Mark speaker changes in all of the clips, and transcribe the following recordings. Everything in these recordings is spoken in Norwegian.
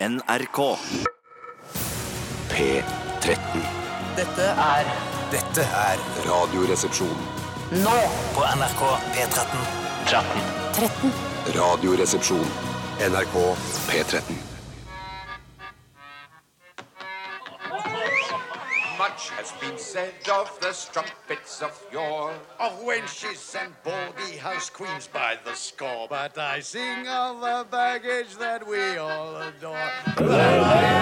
Speaker 1: NRK.
Speaker 2: P13.
Speaker 3: Dette er
Speaker 4: Dette er
Speaker 2: Radioresepsjon.
Speaker 3: nå
Speaker 4: på NRK P13.
Speaker 2: Radioresepsjon. NRK P13.
Speaker 5: Much has been said of the strumpets of yore, of wenches and baldy house queens by the score. But I sing of the baggage that we all adore.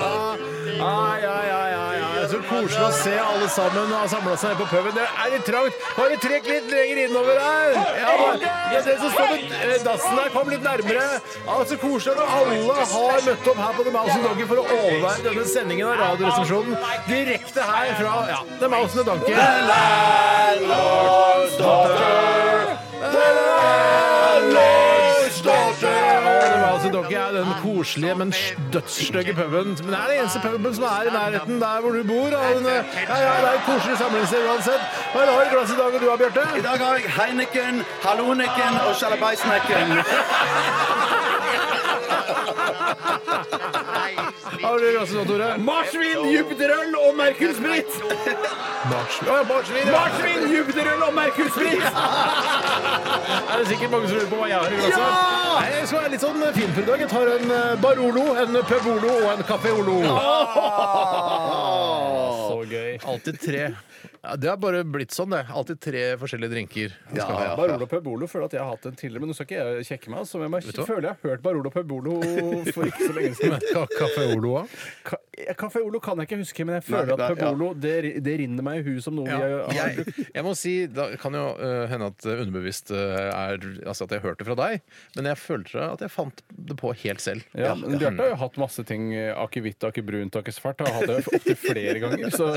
Speaker 6: Ai, ai, ai, ai, ai. Så koselig å se alle sammen ha samla seg på puben. Det er litt trangt. Bare trekk litt lenger innover her. Ja, da. Ja, det som står ved eh, dassen her, kom litt nærmere. Ja, så koselig når alle har møtt opp her på The Mouse and Donkey for å overvære denne sendingen av Radioresepsjonen direkte her fra ja, The Mouse and Donkey. Og det var altså Donkey er den koselige, men dødsstygge puben. Men det er den eneste puben som er i nærheten der hvor du bor. Og den, ja, ja, det er et koselig samlingssted uansett. Hva har du i glasset i dag, og du da, Bjarte?
Speaker 7: I dag har jeg Heineken, Halloniken og Sjalabaisnekken.
Speaker 6: Hva har du i glasset nå, Tore?
Speaker 8: Marsvin, Jupiterøl og Merkursprit!
Speaker 6: Å, ja, Marsvin, ja.
Speaker 8: Marsvin, Jupiterøl og Merkursprit!
Speaker 6: Er det sikkert mange som lurer på hva jeg har i glasset? Nei, jeg skal være litt sånn finpud i dag. Jeg tar en eh, Barolo, en Pebolo og en Cafeolo. Ah!
Speaker 8: Så gøy.
Speaker 6: Alltid tre. Ja, det har bare blitt sånn, det. Alltid tre forskjellige drinker. man skal ha.
Speaker 8: Barolo Pebolo føler at jeg har hatt en tidligere, men nå skal ikke jeg kjekke meg. Altså. men Jeg
Speaker 6: du hva?
Speaker 8: bare føler jeg har hørt Barolo Pebolo for ikke så lenge siden.
Speaker 6: Ka- Cafeolo òg.
Speaker 8: Ka ja, Café Olo kan jeg ikke huske, men jeg føler
Speaker 7: Nei, nei,
Speaker 8: at Pebolo det, ri- det rinner meg i huet som noe vi har- har
Speaker 6: Jeg, jeg må si, Da kan jo eh, hende at eh, underbevisst eh, er Altså at jeg hørte det fra deg, men jeg følte at jeg fant det på helt selv.
Speaker 8: Ja, men Bjarte har jo hatt masse ting. eh, Akevitt, akebrunt, akesvart. Har hatt det opptil flere ganger. Så,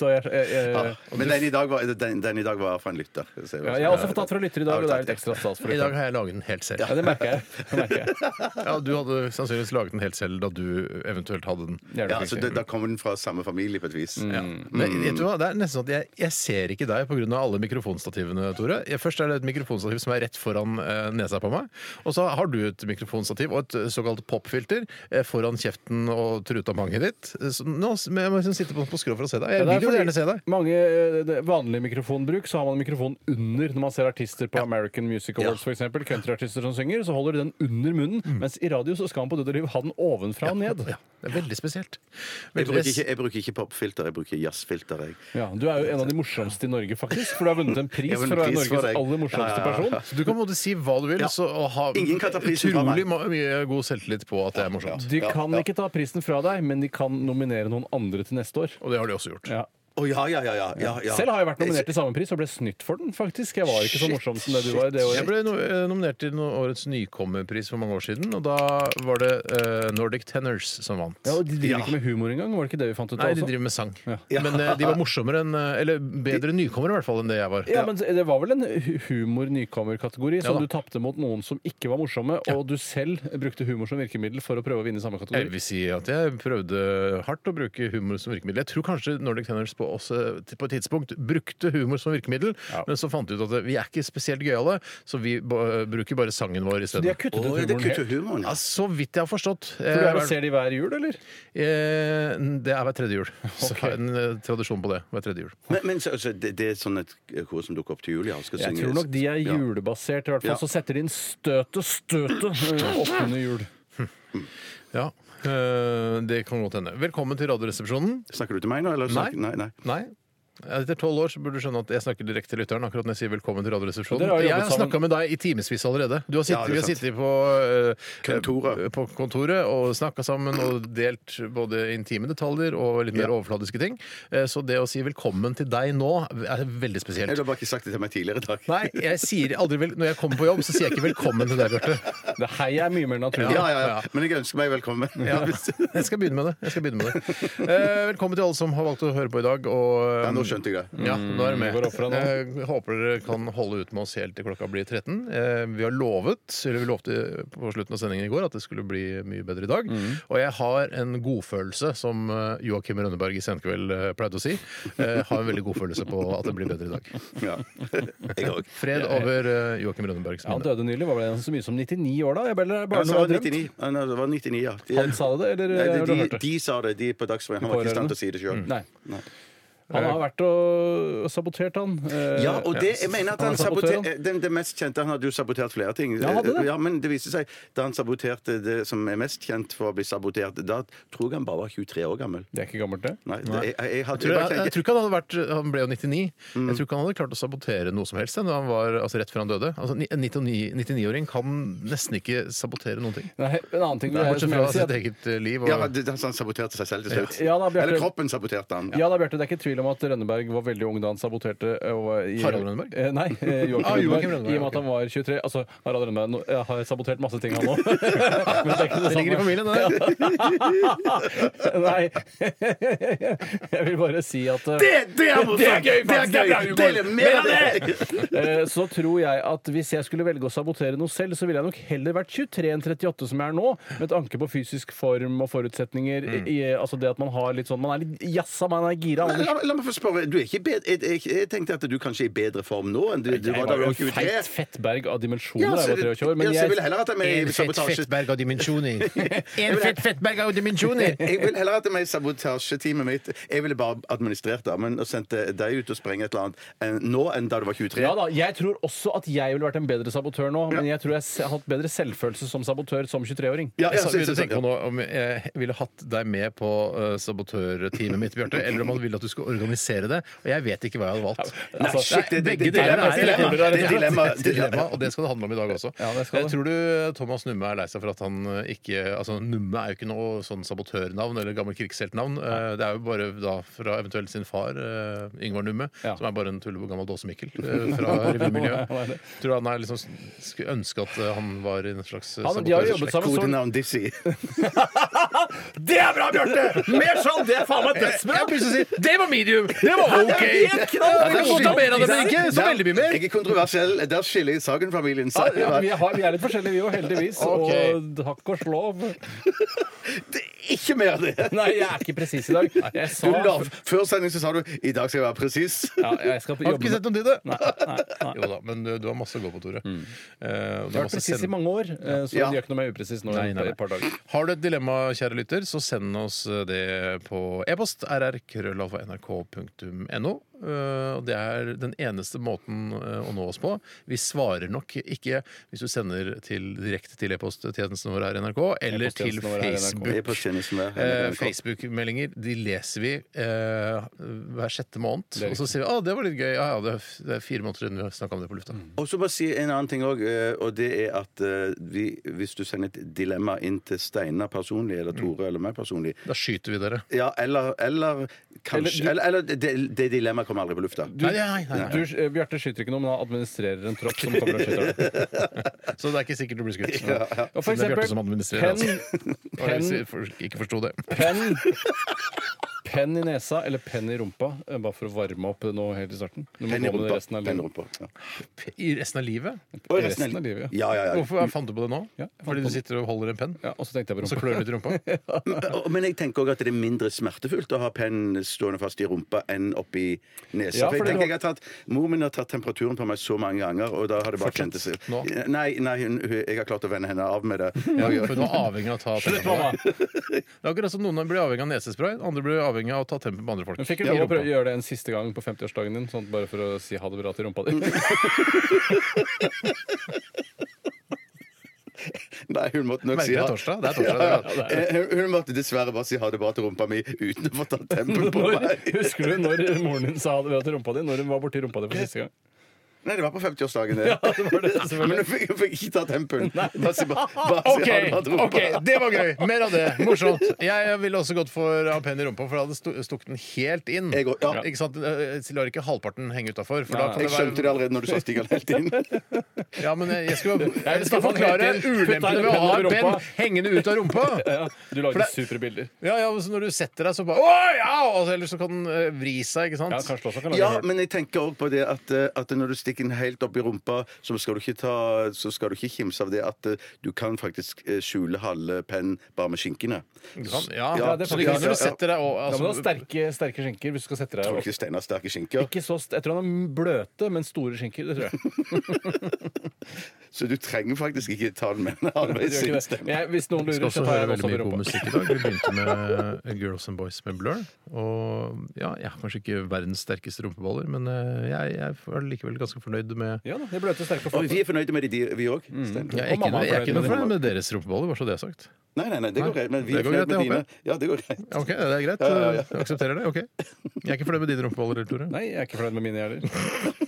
Speaker 8: så jeg, jeg, jeg,
Speaker 7: Men den i dag var, den, den i dag var fra en lytter. Så jeg var sånn-
Speaker 8: ja, jeg har også fått tatt fra lytter i dag, og det er litt ekstra stas for
Speaker 6: Mm. I dag
Speaker 8: lytteren.
Speaker 6: har jeg laget den helt selv.
Speaker 8: Ja, det merker jeg. Det merker jeg.
Speaker 6: Ja, Du hadde sannsynligvis laget den helt selv da du eventuelt hadde den.
Speaker 8: Det er
Speaker 7: Ja,
Speaker 8: nok
Speaker 7: så
Speaker 8: riktig.
Speaker 7: det, Da kommer den fra samme familie på et vis.
Speaker 8: Mm.
Speaker 6: Men vet du hva, det er nesten sånn at jeg, jeg ser ikke deg pga. alle mikrofonstativene, Tore. Jeg- Først er det et mikrofonstativ som er rett foran eh, nesa på meg. Og så har du et mikrofonstativ og et eh, såkalt popfilter eh, foran kjeften og trutamanget ditt. Eh, Så nå s- men jeg må liksom sitte på, på skrå for å se deg. Jeg
Speaker 8: Ja, det er
Speaker 6: vil jo
Speaker 8: fordi
Speaker 6: gjerne se deg.
Speaker 8: Mange eh, det- vanlig mikrofonbruk, så har man mikrofon under når man ser artister på American Music Awards for eksempel Countryartister som synger, så holder de den under munnen. Mens i radio så skal man på død og liv ha den ovenfra og ned.
Speaker 6: Ja, det er veldig spesielt.
Speaker 7: Jeg
Speaker 6: Veldig
Speaker 7: bruker, ikke, jeg bruker ikke popfilter, jeg bruker jazzfilter. Jeg.
Speaker 8: Ja, du er jo en av de morsomste i Norge, faktisk. For du har vunnet en pris
Speaker 7: Jeg har
Speaker 8: for
Speaker 7: vunnet
Speaker 8: å være
Speaker 7: pris for
Speaker 8: Norges
Speaker 7: deg.
Speaker 8: aller morsomste
Speaker 7: Ja, ja, ja.
Speaker 8: person.
Speaker 6: Så du kan på en måte si hva du vil, så, og ha
Speaker 7: Ingen kan ta prisen fra
Speaker 6: utrolig ma- mye god selvtillit på at det er morsomt.
Speaker 8: De kan ikke ta prisen fra deg, men de kan nominere noen andre til neste år.
Speaker 6: Og det har de også gjort.
Speaker 8: Ja.
Speaker 7: Å ja, ja, ja, ja, ja, ja.
Speaker 8: Selv har jeg vært nominert til samme pris og ble snytt for den, faktisk. Jeg var ikke så morsom som det du var i det året.
Speaker 6: Jeg ble no eh, nominert til no- årets nykommerpris for mange år siden, og da var det eh, Nordic Tenors som vant.
Speaker 8: Ja, og de driver ikke med humor engang, var det ikke det vi fant ut av?
Speaker 6: Nei, de
Speaker 8: også?
Speaker 6: driver med sang.
Speaker 8: Ja.
Speaker 6: Men eh, de var morsommere enn eh, Eller bedre nykommere, i hvert fall, enn det jeg var.
Speaker 8: Ja, men Det var vel en hu- humor-nykommer-kategori
Speaker 6: Ja
Speaker 8: som
Speaker 6: da.
Speaker 8: du tapte mot noen som ikke var morsomme, og du selv brukte humor som virkemiddel for å prøve å vinne samme
Speaker 6: Jeg
Speaker 8: kategori.
Speaker 6: vil si at jeg prøvde hardt å bruke humor som virkemiddel. Jeg tror kanskje Nordic Tenors på, oss, eh, til- på et tidspunkt brukte humor som virkemiddel, men så fant vi ut at eh, vi er ikke spesielt gøyale, så vi ba- bruker bare sangen vår
Speaker 8: De har
Speaker 6: isteden.
Speaker 8: kuttet ut
Speaker 7: Å, det
Speaker 8: humoren
Speaker 7: kutter
Speaker 8: helt.
Speaker 7: humoren.
Speaker 6: Ja, så vidt jeg har forstått.
Speaker 8: For
Speaker 6: Eh,
Speaker 8: du er vel- ser de hver jul, eller?
Speaker 6: Eh, Det er hver tredje jul. Så
Speaker 8: Ok.
Speaker 6: har jeg en eh, tradisjon på det. hver tredje jul.
Speaker 7: Men, men så, så det, det er sånn et kor som dukker opp til jul, ja. og Skal
Speaker 8: Jeg
Speaker 7: synge.
Speaker 8: tror nok de er julebasert, i hvert fall.
Speaker 7: Ja.
Speaker 8: Så setter de inn støtet, støtet, eh, oppunder jul.
Speaker 6: Ja, eh, Det kan godt hende. Velkommen til Radioresepsjonen.
Speaker 7: Snakker du til meg nå, eller? snakker-
Speaker 6: Nei.
Speaker 7: nei, nei.
Speaker 6: Nei. Ja, Etter tolv år så burde du skjønne at jeg snakker direkte til lytteren. akkurat når Jeg sier velkommen til radioresepsjonen.
Speaker 8: Dere har
Speaker 6: Jeg
Speaker 8: jobbet
Speaker 6: har
Speaker 8: sammen.
Speaker 6: snakka med deg i timevis allerede. Du har sittet,
Speaker 7: Ja, det er
Speaker 6: vi har
Speaker 7: sant.
Speaker 6: sittet på, eh,
Speaker 7: Kontoret.
Speaker 6: på kontoret og snakka sammen og delt både intime detaljer og litt mer overfladiske ting. Eh, Så det å si velkommen til deg nå er veldig spesielt.
Speaker 7: Jeg har bare ikke sagt det til meg tidligere i dag.
Speaker 6: Nei, jeg sier aldri vel, når jeg kommer på jobb, så sier jeg ikke 'velkommen til deg', Bjarte.
Speaker 8: Det hei er mye mer naturlig.
Speaker 7: Ja, ja, ja. Men jeg ønsker meg velkommen.
Speaker 6: Ja. Jeg skal begynne med det. Jeg skal begynne med det. Eh, velkommen til alle som har valgt å høre på i dag. Og,
Speaker 7: Ja, nå skjønte jeg det.
Speaker 6: Ja, nå er det
Speaker 8: Vi Mm, går opp fra
Speaker 6: med.
Speaker 8: nå.
Speaker 6: Jeg håper dere kan holde ut med oss helt til klokka blir 13. Eh, Vi har lovet, eller vi lovte på slutten av sendingen i går, at det skulle bli mye bedre i dag.
Speaker 8: Mm.
Speaker 6: Og jeg har en godfølelse, som eh, Joakim Rønneberg i Senkveld eh, pleide å si. eh, Har en veldig god følelse på at det blir bedre i dag.
Speaker 7: Ja. Jeg òg.
Speaker 6: Fred over eh, Joakim Rønnebergs
Speaker 8: Ja, han
Speaker 6: minne.
Speaker 8: døde nylig. Hva ble han så mye som 99 år da? Jeg bare, bare
Speaker 7: Altså,
Speaker 8: noe jeg har drømt.
Speaker 7: 99. Nei, nei, det var 99, ja. De,
Speaker 8: Han sa det, eller
Speaker 7: Nei,
Speaker 8: har du
Speaker 7: de,
Speaker 8: hørt
Speaker 7: de,
Speaker 8: det?
Speaker 7: de sa det, de på Dagsrevyen. Han var ikke i stand til å si det sjøl.
Speaker 8: Nei. Han har vært og sabotert, han. Eh,
Speaker 7: Ja, og det, jeg mener at han
Speaker 8: Han saboterer.
Speaker 7: saboter, den, det mest kjente Han hadde jo sabotert flere ting.
Speaker 8: Ja, han hadde det.
Speaker 7: Ja, men det viste seg da han saboterte det som er mest kjent for å bli sabotert, da tror jeg han bare var 23 år gammel.
Speaker 8: Det er ikke gammelt, det.
Speaker 7: Nei, det, jeg, jeg, jeg, hadde-
Speaker 6: Jeg,
Speaker 7: bare
Speaker 6: jeg, jeg
Speaker 7: tenkt-
Speaker 6: tror ikke han hadde vært Han ble jo 99. Jeg tror ikke han hadde klart å sabotere noe som helst jeg, når han var, altså, rett før han døde. Altså, ni- en 99 99-åring kan nesten ikke sabotere noen ting.
Speaker 8: Nei, en annen ting jeg,
Speaker 6: Bortsett
Speaker 8: som
Speaker 6: fra
Speaker 8: jeg vil si
Speaker 6: sitt
Speaker 8: at,
Speaker 6: eget eh, liv. Og,
Speaker 7: ja, det, han saboterte seg selv til slutt.
Speaker 8: Ja, da, Bjarte-
Speaker 7: Eller kroppen saboterte han.
Speaker 8: ja da, Bjarte, Det er ikke tvil om at Rønneberg var veldig ung da han saboterte eh, og var i-
Speaker 6: Harald Rønneberg?
Speaker 8: Eh, Nei, eh, Joakim
Speaker 6: Ah, Joakim
Speaker 8: Rønneberg.
Speaker 6: Rønneberg,
Speaker 8: I og med at
Speaker 6: ok.
Speaker 8: han var 23. Altså, Harald Rønneberg nå- jeg har sabotert masse ting, han òg. Men det er ikke det
Speaker 6: det ligger
Speaker 8: samme.
Speaker 6: i familien, det. der.
Speaker 8: Nei. Jeg vil bare si at eh,
Speaker 7: Det, det er morsomt!
Speaker 8: Det er gøy, faktisk. Det er bra
Speaker 7: gøy.
Speaker 8: humor.
Speaker 7: Del mer av det!
Speaker 8: Eh, så tror jeg at hvis jeg skulle velge å sabotere noe selv, så ville jeg nok heller vært 23 enn 38 som jeg er nå, med et anke på fysisk form og forutsetninger. I, altså det at man har litt sånn Man er litt jassa, man er gira.
Speaker 7: Men
Speaker 8: Man
Speaker 7: La, la meg få spørre, du er ikke bedre, jeg, jeg, jeg tenkte at du kanskje er i bedre form nå enn du, du
Speaker 8: jeg
Speaker 7: var da
Speaker 8: var
Speaker 7: du
Speaker 8: jo
Speaker 7: var
Speaker 8: et
Speaker 7: 23.
Speaker 8: feit fettberg av dimensjoner
Speaker 7: Ja,
Speaker 8: da
Speaker 7: så
Speaker 8: jeg var
Speaker 7: det-
Speaker 8: 23 år.
Speaker 7: ja,
Speaker 8: Men
Speaker 7: så jeg vil
Speaker 8: jeg,
Speaker 7: heller at jeg er med i sabotasje.
Speaker 6: fettberg av dimensjoner. En fett fettberg av dimensjoner.
Speaker 7: Jeg vil heller at det er meg i sabotasjeteamet mitt. Jeg ville bare administrert damen og sendt deg ut og sprenge et eller annet enn- nå enn da du var 23.
Speaker 8: ja da, jeg tror også at jeg ville vært en bedre sabotør nå, men jeg tror jeg s- har hatt bedre selvfølelse som sabotør som 23-åring.
Speaker 7: Ja,
Speaker 6: Jeg
Speaker 7: ja,
Speaker 6: sa-
Speaker 7: så-
Speaker 6: begynte
Speaker 7: så-
Speaker 6: å tenke
Speaker 7: så-
Speaker 6: på nå om jeg ville hatt deg med på eh, sabotørteamet mitt, Bjarte, eller om han ville at du skulle organisere det. Og jeg vet ikke hva jeg hadde valgt. Altså,
Speaker 7: Nei, shit, det- det-
Speaker 6: Begge
Speaker 7: det- det-
Speaker 6: deler
Speaker 7: det-
Speaker 6: er
Speaker 7: det-
Speaker 6: dilemma.
Speaker 7: det- det- dilemma.
Speaker 6: Det er dilemma, og det skal det handle om i dag også.
Speaker 8: Ja, det skal
Speaker 6: jeg
Speaker 8: det.
Speaker 6: tror du Thomas Numme er lei seg for at han eh, ikke Altså, Numme er jo ikke noe sånn sabotørnavn eller gammel krigsheltnavn. Eh, Det er jo bare da fra eventuelt sin far, eh, Yngvar Numme,
Speaker 8: Ja.
Speaker 6: som er bare en tullebo gammel dåsemikkel eh, fra revymiljøet.
Speaker 8: Hva er det?
Speaker 6: Tror du han er liksom skulle ønske at eh, han var i en slags eh,
Speaker 8: Ja, men de har jo jobbet
Speaker 6: sabotørslekt?
Speaker 8: sammen så
Speaker 7: Kodenavn Dizzie.
Speaker 6: Det er bra, Bjarte! Mer sånn! Det er faen meg dødsbra! det var medium! Det var OK!
Speaker 7: Ja, det er
Speaker 6: godt å ha mer av det, men ikke så
Speaker 7: Ja,
Speaker 6: veldig mye mer.
Speaker 7: Jeg er kontroversiell. Der skiller jeg Sagen-familien
Speaker 8: Ja,
Speaker 7: seg.
Speaker 8: ja, vi, har, vi er litt forskjellige, vi òg, heldigvis.
Speaker 6: Ok.
Speaker 8: Og takk og slov.
Speaker 7: Det er Ikke mer av det!
Speaker 8: Nei, jeg er ikke presis i dag. Jeg
Speaker 7: Du
Speaker 8: sa
Speaker 7: lov. Før sending så sa du 'i dag skal jeg være presis'.
Speaker 8: ja, jeg skal
Speaker 6: Har ikke
Speaker 8: jobbe med
Speaker 6: sett noe til det.
Speaker 8: Nei, nei, nei.
Speaker 6: Jo da, men du, du har masse å gå på, Tore. Eh, og
Speaker 8: Jeg
Speaker 6: det er
Speaker 8: har vært
Speaker 6: masse
Speaker 8: presis i
Speaker 6: send-
Speaker 8: mange år, eh, så
Speaker 7: Ja.
Speaker 8: det gjør ikke noe meg upresis nå.
Speaker 6: Nei, nei, nei.
Speaker 8: i et par dager.
Speaker 6: Har du et dilemma, kjære lytter, så send oss eh, det på e-post rrkrøllalfa.nrk.no. Eh, og Det er den eneste måten eh, å nå oss på. Vi svarer nok ikke hvis du sender til, direkte til e-posttjenesten vår her i NRK, eller til
Speaker 8: E-posttjenesten vår her i NRK.
Speaker 6: Facebook.
Speaker 7: Jeg er på tjenesten med.
Speaker 6: Eh, Facebook-meldinger de leser vi eh, hver sjette måned. Og så sier vi at det var litt gøy. Ja, ja, det er f- det er fire måneder siden vi snakka om det på lufta.
Speaker 8: Mm.
Speaker 7: Og så bare si en annen ting òg, og det er at eh, vi, hvis du sender et dilemma inn til Steinar personlig,
Speaker 8: Mm.
Speaker 7: eller Tore eller meg personlig
Speaker 6: Da skyter vi dere.
Speaker 7: Ja, eller, eller kanskje Eller, eller, det, det dilemmaet kommer aldri på lufta.
Speaker 6: Nei, nei, nei, nei.
Speaker 8: Du, eh, Bjarte skyter ikke noe, men han administrerer en tropp som kommer og skyter deg.
Speaker 6: Så det er ikke sikkert du blir skutt.
Speaker 8: Og for
Speaker 6: Det er Bjarte som
Speaker 8: eksempel
Speaker 6: administrerer. altså.
Speaker 8: penn,
Speaker 6: Og jeg
Speaker 8: penn,
Speaker 6: sier- for- Ikke forsto det.
Speaker 8: penn Penn i nesa eller penn i rumpa, eh, bare for å varme opp nå helt i starten. Du må
Speaker 7: Penn i
Speaker 8: gå med det
Speaker 7: rumpa.
Speaker 8: resten av
Speaker 7: Penn i
Speaker 8: livet.
Speaker 7: rumpa. Ja.
Speaker 6: I resten av livet?
Speaker 7: Og
Speaker 8: resten av livet,
Speaker 7: Ja, ja, ja.
Speaker 6: Hvorfor fant du på det nå?
Speaker 8: Ja, jeg fant
Speaker 6: Fordi
Speaker 8: på
Speaker 6: du
Speaker 8: det.
Speaker 6: sitter og holder en penn?
Speaker 8: Ja, og så tenkte jeg
Speaker 6: Og så
Speaker 8: på
Speaker 6: klør du
Speaker 8: rumpa.
Speaker 6: litt i rumpa?
Speaker 7: Men, og- men jeg tenker også at det er mindre smertefullt å ha pennen stående fast i rumpa enn oppi nesa.
Speaker 8: Ja,
Speaker 7: for jeg
Speaker 8: for det
Speaker 7: tenker
Speaker 8: var-
Speaker 7: jeg har tatt, Mor min har tatt temperaturen på meg så mange ganger, og da har det bare
Speaker 6: Fortsett
Speaker 7: kjentes
Speaker 6: nå.
Speaker 7: Nei, nei hun, hun, jeg har klart å vende henne av med det.
Speaker 6: Ja, for du er avhengig av å ta
Speaker 8: Slutt,
Speaker 6: tempen.
Speaker 8: mamma!
Speaker 6: Det er akkurat som noen blir avhengig av nesespray, andre blir avhengig av å ta tempen på andre folk.
Speaker 8: Men fikk du
Speaker 6: I
Speaker 8: lov å
Speaker 6: rumpa.
Speaker 8: prøve å gjøre det en siste gang på 50-årsdagen din? Sånn bare for å si ha det bra til rumpa di?
Speaker 7: Nei, hun måtte nok
Speaker 6: Merker
Speaker 7: si
Speaker 6: det er
Speaker 7: ha-
Speaker 6: torsdag. Det er torsdag, det er
Speaker 7: Ja, ja. Eh, Hun måtte dessverre bare si ha det bra til rumpa mi uten å få ta tempen på
Speaker 8: Når,
Speaker 7: meg.
Speaker 8: husker du når moren din sa ha det bra til rumpa di? Når hun var borti rumpa di for siste gang?
Speaker 7: Nei, det var på 50-årsdagen, det. Men jeg fikk, jeg fikk ikke tatt den pullen. Bare si- bare- bare si
Speaker 6: OK,
Speaker 7: ha det, ha det,
Speaker 6: ok,
Speaker 7: bare.
Speaker 6: det var gøy! Mer av det. Morsomt. Jeg ville også gått for av pen i rumpa, for da hadde sto- stukket den helt inn.
Speaker 7: Jeg går- ja.
Speaker 6: Ikke sant? Jeg lar ikke halvparten henge utafor.
Speaker 7: Jeg skjønte det allerede når du sa Stig Arne helt inn.
Speaker 6: Ja, men jeg, jeg, skulle, jeg skal
Speaker 8: skal
Speaker 6: forklare
Speaker 8: helt inn. Putta
Speaker 6: ulempene
Speaker 8: en
Speaker 6: ved å
Speaker 8: penn
Speaker 6: ha en
Speaker 8: over
Speaker 6: penn
Speaker 8: rumpa.
Speaker 6: hengende ut av rumpa.
Speaker 8: Du
Speaker 6: For
Speaker 8: lagde
Speaker 6: det-
Speaker 8: supre bilder.
Speaker 6: Ja, ja, så Når du setter deg, så bare Å ja! Altså, ellers så kan den eh, vri seg, ikke sant?
Speaker 8: Ja, kanskje også kan lage
Speaker 7: Ja,
Speaker 8: hull.
Speaker 7: men jeg tenker også på det at, eh, at når du stikker den helt opp i rumpa, så skal du ikke, ta, så skal du ikke kimse av det at eh, du kan faktisk eh, skjule halve pennen bare med skinkene.
Speaker 6: Du kan, ja.
Speaker 7: Ja, det
Speaker 6: det er
Speaker 7: er
Speaker 6: ikke
Speaker 7: faktisk-
Speaker 6: når du setter deg og,
Speaker 8: Da må du ha
Speaker 6: altså,
Speaker 8: sterke, sterke skjenker hvis du skal sette deg
Speaker 7: Tror du
Speaker 8: opp.
Speaker 7: ikke Steinar har sterke skinker?
Speaker 8: Ikke så st jeg tror han har bløte, men store skjenker. Det tror jeg.
Speaker 7: Så du trenger faktisk ikke ta den med
Speaker 8: jeg
Speaker 7: halvveis
Speaker 8: tror
Speaker 7: inn.
Speaker 8: ikke det. Men jeg, hvis noen
Speaker 6: Vi skal
Speaker 8: lurer, så
Speaker 6: også
Speaker 8: tar jeg
Speaker 6: høre
Speaker 8: den også
Speaker 6: veldig
Speaker 8: over
Speaker 6: mye god
Speaker 8: rumpa.
Speaker 6: musikk i dag. Vi begynte med eh, Girls and Boys med Blur. Og ja, jeg har kanskje ikke verdens sterkeste rumpeboller, men eh, jeg, jeg er likevel ganske fornøyd med
Speaker 8: Ja da, de er bløte, sterke og
Speaker 7: Oi,
Speaker 8: flotte.
Speaker 7: vi er fornøyde med det, de- vi òg.
Speaker 6: Jeg er
Speaker 8: Og
Speaker 6: ikke
Speaker 8: mamma
Speaker 6: noe-
Speaker 8: er
Speaker 6: jeg er ikke
Speaker 8: fornøyd
Speaker 6: noe
Speaker 8: med
Speaker 6: fornøyd med deres rumpeboller, bare så det er sagt.
Speaker 7: Nei, nei, nei, det går
Speaker 6: Nei,
Speaker 7: greit. Men vi
Speaker 6: det
Speaker 7: er
Speaker 6: går
Speaker 7: fornøyd
Speaker 6: greit,
Speaker 7: med
Speaker 6: jeg
Speaker 7: dine. Ja, det går greit.
Speaker 6: Ok, det er greit.
Speaker 7: Ja, ja, ja.
Speaker 6: Du aksepterer det? Ok. Jeg er ikke fornøyd med dine rumpeboller, Tore.
Speaker 8: Nei, jeg er ikke fornøyd med mine, jeg heller.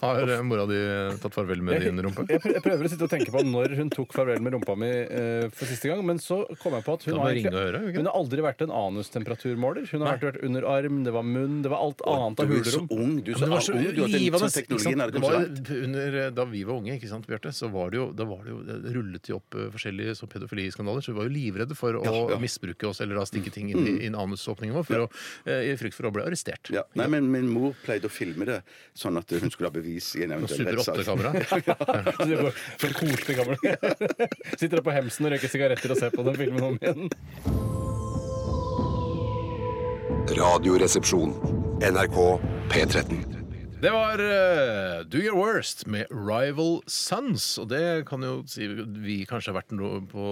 Speaker 6: Har eh, mora di tatt farvel med din rumpe?
Speaker 8: Jeg, pr- jeg prøver å sitte og tenke på når hun tok farvel med rumpa mi eh, for siste gang, men så kom jeg på at
Speaker 6: Da
Speaker 8: hun
Speaker 6: må
Speaker 8: har,
Speaker 6: ringe og høre, ikke det?
Speaker 8: hun har aldri vært en anustemperaturmåler. Hun har vært, vært underarm, det var munn, det var alt annet av
Speaker 7: Du er så
Speaker 8: hulrom.
Speaker 7: ung. Du er så, ung. Du har den sånn teknologien hadde
Speaker 6: Det
Speaker 7: kommet så
Speaker 6: var jo
Speaker 7: langt.
Speaker 6: under, eh, da vi var unge, ikke sant, Bjarte, så var det jo, da var det jo det rullet jo opp eh, forskjellige sånn pedofiliskandaler. Så vi var jo livredde for å
Speaker 7: Ja, ja.
Speaker 6: misbruke oss eller da stikke ting inn i, inn i anusåpningen vår for å, eh, i frykt for å bli arrestert.
Speaker 7: Ja. Nei, men min mor pleide å filme det, sånn at hun skulle ha bevis i en
Speaker 6: Og
Speaker 7: eventuell
Speaker 6: Super
Speaker 7: rettssak.
Speaker 6: 8-kamera.
Speaker 8: Så det var For koselig gammel. Sitter der på hemsen og røyker sigaretter og ser på den filmen om igjen.
Speaker 2: Radioresepsjon. NRK P13.
Speaker 6: Det var eh, Do Your Worst med Rival Sons. Og det kan jo si vi kanskje har vært noe på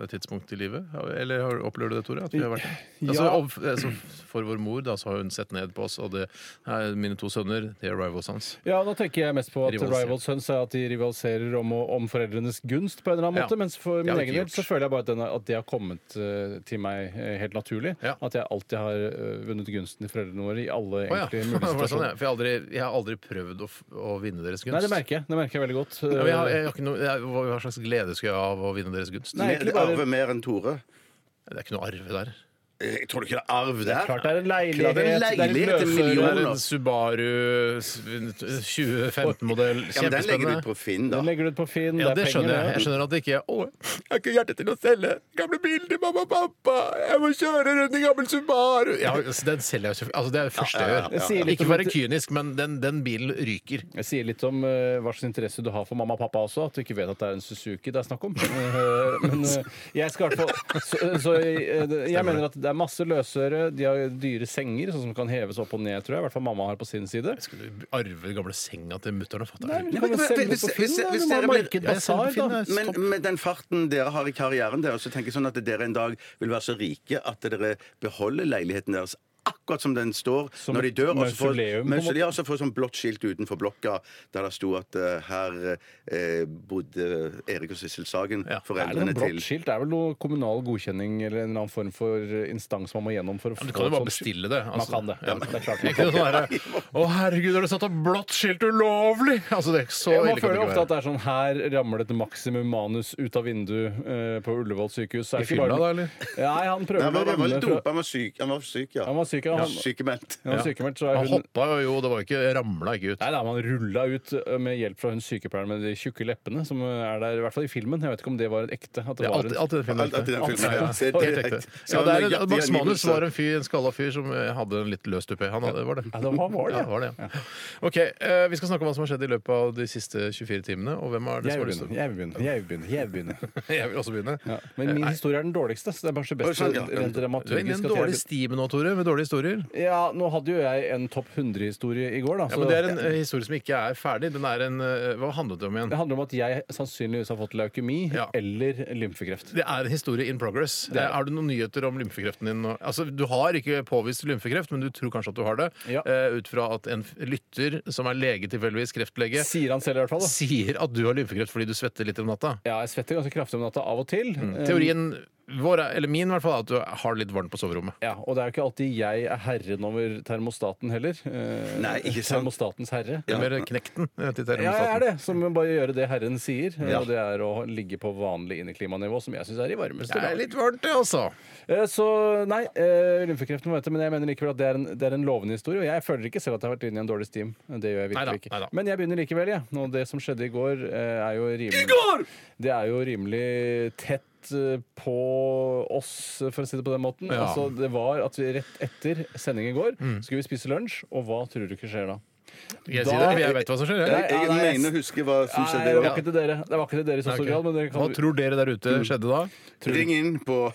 Speaker 6: et tidspunkt i livet. Eller har du opplevd det, Tore? At vi har vært
Speaker 8: Ja.
Speaker 6: altså, og, altså, For vår mor da, så har hun sett ned på oss, og det er mine to sønner, de er Rival Sons.
Speaker 8: Ja, da tenker jeg mest på at
Speaker 6: Rivaliserer.
Speaker 8: rival sons er at de rivaliserer om, å- om foreldrenes gunst på en eller annen
Speaker 6: Ja.
Speaker 8: måte. Mens for
Speaker 6: Det har
Speaker 8: min
Speaker 6: vi
Speaker 8: egen
Speaker 6: ikke
Speaker 8: del så
Speaker 6: gjort.
Speaker 8: føler jeg bare at, den, er- at det har kommet eh, til meg eh, helt naturlig.
Speaker 6: Ja.
Speaker 8: At jeg alltid har eh, vunnet gunsten til foreldrene våre i alle
Speaker 6: Å ja.
Speaker 8: egentlig
Speaker 6: det
Speaker 8: mulige
Speaker 6: var sånn,
Speaker 8: situasjoner.
Speaker 6: ja. For jeg har, aldri, jeg har aldri prøvd å, f å vinne deres gunst.
Speaker 8: Nei, det merker jeg. Det merker jeg veldig godt. Eh,
Speaker 6: Ja, men jeg har, jeg har ikke noe, jeg, hva hva slags glede skulle jeg ha av å vinne deres gunst?
Speaker 8: Nei, egentlig
Speaker 7: Jeg
Speaker 8: bare-
Speaker 7: arver mer enn Tore.
Speaker 6: Det er ikke noe arv der.
Speaker 7: Jeg tror ikke det er arv der.
Speaker 8: Klart det er en
Speaker 7: Klart
Speaker 8: leilighet.
Speaker 7: det er en leilighet til
Speaker 8: løsøre.
Speaker 6: Det er
Speaker 7: millioner.
Speaker 6: en
Speaker 8: altså.
Speaker 6: Subaru 2015-modell.
Speaker 7: Ja, men den legger
Speaker 6: Kjempespennende.
Speaker 7: du ut på Finn, da.
Speaker 8: Den legger du ut på Finn.
Speaker 6: Ja,
Speaker 8: det er
Speaker 6: det
Speaker 8: penger,
Speaker 6: skjønner jeg.
Speaker 8: det.
Speaker 6: Jeg skjønner at det ikke Å, jeg har ikke hjerte til å selge gamle bilen til mamma og pappa! Jeg må kjøre rundt i gammel Subaru! Ja, altså, den selger jeg jo selvfølgelig. Altså, det er det første jeg gjør.
Speaker 8: Det sier litt
Speaker 6: Ikke
Speaker 8: om
Speaker 6: for å
Speaker 8: at-
Speaker 6: være kynisk, men den, den bilen ryker.
Speaker 8: Jeg sier litt om eh, hva slags interesse du har for mamma og pappa også. At du ikke vet at det er en Suzuki det er snakk om. Eh, men eh, jeg skal i hvert fall Så, så jeg, eh, det- jeg mener at det er masse løsøre. De har dyre senger sånn som kan heves opp og ned, tror jeg. I hvert fall mamma har på sin side.
Speaker 6: Skulle du arve gamle senga til mutter'n og fatter'n?
Speaker 8: Du kan jo
Speaker 7: men-
Speaker 8: selge
Speaker 7: hvis-
Speaker 8: på
Speaker 7: hvis-
Speaker 8: Finn, da.
Speaker 7: hvis
Speaker 8: Du må
Speaker 7: dere
Speaker 8: ha
Speaker 7: blir-
Speaker 8: marked
Speaker 6: Ja, jeg selger på
Speaker 8: basar,
Speaker 6: Finn,
Speaker 8: da.
Speaker 6: jeg.
Speaker 7: Men med den farten dere har i karrieren deres, så tenker jeg sånn at dere en dag vil være så rike at dere beholder leiligheten deres akkurat som den står
Speaker 8: Som
Speaker 7: når de
Speaker 8: et
Speaker 7: dør. Og så får,
Speaker 8: mausoleum, på en
Speaker 7: mausoleum,
Speaker 8: måte.
Speaker 7: ja, så får sånn blått skilt utenfor blokka der det sto at eh, her eh, bodde Erik og Sissel Sagen,
Speaker 8: Er
Speaker 6: Ja.
Speaker 8: det
Speaker 7: foreldrene
Speaker 8: noe blått
Speaker 7: til
Speaker 8: skilt? Det er vel noe kommunal godkjenning eller en eller annen form for eh, instans man må gjennom for å få
Speaker 6: Du kan jo
Speaker 8: et
Speaker 6: bare
Speaker 8: sånt skilt?
Speaker 6: bestille det.
Speaker 8: Man
Speaker 6: altså.
Speaker 8: kan det. Ja, det er klart.
Speaker 6: Ikke noe sånn herre Å, herregud, har du satt opp blått skilt ulovlig?! Altså, det er ikke så
Speaker 8: Ja, man
Speaker 6: ille kan
Speaker 8: føler
Speaker 6: det
Speaker 8: jo
Speaker 6: ikke
Speaker 8: ofte at
Speaker 6: være.
Speaker 8: det er sånn her ramler et maksimum manus ut av vinduet eh, på Ullevål sykehus. Så er
Speaker 6: I
Speaker 8: det ikke bare-
Speaker 6: fylla da, eller?
Speaker 8: Nei, han prøver
Speaker 7: Nei, han var, han
Speaker 8: å
Speaker 7: var
Speaker 8: rømme
Speaker 7: litt
Speaker 8: fra
Speaker 7: dopa, han var syk. Han var syk, ja.
Speaker 8: Han var syk, ja.
Speaker 7: ja.
Speaker 8: Han-
Speaker 7: Sykemeldt.
Speaker 8: Han var sykemeldt, så er
Speaker 6: Han
Speaker 8: hun
Speaker 6: hoppa jo, jo, det var ikke Ramla ikke ut.
Speaker 8: Nei, da, Man rulla ut eh, med hjelp fra hun sykepleieren med de tjukke leppene som eh, er der, i hvert fall i filmen. Jeg vet ikke om det var en ekte. At det
Speaker 6: Det er
Speaker 8: var
Speaker 6: alltid,
Speaker 8: en...
Speaker 6: alltid det filmen.
Speaker 7: Alt- alt i den filmen,
Speaker 6: Ja,
Speaker 7: ja.
Speaker 6: det er helt riktig. Ja, det er, en- Max Manus var en fyr, en skalla fyr som eh, hadde en litt løs tupé. Han hadde, var det.
Speaker 8: Ja, det var- var det,
Speaker 6: Ja,
Speaker 8: ja.
Speaker 6: var det ja. Ok, eh, Vi skal snakke om hva som har skjedd i løpet av de siste 24 timene. Og hvem er det
Speaker 8: Jeg
Speaker 6: som har
Speaker 8: vil
Speaker 6: lyst til
Speaker 8: begynne. Jeg vil begynne. Jeg vil begynne. Jeg vil begynne.
Speaker 6: å- Jeg vil også begynne.
Speaker 8: Ja. Men min historie er den dårligste, så det er kanskje best
Speaker 7: Å, sånn, ja.
Speaker 8: rent
Speaker 6: Du er inne i
Speaker 8: dramaturgisk.
Speaker 6: en
Speaker 8: at jeg
Speaker 6: dårlig
Speaker 8: begynner.
Speaker 6: stime nå, Tore, med dårlige historier.
Speaker 8: Ja, nå hadde jo jeg en topp 100-historie i går, da.
Speaker 6: Ja, men Det er en eh, historie som ikke er ferdig. Den er en, eh, Hva handlet det om igjen?
Speaker 8: Det handler om at jeg sannsynligvis har fått leukemi
Speaker 6: Ja.
Speaker 8: eller lymfekreft.
Speaker 6: Det er en historie in progress.
Speaker 8: er det.
Speaker 6: Eh, Har du noen nyheter om lymfekreften din? nå? Altså, du har ikke påvist lymfekreft, men du tror kanskje at du har det.
Speaker 8: Ja.
Speaker 6: eh, Ut fra at en f- lytter som er lege, tilfeldigvis kreftlege,
Speaker 8: Sier han selv i hvert fall. da.
Speaker 6: sier at du har lymfekreft fordi du svetter litt om natta. Mm.
Speaker 8: Ja, jeg svetter ganske kraftig om natta av og til. Eh,
Speaker 6: Teorien vår, eller min i hvert fall, er at du har det litt varmt på soverommet.
Speaker 8: Ja, Og det er jo ikke alltid jeg er herren over termostaten heller. Eh,
Speaker 7: Nei, ikke sant.
Speaker 8: Termostatens herre.
Speaker 6: Det er Mer knekten eh, til
Speaker 8: Ja, jeg er
Speaker 6: termostaten.
Speaker 8: det. Som bare gjøre det herren sier. Eh,
Speaker 7: Ja.
Speaker 8: Og det er å ligge på vanlig inneklimanivå, som jeg syns er i varmeste
Speaker 6: Det er
Speaker 8: laget.
Speaker 6: litt varmt, det, altså.
Speaker 8: Eh, Så nei, eh, lymfekreften må vente, men jeg mener likevel at det er en, det er en lovende historie. Og jeg føler ikke selv at jeg har vært inne i en dårlig steam. Eh, Det gjør jeg virkelig
Speaker 6: Neida,
Speaker 8: ikke.
Speaker 6: neida.
Speaker 8: Men jeg begynner likevel, jeg. Og det som skjedde i går, eh, er jo rimelig Det er jo rimelig tett eh, på oss, for å si det på den måten.
Speaker 6: Ja. Mm.
Speaker 8: Altså, det var at vi rett etter sending i går skulle vi spise lunsj, og hva tror du ikke skjer da?
Speaker 6: Skal jeg si
Speaker 8: Da-
Speaker 6: det? Jeg vet hva som
Speaker 8: Nei,
Speaker 6: skjer.
Speaker 7: Jeg
Speaker 6: Jeg.
Speaker 8: ja, nei, jeg-
Speaker 7: mener å huske hva som
Speaker 8: Nei,
Speaker 7: skjedde.
Speaker 8: det var
Speaker 7: Ja.
Speaker 8: ikke til dere. Det var ikke til dere i så stor
Speaker 6: Ok.
Speaker 8: grad. Men dere
Speaker 6: Hva
Speaker 8: kan, Mm.
Speaker 6: tror dere der ute skjedde da?
Speaker 7: Ring inn på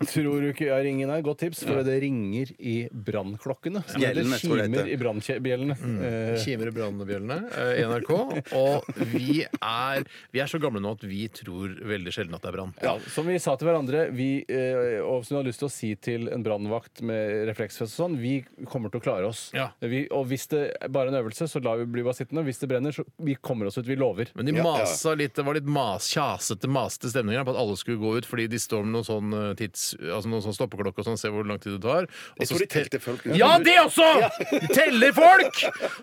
Speaker 8: Tror du ikke jeg ringer? Nei, godt tips, for det ringer i brannklokkene. som heter.
Speaker 7: Bjellene, tror jeg det
Speaker 8: kimer
Speaker 7: heter.
Speaker 8: i Eh, brannkjellene.
Speaker 6: Mm.
Speaker 7: Eh.
Speaker 6: Kimer i brannbjellene eh, i NRK. Og vi er, vi er så gamle nå at vi tror veldig sjelden at det er brann.
Speaker 8: Ja, som vi sa til hverandre, vi, eh, og som du har lyst til å si til en brannvakt med refleksvest og sånn, vi kommer til å klare oss.
Speaker 6: Ja.
Speaker 8: Vi, og hvis det er bare en øvelse, så lar vi bli bare sittende. Hvis det brenner, så vi kommer oss ut. Vi lover.
Speaker 6: Men de
Speaker 7: Ja, ja.
Speaker 6: masa litt, det var litt mas, kjasete, masete stemninger på at alle skulle gå ut fordi de står med noen sånn eh, tids, altså noen sånn stoppeklokke og sånn, se hvor lang tid det tar. Og
Speaker 7: Jeg
Speaker 6: så
Speaker 7: tror de
Speaker 6: tel-
Speaker 7: telte folk.
Speaker 6: Ja, det også! De teller folk!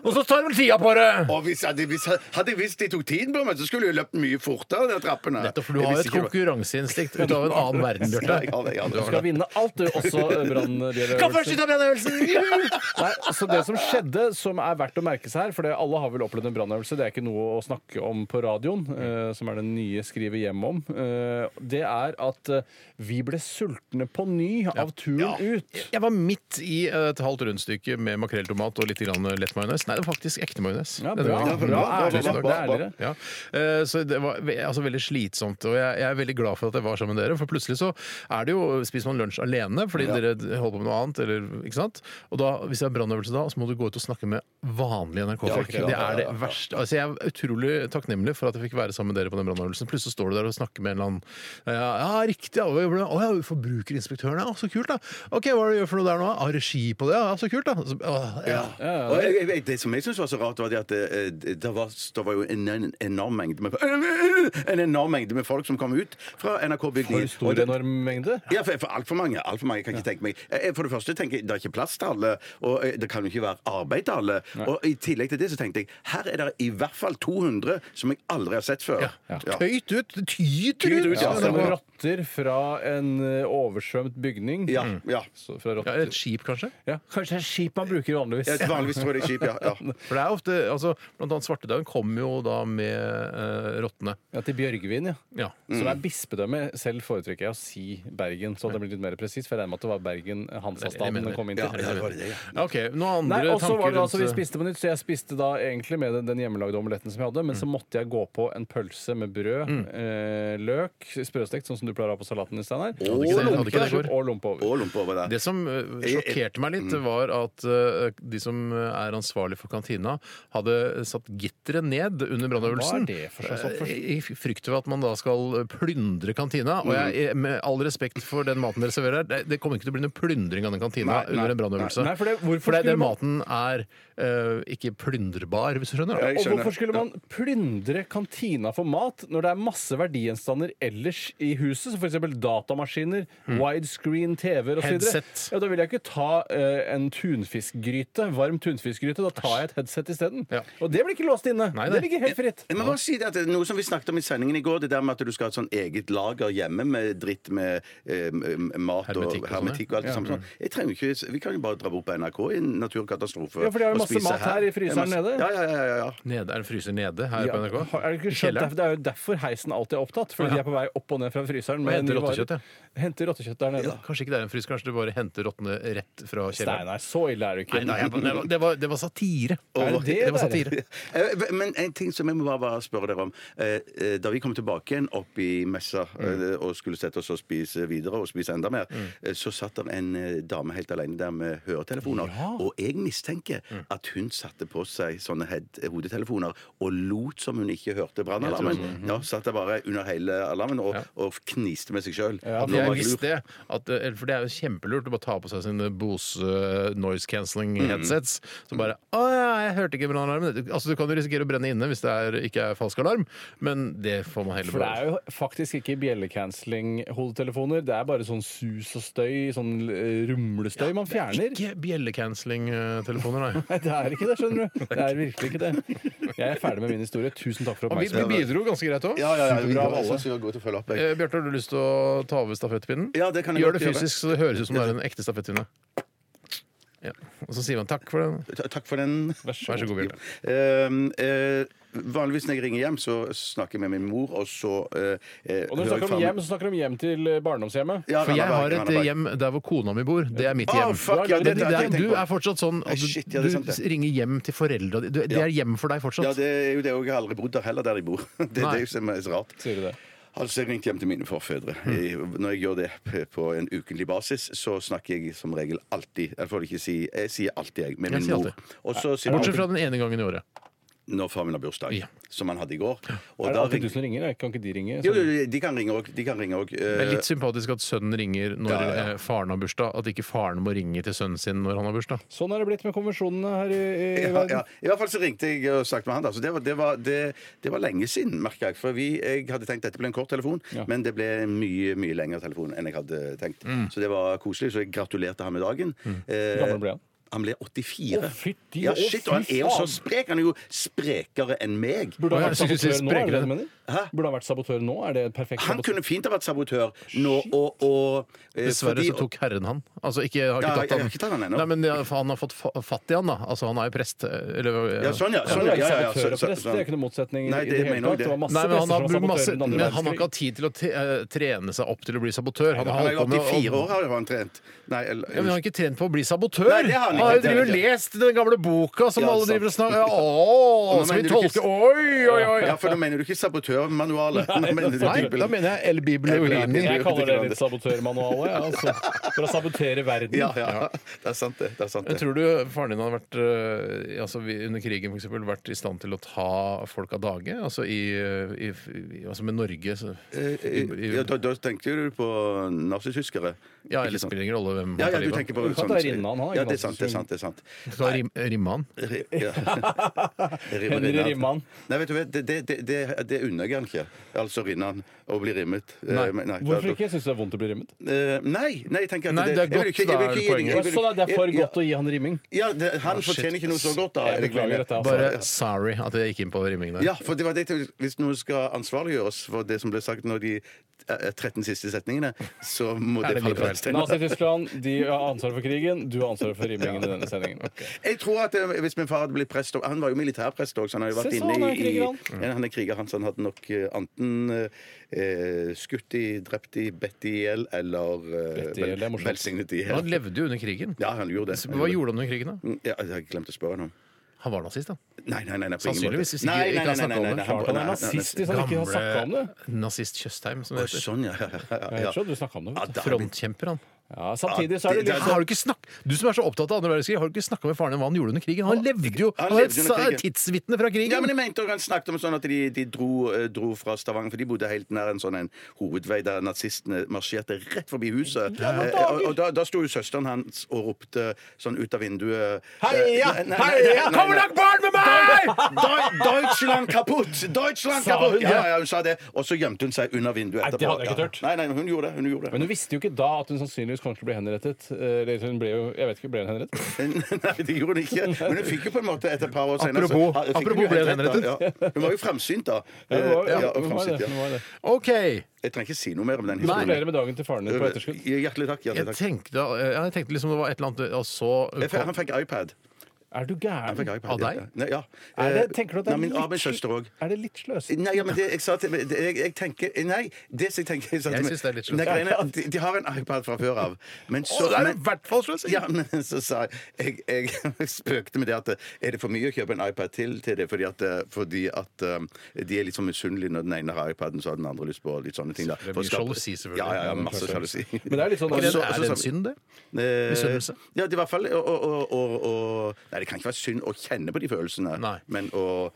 Speaker 6: Og så tar de tida på det!
Speaker 7: Og hvis, hadde, hvis, hadde jeg visst de tok tiden på meg, så skulle jeg løpt mye fortere ned trappene.
Speaker 6: Nettopp, for du
Speaker 7: Jeg
Speaker 6: har jo
Speaker 7: visste
Speaker 6: et
Speaker 7: ikke hva-
Speaker 6: konkurranseinstinkt ut av en annen verden, Bjarte.
Speaker 7: Ja, det- ja, det-
Speaker 6: Du har
Speaker 8: Du skal vinne alt, du, også eh, brannbjelløvelsen.
Speaker 6: ta brannøvelsen!
Speaker 8: Nei, altså Det som skjedde, som er verdt å merke seg her For det, alle har vel opplevd en brannøvelse. Det er ikke noe å snakke om på radioen, eh, som er det nye skrivet hjem om. Eh, det er at eh, vi ble sultne på ny av turen ut.
Speaker 6: Jeg var midt i eh, et halvt rundstykke med makrelltomat og litt grann lett majones. Nei, det var faktisk ekte majones.
Speaker 8: Ja,
Speaker 6: Denne
Speaker 8: bra,
Speaker 6: gangen.
Speaker 8: bra, ærlig,
Speaker 6: Tusen
Speaker 8: det
Speaker 6: takk.
Speaker 8: er ærligere.
Speaker 6: Ja. Eh, Så det var ve- altså, veldig slitsomt. Og jeg, jeg er veldig glad for at jeg var sammen med dere, for plutselig så er det jo Spiser man lunsj alene fordi dere holder på med noe annet, eller ikke sant? Og da, hvis det er brannøvelse da, så må du gå ut og snakke med vanlige NRK-folk.
Speaker 7: Ja, ok, ja,
Speaker 6: det er det
Speaker 7: ja, ja, ja.
Speaker 6: verste. Altså, jeg er utrolig takknemlig for at jeg fikk være sammen med dere på den brannøvelsen. Plutselig står du der og snakker med en eller annen eh, Ja, ja riktig. Ja, Hva jobber du med? Å ja, forbrukerinspektøren. Ja, så kult, da. Ok, hva er det du gjør for noe der nå? Ja, regi på det? Ja, så kult, da. Så, å, ja.
Speaker 7: Og jeg, jeg, jeg, det som jeg syns var så rart, var det at eh, det, det, var, det var jo en, en enorm mengde med En enorm mengde med folk som kom ut fra
Speaker 8: For
Speaker 7: NRK-bygningen. Og
Speaker 8: stor
Speaker 7: det-
Speaker 8: enorm mengde.
Speaker 7: Ja, for, for altfor mange. Alt for mange kan jeg ikke tenke meg. Eh, For det første tenker jeg det er ikke plass til alle, og eh, det kan jo ikke være arbeid til alle. Og i tillegg til det så tenkte jeg her er det i hvert fall 200 som jeg aldri har sett før.
Speaker 6: Ja.
Speaker 7: Ja.
Speaker 6: Tøyt ut! Det tyter ut!
Speaker 8: Ja,
Speaker 6: Ja, det
Speaker 8: som
Speaker 6: var-
Speaker 8: rotter fra en eh, oversvømt bygning. Mm.
Speaker 7: Ja, ja.
Speaker 8: Så fra
Speaker 6: ja,
Speaker 8: rotter.
Speaker 6: et skip, kanskje?
Speaker 8: Ja, kanskje det er skip man bruker vanligvis.
Speaker 7: Et vanligvis tror jeg det er kjipt, ja. ja.
Speaker 6: For det er ofte, altså, Blant annet Svartedauden kommer jo da med eh, rottene.
Speaker 8: Ja, til Bjørgvin, ja.
Speaker 6: Ja.
Speaker 8: Som er bispedømme. Selv foretrekker jeg å si Bergen, så det blir litt mer presist. For jeg regner med at det var Bergen Hansa-staten
Speaker 6: mener.
Speaker 8: den kom inn
Speaker 7: Ja,
Speaker 8: til.
Speaker 7: det var det, ja.
Speaker 6: Ja, OK. Noen
Speaker 8: Nei,
Speaker 6: andre
Speaker 8: og så
Speaker 6: tanker
Speaker 8: var det altså Vi
Speaker 6: rundt- eh,
Speaker 8: spiste på nytt, så jeg spiste da egentlig med den, den hjemmelagde omeletten som jeg hadde. Men så
Speaker 6: Mm.
Speaker 8: måtte jeg gå på en pølse med brød, eh, løk, sprøstekt, sånn som du pleier å ha på salaten i Steinar.
Speaker 6: hadde ikke det- hadde ikke det i går.
Speaker 8: Og lompe over.
Speaker 7: Og lompe over der.
Speaker 6: Det som eh, sjokkerte meg
Speaker 7: Mm.
Speaker 6: litt, var at eh, de som er ansvarlig for kantina, hadde satt gitteret ned under
Speaker 8: Hva
Speaker 6: brannøvelsen.
Speaker 8: er det for slags oppførsel?
Speaker 6: Eh, I frykt for at man da skal eh, plyndre kantina. Og jeg,
Speaker 7: Mm.
Speaker 6: jeg- med all respekt for den maten dere serverer, det, det kommer ikke til å bli noe plyndring av den kantina
Speaker 7: Nei, nei,
Speaker 6: under en brannøvelse.
Speaker 8: nei, for det- hvorfor
Speaker 6: For det-
Speaker 8: skulle
Speaker 6: den maten er eh, ikke plyndrbar, hvis du skjønner?
Speaker 7: Jeg
Speaker 8: Og
Speaker 7: skjønner.
Speaker 8: hvorfor skulle man plyndre kantina for mat når det er masse verdigjenstander ellers i huset, som f.eks. datamaskiner, widescreen TV-er osv.?
Speaker 6: Mm. Headset.
Speaker 8: Ja, da vil jeg ikke ta eh, en tunfiskgryte, varm tunfiskgryte. Da tar jeg et headset isteden.
Speaker 6: Ja.
Speaker 8: Og det blir ikke låst inne.
Speaker 6: Nei, nei.
Speaker 8: det ligger helt fritt.
Speaker 7: Jeg må bare si det at det er Noe som vi snakket om i sendingen i går, det der med at du skal ha et sånn eget lager hjemme med dritt med eh, m- mat
Speaker 6: Hermetikk og
Speaker 7: og hermetikk og alt det samme. sånn. Jeg trenger jo ikke, Vi kan jo bare dra bort på NRK i en naturkatastrofe
Speaker 8: Ja, for de har jo
Speaker 7: og
Speaker 8: masse
Speaker 7: spise
Speaker 8: mat her i fryseren
Speaker 7: Det er masse-
Speaker 8: nede.
Speaker 7: Ja, ja, ja, ja, ja.
Speaker 6: Nede, er det fryser nede her
Speaker 8: Ja,
Speaker 6: på NRK?
Speaker 8: har- er det, ikke
Speaker 6: I
Speaker 8: skjønt?
Speaker 6: kjelleren?
Speaker 8: Det er jo derfor heisen alltid er opptatt. Fordi de er på vei opp og ned fra fryseren. med
Speaker 6: henter
Speaker 8: nye varer.
Speaker 6: rottekjøtt,
Speaker 8: Henter rottekjøtt der nede.
Speaker 6: Kanskje ikke det er en frys, kanskje du bare henter rottene rett fra kjelleren?
Speaker 8: Steinar, så ille er du ikke.
Speaker 6: Nei, nei, jeg- det var- det, var, det var satire.
Speaker 8: Er det det
Speaker 6: var
Speaker 8: der?
Speaker 6: satire.
Speaker 7: Eh, Men en ting som jeg må bare, bare spørre dere om. Eh, eh, Da vi kom tilbake igjen opp i messa
Speaker 6: Mm.
Speaker 7: eh, og skulle sette oss og spise videre, og spise enda mer, eh, så satt det en eh, dame helt alene der med høretelefoner. Og jeg mistenker
Speaker 6: Mm.
Speaker 7: at hun satte på seg sånne head, eh, hodetelefoner og lot som hun ikke hørte brannalarmen. Ja, satt der bare under hele alarmen og, og kniste med seg sjøl.
Speaker 6: det er visst det. At, eh, for det er jo kjempelurt å bare ta på seg sine Bose eh, noise cancelling
Speaker 8: Mm.
Speaker 6: headsets. Så bare Å ja, jeg hørte ikke brannalarmen. Altså, du kan jo risikere å brenne inne hvis det er, ikke er falsk alarm, men det får man heller
Speaker 8: For det er jo faktisk ikke bjellecancelling-hodetelefoner. Det er bare sånn sus og støy, sånn eh, rumlestøy man fjerner.
Speaker 6: Ikke bjellecancelling-telefoner, nei.
Speaker 8: Nei, det er ikke det, skjønner du. Det er virkelig ikke det. Jeg er ferdig med min historie. Tusen takk for
Speaker 6: Og vi, vi
Speaker 8: oppmerksomheten.
Speaker 6: bidro ganske greit òg.
Speaker 7: Ja, ja, ja,
Speaker 6: Superbra
Speaker 7: jeg
Speaker 6: av alle.
Speaker 7: synes vi var gode til å følge opp. Jeg.
Speaker 6: Eh, Bjarte, har du lyst til å ta over stafettpinnen?
Speaker 7: Ja, det kan jeg
Speaker 6: Gjør
Speaker 7: godt
Speaker 6: det
Speaker 7: gjøre.
Speaker 6: fysisk, så det høres ut som det er en ekte stafettpinne. Ja. Og så sier man takk for den.
Speaker 7: Ta- Takk for den.
Speaker 6: Vær så god, Bjørte.
Speaker 7: Ehm, eh, vanligvis når jeg ringer hjem, så snakker jeg med min mor, og så eh, eh,
Speaker 8: Og
Speaker 7: hører
Speaker 8: når du
Speaker 7: jeg
Speaker 8: snakker om
Speaker 7: fra-
Speaker 8: hjem, så snakker du om hjem til eh, barndomshjemmet.
Speaker 7: Ja,
Speaker 6: For jeg
Speaker 7: Randaberg,
Speaker 6: har et
Speaker 7: Randaberg.
Speaker 6: hjem der hvor kona mi bor. Det er mitt
Speaker 7: Å,
Speaker 6: hjem.
Speaker 7: Ah, fuck,
Speaker 8: ja,
Speaker 6: Men
Speaker 8: det-
Speaker 6: det,
Speaker 8: det har
Speaker 6: er,
Speaker 8: jeg
Speaker 6: du er fortsatt sånn at
Speaker 7: Nei,
Speaker 6: du,
Speaker 7: shit, ja, det er sant,
Speaker 6: du
Speaker 7: det.
Speaker 6: ringer hjem til foreldra dine. Det er hjem for deg
Speaker 7: Ja,
Speaker 6: fortsatt.
Speaker 7: det er jo det, og jeg har aldri bodd der heller, der jeg bor. Det, det er jo som er så rart.
Speaker 8: Sier du det?
Speaker 7: Altså, jeg ringte hjem til mine forfedre.
Speaker 6: Mm.
Speaker 7: Jeg, når jeg gjør det p- på en ukentlig basis, så snakker jeg som regel alltid Jeg får ikke si Jeg sier alltid, jeg, med
Speaker 6: Jeg
Speaker 7: min
Speaker 6: sier
Speaker 7: mor.
Speaker 6: alltid.
Speaker 7: Og så sier
Speaker 6: Bortsett
Speaker 7: jeg
Speaker 6: fra den ene gangen i året.
Speaker 7: når far min har bursdag,
Speaker 6: Ja.
Speaker 7: som han hadde i går. Og
Speaker 8: Er det
Speaker 7: da
Speaker 8: alltid
Speaker 7: ring-
Speaker 8: du som ringer? Kan ikke de ringe? Sånn,
Speaker 7: Jo, jo, jo, de kan ringe òg. De kan ringe eh, òg.
Speaker 6: Det er litt sympatisk at sønnen ringer når
Speaker 7: Ja, ja, ja.
Speaker 6: eh, faren har bursdag. At ikke faren må ringe til sønnen sin når han har bursdag.
Speaker 8: Sånn er det blitt med konvensjonene her i,
Speaker 7: Ja,
Speaker 8: i
Speaker 7: ja.
Speaker 8: verden.
Speaker 7: I hvert fall så ringte jeg og snakket med han. Da. Så det, var, det, var, det, det var lenge siden, merka jeg. For vi, jeg hadde tenkt dette ble en kort telefon, men det ble en mye mye lengre telefon enn jeg hadde tenkt. Så det var koselig. Så jeg gratulerte ham med dagen. Eh,
Speaker 8: Mm. Gammel ble han?
Speaker 7: Han ble 84.
Speaker 8: Å, fytti,
Speaker 7: ja,
Speaker 8: å,
Speaker 7: shit,
Speaker 8: fy
Speaker 7: og han er jo så
Speaker 8: faen.
Speaker 7: sprek! Han er jo sprekere enn meg.
Speaker 8: Burde han
Speaker 6: Å,
Speaker 8: vært
Speaker 6: jeg synes du
Speaker 8: sabotør nå? Er det det du
Speaker 6: spreker
Speaker 8: mener? Burde han vært sabotør nå? Er det et perfekt
Speaker 7: Han
Speaker 8: sabotør?
Speaker 7: kunne fint ha vært sabotør nå, og, og eh,
Speaker 6: Dessverre
Speaker 7: fordi-
Speaker 6: så tok herren han. Altså ikke, har
Speaker 7: Ja,
Speaker 6: ikke
Speaker 7: jeg
Speaker 6: tatt
Speaker 7: har
Speaker 6: han.
Speaker 7: ikke tatt han ennå.
Speaker 6: Nei, men ja, for han har fått fa- fatt i han, da. Altså han er jo prest. Eller,
Speaker 7: ja, sånn, ja.
Speaker 8: Kan
Speaker 7: Sånn,
Speaker 8: du
Speaker 7: ja,
Speaker 8: være
Speaker 7: ja, ja,
Speaker 8: sabotør og
Speaker 7: så-
Speaker 8: prest?
Speaker 7: så-
Speaker 8: Det er ikke noe motsetning
Speaker 7: Nei,
Speaker 8: i
Speaker 7: det
Speaker 8: det hele
Speaker 7: mener jeg
Speaker 8: tatt. Det var
Speaker 7: det.
Speaker 8: masse
Speaker 6: Nei, men han har,
Speaker 8: prester som
Speaker 6: brukt
Speaker 8: var
Speaker 6: masse,
Speaker 8: sabotører den
Speaker 6: men
Speaker 8: andre
Speaker 6: han har ikke
Speaker 8: verdenskrig.
Speaker 6: hatt tid til å te, eh, trene seg opp til å bli sabotør. Han har
Speaker 7: Han er jo
Speaker 6: holdt på med
Speaker 7: 84 år, har jo han trent. Nei, eller,
Speaker 6: Ja, men Han har ikke trent på å bli sabotør!
Speaker 7: Nei, det har han ikke.
Speaker 6: har jo
Speaker 7: Det har han
Speaker 6: drevet og
Speaker 7: ikke.
Speaker 6: lest den gamle boka som
Speaker 7: Ja,
Speaker 6: alle
Speaker 7: sant.
Speaker 6: driver og snakker ja, Å,
Speaker 7: Men
Speaker 6: skal
Speaker 7: mener
Speaker 6: vi
Speaker 7: du ikke-
Speaker 6: tolke Oi, oi, oi!
Speaker 7: Ja, for da mener du ikke sabotørmanualet. Nå mener du
Speaker 6: Nei,
Speaker 7: Bibelen.
Speaker 6: da mener jeg El-Bibelen og
Speaker 7: Jeg-
Speaker 6: Urini.
Speaker 8: Jeg kaller det
Speaker 7: Ikke
Speaker 8: litt sabotørmanualet. ja, Altså, for å sabotere verden.
Speaker 7: Ja, ja. Det er sant, det. det, er sant, det.
Speaker 6: Tror du faren din hadde vært øh, altså, vi- under krigen for eksempel, vært i stand til å ta folk av dage? Altså, i, øh, i, i, altså med Norge så,
Speaker 7: Eh,
Speaker 6: i, i,
Speaker 7: Ja, da, da tenkte du på nazityskere.
Speaker 6: Ja, eller
Speaker 7: Ikke sant?
Speaker 6: spiller ingen rolle
Speaker 7: Ja,
Speaker 6: hvem han
Speaker 7: ja,
Speaker 6: tar
Speaker 7: du
Speaker 6: livet
Speaker 7: tenker
Speaker 6: av.
Speaker 7: på
Speaker 8: Du kan
Speaker 7: sånn-
Speaker 8: ta Rinnan, han er
Speaker 7: Ja,
Speaker 8: ikke
Speaker 7: det er sant. det er sant, det er sant.
Speaker 6: Skal rim, rimme han?
Speaker 7: Ri- ja. Rim-
Speaker 8: Henry
Speaker 7: Rinnan.
Speaker 8: Rimman.
Speaker 7: Nei, vet du hva, det, det, det, det, det unner jeg han ikke. Altså Rinnan. Å bli rimmet. Eh, men nei,
Speaker 8: Hvorfor
Speaker 7: da-
Speaker 8: ikke? Syns du det er vondt å bli rimmet?
Speaker 7: Eh, Nei, nei, jeg tenker at
Speaker 6: Nei, det er
Speaker 7: jeg vil
Speaker 6: godt,
Speaker 7: ikke- jeg vil
Speaker 6: da er
Speaker 7: ikke
Speaker 6: det
Speaker 7: gi deg-
Speaker 6: poenget.
Speaker 7: jeg vil-
Speaker 8: Så det er for
Speaker 7: jeg-
Speaker 8: godt å gi han rimming?
Speaker 7: Ja, det, han fortjener ikke noe så godt, da.
Speaker 8: Jeg
Speaker 7: Erik
Speaker 8: beklager
Speaker 7: Lene.
Speaker 8: dette, altså.
Speaker 6: Bare sorry at jeg gikk inn på rimming der.
Speaker 7: Ja, for det var det, jeg tenkte. Hvis noen skal ansvarliggjøres for det som ble sagt når de eh, 13 siste setningene, så må det
Speaker 6: Er
Speaker 7: falle
Speaker 6: det min feil?
Speaker 7: fra steinen.
Speaker 8: Nazi-Tyskland, de har ansvaret for krigen. Du har ansvaret for rimmingen i denne sendingen.
Speaker 7: Jeg tror at eh, hvis min far hadde blitt prest og- Han var jo militærprest òg, så han har jo vært
Speaker 8: Se, så
Speaker 7: inne
Speaker 8: han er
Speaker 7: i, i
Speaker 8: kriger,
Speaker 7: Ja, Han er kriger, han, så han hadde nok eh, enten eh, skutt i, drept i, bedt i hjel eller eh,
Speaker 8: Bedt i ihjel, det er morsomt.
Speaker 7: velsignet i
Speaker 6: Han
Speaker 7: hjel.
Speaker 6: levde jo under krigen.
Speaker 7: Ja, han gjorde det. Mm,
Speaker 6: Hva gjorde han under krigen, da?
Speaker 7: Ja, jeg har glemt å spørre han om.
Speaker 6: Han var nazist, da.
Speaker 7: Nei, nei, nei. nei på ingen måte.
Speaker 6: Sannsynligvis, hvis ikke-
Speaker 7: Nei, nei,
Speaker 6: ikke har
Speaker 7: nei, nei,
Speaker 6: snakket om
Speaker 7: nei,
Speaker 6: det.
Speaker 7: nei,
Speaker 8: Klart han er
Speaker 7: nei, nei,
Speaker 8: nazist hvis han ikke har snakka om det.
Speaker 6: nazist Tjøstheim, som
Speaker 7: nei.
Speaker 6: det
Speaker 7: Å,
Speaker 6: heter.
Speaker 7: Sånn, ja. ja, ja, ja,
Speaker 8: Jeg
Speaker 7: ja.
Speaker 8: skjønner du snakket om det.
Speaker 7: Ja,
Speaker 8: vet du.
Speaker 7: da har vi-
Speaker 6: Frontkjemper, han.
Speaker 8: Ja, samtidig så er det
Speaker 7: Ja,
Speaker 8: litt
Speaker 6: Ja,
Speaker 8: sånn,
Speaker 6: Har du, ikke snakk... du som er så opptatt av andre verdenskrig, har du ikke snakka med faren din hva han gjorde under krigen? Han levde jo!
Speaker 7: Han
Speaker 6: Han var
Speaker 7: levde under krigen.
Speaker 6: et tidsvitne fra krigen!
Speaker 7: Ja, men jeg mente også, Han snakket om sånn at de, de dro, eh, dro fra Stavanger, for de bodde helt nær en sånn en hovedvei der nazistene marsjerte rett forbi huset. Eh, og og da, da sto jo søsteren hans og ropte sånn ut av vinduet eh,
Speaker 8: Heia!
Speaker 7: nei, nei, nei, nei,
Speaker 8: Heia!
Speaker 7: nei,
Speaker 8: Kom og
Speaker 7: nei.
Speaker 8: lag barn med meg!
Speaker 7: Deu- Deutschland kaputt! Deutschland
Speaker 8: Sa
Speaker 7: kaputt!
Speaker 8: hun det?
Speaker 7: Ja, ja, hun sa det. Og så gjemte hun seg under vinduet
Speaker 8: Nei, det
Speaker 7: etterpå.
Speaker 8: hadde jeg ikke
Speaker 7: Ja.
Speaker 8: tørt.
Speaker 7: Nei, nei, men hun gjorde det. Hun gjorde det.
Speaker 8: Men hun visste jo ikke da at hun sannsynligvis kom til å bli henrettet. Eh, Eller hun ble jo Jeg vet ikke, ble hun henrettet?
Speaker 7: Nei, det gjorde hun ikke. Men hun fikk jo på en måte etter et par år senere så-
Speaker 6: Apropos-
Speaker 7: ha- fikk hun
Speaker 6: apropos ble hun
Speaker 7: henrettet, da. Ja. Hun var jo fremsynt, da.
Speaker 8: Ja, hun var-
Speaker 7: Eh, ja,
Speaker 8: hun var
Speaker 7: fremsynt,
Speaker 8: det,
Speaker 7: ja.
Speaker 8: hun var det.
Speaker 6: OK!
Speaker 7: Jeg trenger ikke si noe mer om den historien.
Speaker 8: Gratulerer med dagen til faren din på etterskudd.
Speaker 7: Hjertelig takk.
Speaker 6: Jeg
Speaker 7: hjertelig takk.
Speaker 6: tenkte, ja, jeg tenkte liksom det var et eller annet Og så
Speaker 7: Jeg fikk, han fikk iPad.
Speaker 8: Er du
Speaker 7: Han fikk
Speaker 8: gæren?
Speaker 7: iPad
Speaker 6: Av deg?
Speaker 7: ja. Nei, ja. Eh,
Speaker 8: Er det, tenker du at det
Speaker 7: Nei,
Speaker 8: er
Speaker 7: min
Speaker 8: litt-
Speaker 7: arbeidssøster òg.
Speaker 8: Er det litt sløst?
Speaker 7: Nei, ja, men det jeg sa til det, jeg, jeg tenker Nei, det som jeg tenker sa til
Speaker 6: Jeg
Speaker 7: meg-
Speaker 6: synes det er litt sløst.
Speaker 7: Nei, greiene er at de, de har en iPad fra før av, men så
Speaker 6: Å, det er i
Speaker 7: men-
Speaker 6: hvert fall sløsing!
Speaker 7: Ja, men så sa jeg Jeg, jeg spøkte med det at er det for mye å kjøpe en iPad til til det, fordi at, eh, fordi at um, de er litt sånn misunnelige når den ene har iPaden, så har den andre lyst på litt sånne ting. Da.
Speaker 6: Det er
Speaker 7: For å
Speaker 6: mye
Speaker 7: skape-
Speaker 6: sjalusi, selvfølgelig.
Speaker 7: Ja, ja, ja, masse sjalusi.
Speaker 8: Men det er litt sånn
Speaker 6: Er
Speaker 7: Og
Speaker 6: det,
Speaker 7: så-
Speaker 6: er
Speaker 7: og så
Speaker 6: det
Speaker 7: sa-
Speaker 6: en synd, det?
Speaker 7: Eh,
Speaker 6: Misunnelse?
Speaker 7: Ja, det er i hvert fall å, å, å, å, Nei, det kan ikke være synd å kjenne på de følelsene,
Speaker 6: Nei.
Speaker 7: men å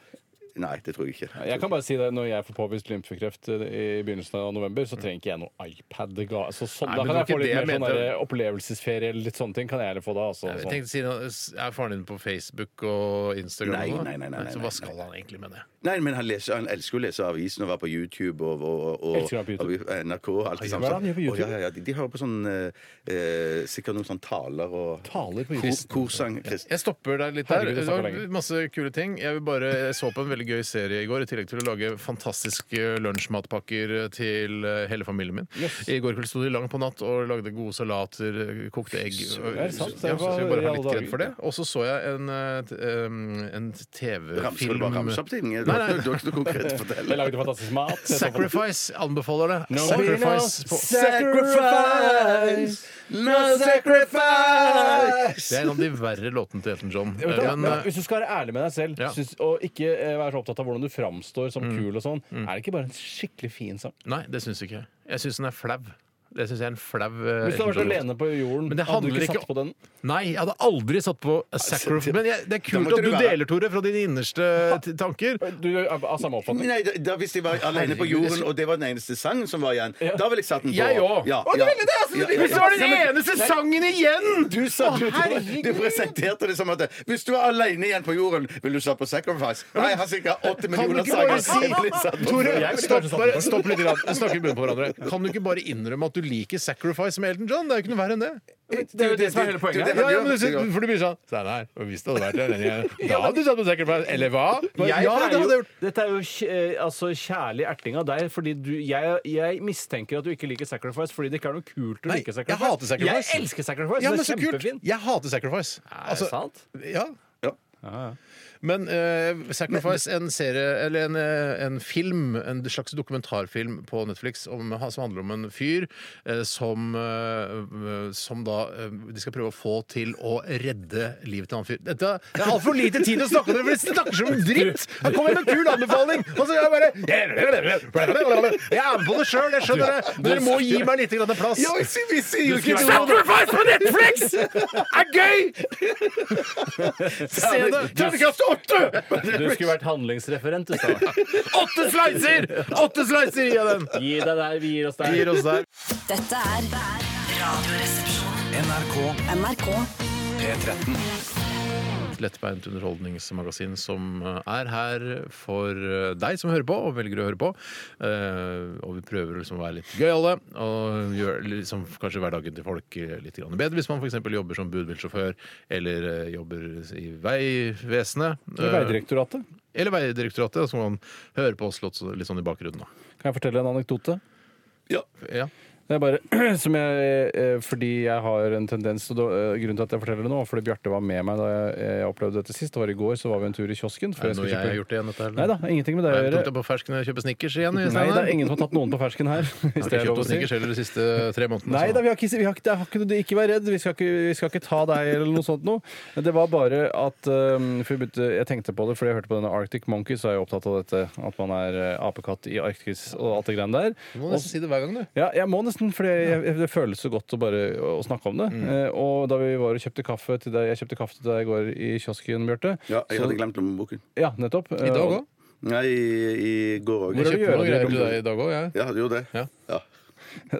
Speaker 7: Nei, det tror jeg ikke.
Speaker 8: Jeg kan bare si det, Når jeg får påvist lymfekreft eh, i begynnelsen av november, så trenger ikke jeg noe iPad. Det ga- Så sånn,
Speaker 6: Nei,
Speaker 8: da
Speaker 6: men
Speaker 8: kan jeg få
Speaker 6: det var ikke
Speaker 8: litt
Speaker 6: det jeg
Speaker 8: mer sånn
Speaker 6: mente.
Speaker 8: der opplevelsesferie eller litt sånne ting. kan jeg heller få da, altså,
Speaker 6: Jeg
Speaker 8: sånn.
Speaker 6: tenkte, sier han- Er faren din på Facebook og Instagram?
Speaker 7: Nei,
Speaker 6: og sånn?
Speaker 7: nei, nei, nei, nei,
Speaker 6: Så
Speaker 7: nei,
Speaker 6: hva skal han egentlig med det?
Speaker 7: Nei, men han, leser, han elsker jo å lese avisen og være på YouTube og, og, og,
Speaker 8: Elsker å være på YouTube.
Speaker 7: og NRK og alt det
Speaker 8: Hva er det han
Speaker 7: samme.
Speaker 8: gjør på YouTube?
Speaker 7: ja, ja, ja, de, de hører på sånn eh, eh, Sikkert noen sånn taler og
Speaker 8: Taler på
Speaker 7: Kor- Korsang. kristen-
Speaker 6: Jeg stopper deg litt der.
Speaker 8: Herregud,
Speaker 6: Det
Speaker 8: jeg snakker
Speaker 6: var masse kule ting. Jeg, vil bare, jeg så på en veldig gøy serie i går, i tillegg til å lage fantastiske lunsjmatpakker til eh, hele familien min.
Speaker 8: Yes.
Speaker 6: I går kveld sto de langt på natt og lagde gode salater, kokte egg
Speaker 8: er det sant? Det
Speaker 6: Ja, så
Speaker 8: var-
Speaker 6: jeg bare
Speaker 8: i
Speaker 6: har
Speaker 8: alle
Speaker 6: litt gredd
Speaker 8: dager.
Speaker 6: for det. Og så så jeg en, eh, t- eh, en TV-film
Speaker 7: Ramser du bare ramse opp ting? Du har ikke- du har ikke noe konkret å
Speaker 8: Jeg
Speaker 7: fortelle.
Speaker 8: lagde fantastisk mat. jeg så på-
Speaker 6: Sacrifice anbefaler det.
Speaker 8: No.
Speaker 6: Sacrifice på
Speaker 8: Sacrifice,
Speaker 7: no sacrifice!
Speaker 6: Det er en av de verre låtene til Elton John.
Speaker 8: Vet du hva?
Speaker 6: Men
Speaker 8: Ja,
Speaker 6: eh,
Speaker 8: hvis du skal være ærlig med deg selv
Speaker 6: Ja.
Speaker 8: syns- og ikke eh, være så opptatt av hvordan du framstår som kul, og sånn, er det ikke bare en skikkelig fin sang?
Speaker 6: nei, Mm. det syns ikke jeg. Jeg syns den er flau. Det syns jeg er en flau eh,
Speaker 8: Hvis du hadde vært
Speaker 6: Elton John-låt.
Speaker 8: alene på jorden,
Speaker 6: Men det
Speaker 8: hadde du
Speaker 6: handler
Speaker 8: ikke
Speaker 6: ikke
Speaker 8: satt på den?
Speaker 6: Nei, jeg hadde aldri satt på a Sacrifice. Men jeg, det er kult
Speaker 7: måtte
Speaker 6: at
Speaker 7: du
Speaker 6: du
Speaker 7: være-
Speaker 6: deler, Tore, fra dine innerste t- tanker.
Speaker 8: Du er av samme oppfatning?
Speaker 7: Nei, da, da, hvis jeg var alene på
Speaker 6: Herregud,
Speaker 7: jorden,
Speaker 6: jeg sy-
Speaker 7: og det var den eneste sangen som var igjen, da ville jeg satt den på.
Speaker 6: Jeg òg.
Speaker 7: Ja,
Speaker 6: Å, du
Speaker 7: ja.
Speaker 6: ville det, altså!
Speaker 7: Ja, ja,
Speaker 6: Hvis det var
Speaker 7: ja,
Speaker 6: den
Speaker 7: men-
Speaker 6: eneste sangen igjen!
Speaker 7: Du, sa,
Speaker 6: Å,
Speaker 7: du, du,
Speaker 6: herregud.
Speaker 7: du presenterte det som at hvis du er alene igjen på jorden, vil du stå på sacrifice? Nei, jeg har sikkert 80
Speaker 6: Kan du
Speaker 7: millioner
Speaker 6: ikke bare
Speaker 7: sanger.
Speaker 6: si
Speaker 7: som blir satt på.
Speaker 6: Tore,
Speaker 8: Jeg ville kanskje
Speaker 6: stopp,
Speaker 8: satt den
Speaker 6: bare, stopp litt. Grann. Snakker i munnen på hverandre. Kan du ikke bare innrømme at du liker Sacrifice med Elton John? Det er jo ikke noe verre enn det.
Speaker 8: Det er jo det som er hele
Speaker 7: Det er
Speaker 8: poenget.
Speaker 7: det
Speaker 6: Ja,
Speaker 7: han
Speaker 6: ja, men
Speaker 7: gjør.
Speaker 6: du, sier- for du blir sånn Steinar, og hvis det hadde vært der, den igjen, da hadde du satt på Sacrifice. Eller hva?
Speaker 8: Jeg
Speaker 6: Ja,
Speaker 8: pleier
Speaker 6: det hadde jeg
Speaker 8: jo-
Speaker 6: gjort.
Speaker 8: Dette er jo kj- eh, altså, kjærlig erting av deg. Fordi du, jeg, jeg mistenker at du ikke liker Sacrifice fordi det ikke er noe kult å
Speaker 6: Nei,
Speaker 8: like
Speaker 6: jeg
Speaker 8: Sacrifice.
Speaker 6: hater Sacrifice.
Speaker 8: Jeg elsker Sacrifice.
Speaker 6: Ja,
Speaker 8: det
Speaker 6: men
Speaker 8: er
Speaker 6: så kult.
Speaker 8: kjempefint. Altså,
Speaker 6: Jeg hater Sacrifice. Altså,
Speaker 8: Er det sant?
Speaker 6: ja.
Speaker 7: Ja.
Speaker 6: Men eh, Sacrifice, en serie Eller en, eh, en film, en slags dokumentarfilm på Netflix om, som handler om en fyr eh, som, eh, som da eh, de skal prøve å få til å redde livet til han fyr. Dette det er altfor lite tid til å snakke om det, for de snakker som en dritt! Her kommer en kul anbefaling! Og så jeg bare Jeg er med på det sjøl, jeg skjønner det. Men dere må gi meg litt grann plass.
Speaker 7: Ja, jeg sier- vi sier jo ikke noe.
Speaker 6: Sacrifice på Netflix er gøy! Se det! Terningkast åtte!
Speaker 8: Du skulle vært handlingsreferent i stad.
Speaker 6: Åtte slicer! Åtte slicer i den!
Speaker 8: Gi deg der, vi gir oss der.
Speaker 6: Gir oss der.
Speaker 9: Dette er Radioresepsjonen.
Speaker 4: NRK
Speaker 9: NRK
Speaker 4: P13.
Speaker 6: Lettbeint underholdningsmagasin som eh, er her for eh, deg som hører på, og velger å høre på. Eh, og vi prøver liksom å være litt gøyale og gjøre liksom kanskje hverdagen til folk eh, litt grann bedre, hvis man f.eks. jobber som budbilsjåfør eller eh, jobber i Vegvesenet.
Speaker 8: I
Speaker 6: eh,
Speaker 8: Vegdirektoratet.
Speaker 6: Eller Vegdirektoratet, så kan man høre på oss litt litt sånn i bakgrunnen. da.
Speaker 8: Kan jeg fortelle en anekdote?
Speaker 6: Ja.
Speaker 8: Det er bare som jeg, eh, fordi jeg har en tendens og da, eh, Grunnen til at jeg forteller det nå, fordi Bjarte var med meg da jeg, eh, jeg opplevde dette sist. Det var i går, så var vi en tur i kiosken.
Speaker 6: Er det noe jeg har gjort igjen, dette her?
Speaker 8: Nei da, ingenting med det å
Speaker 6: Jeg tok deg
Speaker 8: gjøre.
Speaker 6: på fersken og kjøpe snickers igjen? i
Speaker 8: Nei,
Speaker 6: stedet.
Speaker 8: det er ingen som har tatt noen på fersken her. hvis
Speaker 6: Jeg
Speaker 8: det er
Speaker 6: har ikke
Speaker 8: lov
Speaker 6: kjøpt
Speaker 8: å
Speaker 6: oss
Speaker 8: si.
Speaker 6: snickers heller de siste tre månedene.
Speaker 8: Nei
Speaker 6: så-
Speaker 8: da, vi har ikke, vi har ikke, det har ikke, du ikke vær redd. Vi skal ikke, vi skal ikke ta deg eller noe sånt noe. Det var bare at um, for jeg, begynte, jeg tenkte på det fordi jeg hørte på denne Arctic Monkey, så er jeg opptatt av dette. At man er eh, apekatt i Arktis og alt det greiene der.
Speaker 6: Du må nesten si det hver gang, du.
Speaker 8: Ja, jeg må nesten, for jeg, jeg, det føles så godt å bare å snakke om det.
Speaker 7: Mm.
Speaker 8: Eh, og da vi var og kjøpte kaffe til deg, jeg kjøpte kaffe til deg i går i kiosken, Bjarte
Speaker 7: Ja, jeg
Speaker 8: så-
Speaker 7: hadde glemt lommeboken.
Speaker 8: Ja, nettopp. Eh,
Speaker 6: I dag òg.
Speaker 7: Nei, i, i går òg.
Speaker 6: Jeg
Speaker 8: Hvordan
Speaker 6: kjøpte
Speaker 8: gjør
Speaker 6: noe
Speaker 8: dere
Speaker 6: greier
Speaker 8: om
Speaker 6: til deg i dag òg, jeg.
Speaker 7: Ja, du gjorde det.
Speaker 6: Ja.
Speaker 7: Ja.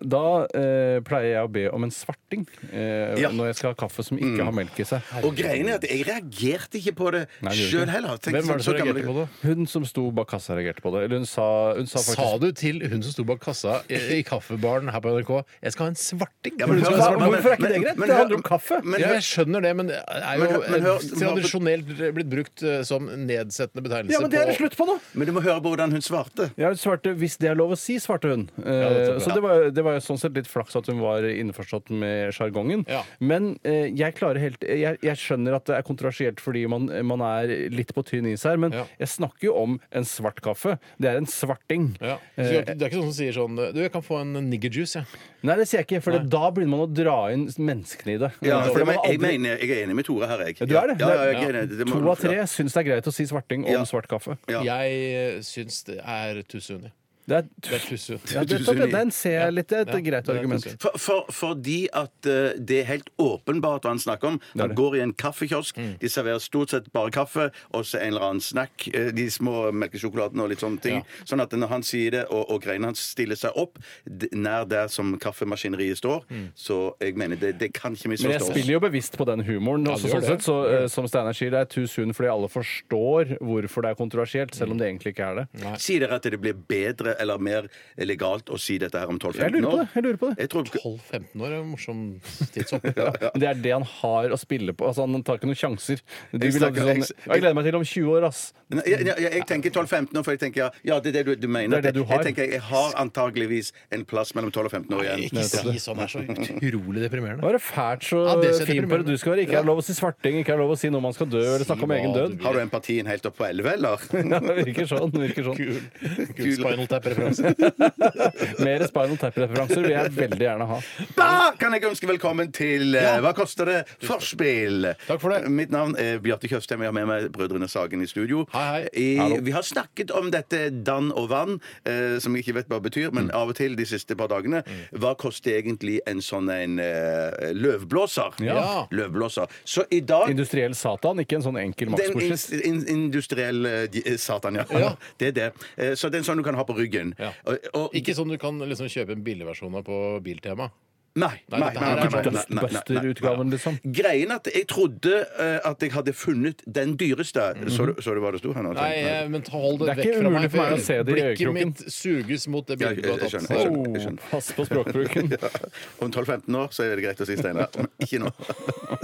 Speaker 8: Da eh, pleier jeg å be om en svarting eh,
Speaker 7: Ja. Mm.
Speaker 8: når jeg skal ha kaffe som ikke har melk i seg.
Speaker 7: Og greien er at jeg reagerte ikke på det
Speaker 8: Nei, det gjorde
Speaker 7: sjøl
Speaker 8: ikke.
Speaker 7: heller. Tenk
Speaker 6: Hvem var
Speaker 7: sånn,
Speaker 6: det som
Speaker 7: så gammel-
Speaker 6: reagerte på det?
Speaker 8: Hun som sto bak kassa, reagerte på det. Eller hun sa, hun sa faktisk
Speaker 6: Sa du til hun som sto bak kassa i, i kaffebaren her på NRK 'jeg skal ha en svarting'?
Speaker 7: Ja, men
Speaker 6: Du
Speaker 7: hør-
Speaker 6: skal ha en svarting.
Speaker 8: Hvorfor er ikke det
Speaker 7: Men-
Speaker 8: greit?
Speaker 7: men-
Speaker 8: Det handler om kaffe.
Speaker 7: Men-
Speaker 6: ja, jeg skjønner det, men det er jo
Speaker 7: Men- men hør-
Speaker 6: eh, tradisjonelt blitt brukt eh, som nedsettende
Speaker 8: Ja,
Speaker 6: betegnelse
Speaker 8: men det er det
Speaker 6: på
Speaker 8: slutt på nå!
Speaker 7: Men du må høre på hvordan hun svarte.
Speaker 8: Ja, hun svarte, Hvis det er lov å si, svarte hun. Eh,
Speaker 6: nettopp, ja.
Speaker 8: så det var, det var jo sånn sett litt flaks at hun var innforstått med sjargongen.
Speaker 6: Ja.
Speaker 8: Men eh, jeg klarer helt jeg, jeg skjønner at det er kontroversielt fordi man, man er litt på tynn is her, men
Speaker 6: Ja.
Speaker 8: jeg snakker jo om en svart kaffe. Det er en svarting.
Speaker 6: ja. Så
Speaker 8: Eh,
Speaker 6: det er ikke sånn som sier sånn 'du, jeg kan få en nigger juice', jeg.
Speaker 8: Nei, det sier jeg ikke, for da begynner man å dra inn menneskene i det. Eh,
Speaker 7: Ja,
Speaker 8: Det
Speaker 7: for jeg,
Speaker 8: må man aldri-
Speaker 7: mener, jeg er enig med Tore her, jeg.
Speaker 8: Ja, du er det?
Speaker 7: Ja, ja, jeg
Speaker 8: Det
Speaker 7: er enig. Det må-
Speaker 8: To av tre syns det er greit å si svarting om
Speaker 7: Ja.
Speaker 8: svart kaffe.
Speaker 7: Ja.
Speaker 6: Jeg eh, syns det er tusenlig.
Speaker 8: Det er,
Speaker 6: Det er tussut.
Speaker 8: ja, det, det er en ser jeg litt. Det er et greit
Speaker 6: det er
Speaker 8: argument.
Speaker 6: tusen.
Speaker 7: For, for, fordi at eh, det er helt åpenbart hva han snakker om. Han går i en kaffekiosk.
Speaker 8: Mm.
Speaker 7: De serverer stort sett bare kaffe og så en eller annen snack. eh, de små melkesjokoladene og litt sånne ting. Sånn at når han sier det, og, og greiene hans stiller seg opp d nær der som kaffemaskineriet står, så jeg mener det, det kan ikke
Speaker 8: Mm. Men jeg
Speaker 7: misforstås.
Speaker 8: spiller jo bevisst på den humoren.
Speaker 6: Ja,
Speaker 8: også,
Speaker 6: du gjør
Speaker 8: sånn
Speaker 6: det.
Speaker 8: sett, så, eh, som Steinar sier, det er too soon fordi alle forstår hvorfor det er kontroversielt, selv om det egentlig ikke er det.
Speaker 7: Sier dere at det blir bedre eller mer legalt å si dette her om 12-15 år?
Speaker 8: Jeg lurer på det. Jeg lurer på det.
Speaker 7: Jeg tror
Speaker 6: 12-15 år er en morsom tidshopp.
Speaker 8: Men det er det han har å spille på. Altså, Han tar ikke noen sjanser. Du
Speaker 7: Jeg
Speaker 8: vil alltid
Speaker 7: snakker-
Speaker 8: sånn,
Speaker 7: jeg-
Speaker 8: jeg gleder meg til om 20 år, ass.
Speaker 7: Nei, jeg, jeg, jeg tenker 12-15 år, for jeg tenker ja, ja, det er det du, du mener.
Speaker 8: Det er det du har.
Speaker 7: Jeg tenker jeg har antageligvis en plass mellom 12 og 15 år igjen.
Speaker 6: Ikke si sånn. Det er så utrolig
Speaker 8: Nå
Speaker 6: deprimerende.
Speaker 8: er det fælt så
Speaker 6: Ja, det ser
Speaker 8: fin på det du skal være. Ikke er det lov å si svarting, ikke er det lov å si når man skal dø, eller snakke om
Speaker 6: hva
Speaker 8: egen
Speaker 6: du
Speaker 8: død.
Speaker 6: vil.
Speaker 7: Har du empatien helt opp på 11, eller?
Speaker 8: Ja, det virker sånn. Det virker sånn.
Speaker 6: Kul Spinal Tap-referanse.
Speaker 8: Mer Spinal Tap-referanser vil jeg veldig gjerne ha.
Speaker 7: Da kan jeg ønske velkommen til eh, Hva koster det? Forspill!
Speaker 6: Takk for det.
Speaker 7: Mitt navn er Bjarte Tjøstheim. Jeg har med meg Brødrene Sagen i studio.
Speaker 6: Hei, hei.
Speaker 7: I, vi har snakket om dette dann og vann, eh, som jeg ikke vet hva det betyr,
Speaker 6: Mm.
Speaker 7: men av og til de siste par dagene. Hva koster egentlig en sånn en eh, løvblåser?
Speaker 6: Ja.
Speaker 7: Løvblåser. Så i dag
Speaker 8: Industriell Satan, ikke en sånn enkel
Speaker 7: Det er en
Speaker 8: makspushis.
Speaker 7: in- in- industriell eh, di- eh, satan, ja. Det er det. Eh, Så det er en sånn du kan ha på ryggen.
Speaker 6: Ja.
Speaker 7: Og, og,
Speaker 6: Ikke sånn du kan liksom kjøpe en billigversjon av på Biltema.
Speaker 7: Nei. nei, nei,
Speaker 6: dette
Speaker 7: nei,
Speaker 6: her
Speaker 7: nei,
Speaker 6: er
Speaker 7: nei, nei, nei, nei, nei.
Speaker 8: Buster-utgaven, liksom.
Speaker 7: Greien at jeg trodde eh, at jeg hadde funnet den dyreste. Så du, så du hva det sto her nå?
Speaker 6: Mhm. Nei, eh, men ta- hold det,
Speaker 8: Det er
Speaker 6: vekk
Speaker 8: ikke
Speaker 6: fra
Speaker 8: umulig
Speaker 6: meg.
Speaker 8: for meg å se det i
Speaker 6: blikket
Speaker 8: øyekroken.
Speaker 6: mitt suges mot det
Speaker 7: Ja, jeg-
Speaker 6: bildet du har
Speaker 7: jeg
Speaker 6: tatt.
Speaker 7: skjønner, jeg skjønner.
Speaker 8: Oh, pass på språkbruken.
Speaker 7: Om 12-15 år så er det greit å si Steinar. Men Ikke nå.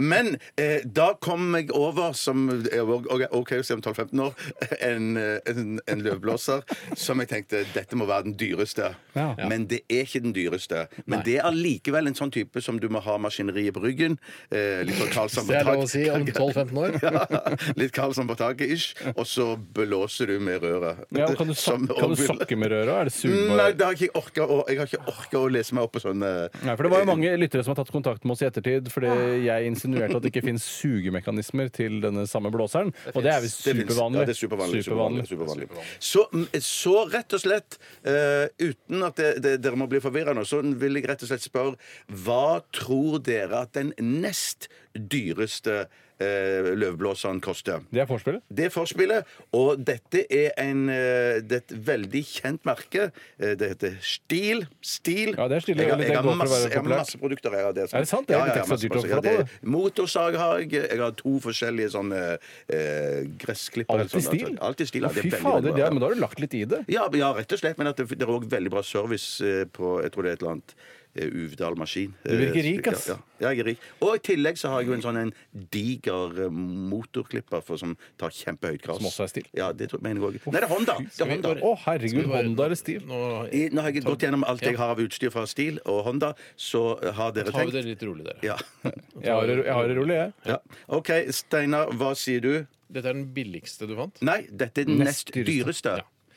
Speaker 7: Men eh, da kom jeg over, som er og- og- OK å si om 12-15 år, en, eh, en, en løvblåser som jeg tenkte dette må være den dyreste.
Speaker 8: Ja.
Speaker 7: Men det er ikke den dyreste. Men det er allikevel en sånn type som du må ha maskineriet på ryggen. Eh, litt sånn Karlsson på
Speaker 6: Det er lov å
Speaker 7: tak.
Speaker 6: si om 12-15 år.
Speaker 7: Ja, litt Karlsson på taket, ish. Og så blåser du med røret.
Speaker 8: Ja, og kan, du
Speaker 7: Som
Speaker 8: sokke, kan du
Speaker 7: Orgul.
Speaker 8: sokke med røra? Er det
Speaker 7: Nei,
Speaker 8: sugbare?
Speaker 7: det har jeg ikke orka å, jeg har ikke orka å lese meg opp på sånn, eh, sånne
Speaker 8: Nei, for Det var jo mange lyttere som har tatt kontakt med oss i ettertid fordi jeg insinuerte at det ikke finnes sugemekanismer til denne samme blåseren. Og det er visst
Speaker 7: Det finnes-
Speaker 8: supervanlig.
Speaker 7: Ja, det er supervanlig. supervanlig,
Speaker 8: Supervanlig.
Speaker 7: supervanlig. Så, mm, så rett og slett, eh, uten at det, det, dere må bli forvirra nå, så vil jeg rett og slett spørre Hva tror dere at den nest dyreste eh, løvblåseren koster?
Speaker 8: Det er forspillet.
Speaker 7: Det er forspillet, og dette er, en, eh, det er et veldig kjent merke. Eh, Det heter Stil. Stil.
Speaker 8: Ja, det er Stil,
Speaker 7: Jeg, har-
Speaker 8: det
Speaker 7: jeg, har
Speaker 8: går for å
Speaker 7: masse,
Speaker 8: være
Speaker 7: jeg har
Speaker 8: populært.
Speaker 7: masse produkter. Jeg har det,
Speaker 8: Er det sant? Det er
Speaker 7: ja,
Speaker 8: litt
Speaker 7: ja,
Speaker 8: ekstra
Speaker 7: masse,
Speaker 8: dyrt å
Speaker 7: masse,
Speaker 8: få
Speaker 7: ja, det-
Speaker 8: på
Speaker 7: Motorsag har jeg. Jeg har to forskjellige sånne eh, gressklipper. eller
Speaker 8: Alt i
Speaker 7: sånn,
Speaker 8: stil?
Speaker 7: altså. Alt i stil, ja.
Speaker 8: Å,
Speaker 7: Det er
Speaker 8: Fy
Speaker 7: veldig,
Speaker 8: fader,
Speaker 7: veldig
Speaker 8: det
Speaker 7: bra.
Speaker 8: er, men da har du lagt litt i det.
Speaker 7: Ja, ja, rett og slett. Men at det, det er òg veldig bra service eh, på jeg tror det er et eller annet eh, Uvdal Maskin. Du
Speaker 8: virker rik, ass.
Speaker 7: Ja, ja, jeg er rik. Og i tillegg så har jeg jo en sånn en diger eh, motorklipper for, som tar kjempehøyt gass.
Speaker 8: Som også er stil.
Speaker 7: Ja, det tror, mener jeg òg. Nei, det er Honda! Det er Honda.
Speaker 8: Å, herregud, Honda eller stil.
Speaker 6: Nå
Speaker 7: I, nå har jeg gått gjennom alt jeg har av utstyr fra Stil og Honda, så har dere
Speaker 6: tar vi
Speaker 7: tenkt
Speaker 6: det litt rolig, dere.
Speaker 7: ja.
Speaker 8: Jeg har, jeg har det rolig, jeg.
Speaker 7: ja. OK, Steinar, hva sier du?
Speaker 6: Dette er den billigste du fant.
Speaker 7: Nei, dette er den nest dyreste.
Speaker 6: Ja.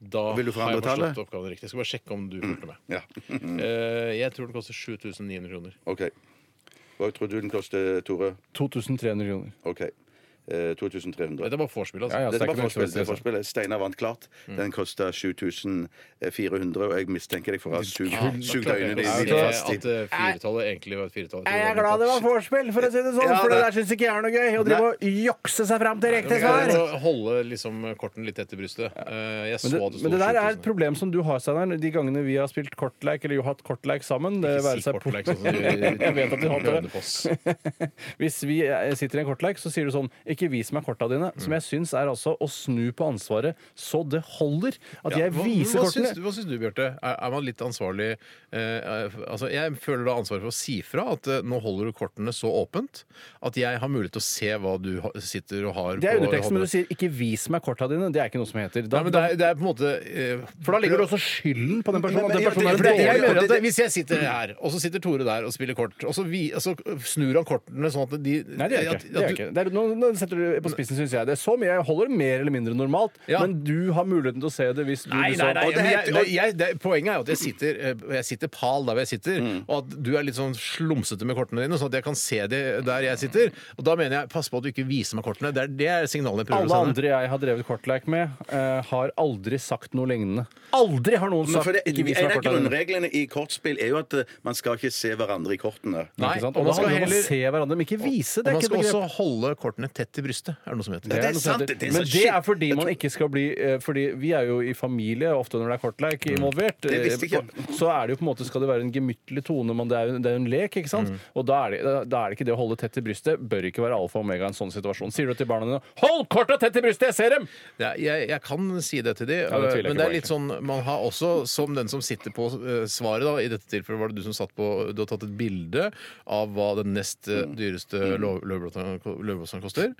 Speaker 6: Da
Speaker 7: Vil du Mm.
Speaker 6: har jeg
Speaker 7: forandre tallet?
Speaker 6: forstått oppgaven riktig. Jeg skal bare sjekke om du fulgte med.
Speaker 7: Ja.
Speaker 6: Eh, jeg tror den koster 7900 kroner.
Speaker 7: OK. Hva tror du den koster, Tore?
Speaker 8: 2300 kroner.
Speaker 7: OK. Eh, 2300.
Speaker 6: Dette var vorspiel, altså.
Speaker 8: Ja, ja, så det
Speaker 7: Dette
Speaker 8: er
Speaker 7: var forspillet.
Speaker 8: ikke noe ekstra
Speaker 7: Det
Speaker 8: stress.
Speaker 7: forspillet. Steinar vant klart. Den kosta 7400, og jeg mistenker deg for å ha sug- sugd
Speaker 6: Klarte jeg
Speaker 7: øynene
Speaker 6: ikke
Speaker 7: dine i
Speaker 6: å se
Speaker 7: fast
Speaker 6: at
Speaker 7: tid.
Speaker 6: eh, firetallet egentlig var et firetall.
Speaker 8: Jeg er glad det var vorspiel, for å si det sånn,
Speaker 7: Ja,
Speaker 8: for det
Speaker 7: det-
Speaker 8: der syns ikke jeg er noe gøy. Å drive og jokse seg fram til riktig svar.
Speaker 6: Jeg må holde liksom korten litt etter brystet. Eh, Jeg
Speaker 8: Men det,
Speaker 6: så det, det
Speaker 8: men det
Speaker 6: sto
Speaker 8: der er et
Speaker 6: 7000.
Speaker 8: problem som du har, Steinar. De gangene vi har spilt kortleik eller jo hatt kortleik sammen det
Speaker 6: Ikke
Speaker 8: være
Speaker 6: si
Speaker 8: seg
Speaker 6: kortleik
Speaker 8: port-
Speaker 6: sånn som du-
Speaker 8: Jeg vet at du hater
Speaker 6: nøvner på oss.
Speaker 8: det. Hvis vi eh, sitter i en kortleik, så sier du sånn Ikke vis meg korta dine. Som
Speaker 6: Mm.
Speaker 8: jeg syns er altså å snu på ansvaret så det holder. At jeg
Speaker 6: Hva-
Speaker 8: viser
Speaker 6: hva syns,
Speaker 8: kortene.
Speaker 6: du- hva syns du, Bjarte? Er, er man litt ansvarlig eh, altså Jeg føler da ansvar for å si fra at eh, nå holder du kortene så åpent at jeg har mulighet til å se hva du ha- sitter og har
Speaker 8: Det er
Speaker 6: på
Speaker 8: underteksten, men
Speaker 6: hånda.
Speaker 8: du sier 'ikke vis meg korta dine'. Det er ikke noe som heter. Da,
Speaker 6: Nei, men det er, det er på en måte eh,
Speaker 8: for da legger du også skylden på den personen.
Speaker 7: Men-
Speaker 8: At den
Speaker 7: men-
Speaker 8: personen er
Speaker 6: For det, er det jeg
Speaker 8: dårlig.
Speaker 6: mener at det, Hvis jeg sitter her, og så sitter Tore der og spiller kort, og så, vi, og så snur han kortene sånn at de
Speaker 8: Nei, det er
Speaker 6: at-
Speaker 8: ikke. Det
Speaker 6: at
Speaker 8: er
Speaker 6: du-
Speaker 8: ikke. Det er, nå, nå setter du på spissen, syns jeg. Det er så mye. Jeg holder det mer eller mindre normalt,
Speaker 6: Ja.
Speaker 8: men du har muligheten til å se det hvis du
Speaker 6: Nei, nei,
Speaker 8: liksom-
Speaker 6: nei,
Speaker 8: Og det
Speaker 6: men
Speaker 8: heter-
Speaker 6: jeg, det- jeg, det, Poenget er jo at jeg sitter, eh, jeg sitter pal der hvor jeg sitter,
Speaker 8: Mm.
Speaker 6: og at du er litt sånn slumsete med kortene dine, sånn at jeg kan se de der jeg sitter. Og da mener jeg pass på at du ikke viser meg kortene. Det er, det er signalene jeg prøver
Speaker 8: Alle
Speaker 6: å sende.
Speaker 8: andre jeg har drevet kortleik med, eh, har aldri sagt noe lignende. Aldri har noen
Speaker 7: Men for
Speaker 8: sagt
Speaker 7: det,
Speaker 8: ikke vi
Speaker 7: en
Speaker 8: som
Speaker 7: av
Speaker 8: har kortleik.
Speaker 7: grunnreglene i kortspill er jo at eh, man skal ikke se hverandre i kortene.
Speaker 6: Nei,
Speaker 8: Ikke sant?
Speaker 6: og
Speaker 8: Og
Speaker 6: man
Speaker 8: da
Speaker 6: skal
Speaker 8: handler det om
Speaker 6: heller-
Speaker 8: å se hverandre, men ikke vise.
Speaker 6: Og
Speaker 8: Det er
Speaker 6: man
Speaker 8: ikke et
Speaker 6: skal
Speaker 8: begrep.
Speaker 6: også holde kortene tett til brystet, er det noe som heter.
Speaker 7: Ja,
Speaker 8: Det
Speaker 7: det er
Speaker 8: noe
Speaker 7: sant,
Speaker 8: som heter-
Speaker 7: det er så
Speaker 8: Men det
Speaker 7: shit.
Speaker 8: er fordi man ikke skal bli eh, Fordi vi er jo i familie ofte når det er kortleik
Speaker 7: Mm.
Speaker 8: involvert.
Speaker 7: Det visste
Speaker 8: eh,
Speaker 7: ikke jeg.
Speaker 8: Så er det jo på en måte skal det være en gemyttlig tone, men det er jo, det er jo en lek,
Speaker 7: Mm.
Speaker 8: ikke sant? Og da er, det, da er det ikke det å holde tett til brystet bør ikke være alfa og omega i en sånn situasjon. Sier du til barna dine 'Hold korta tett til brystet, jeg ser dem!'
Speaker 6: Ja, jeg, jeg kan si det til de,
Speaker 8: det tviler jeg
Speaker 6: men
Speaker 8: ikke
Speaker 6: det
Speaker 8: på,
Speaker 6: er litt sånn Man har også, som den som sitter på eh, svaret, da, i dette tilfellet var det du som satt på Du har tatt et bilde av hva den nest eh,
Speaker 8: Mm.
Speaker 6: dyreste løv- løvblåteren- løvblåseren koster.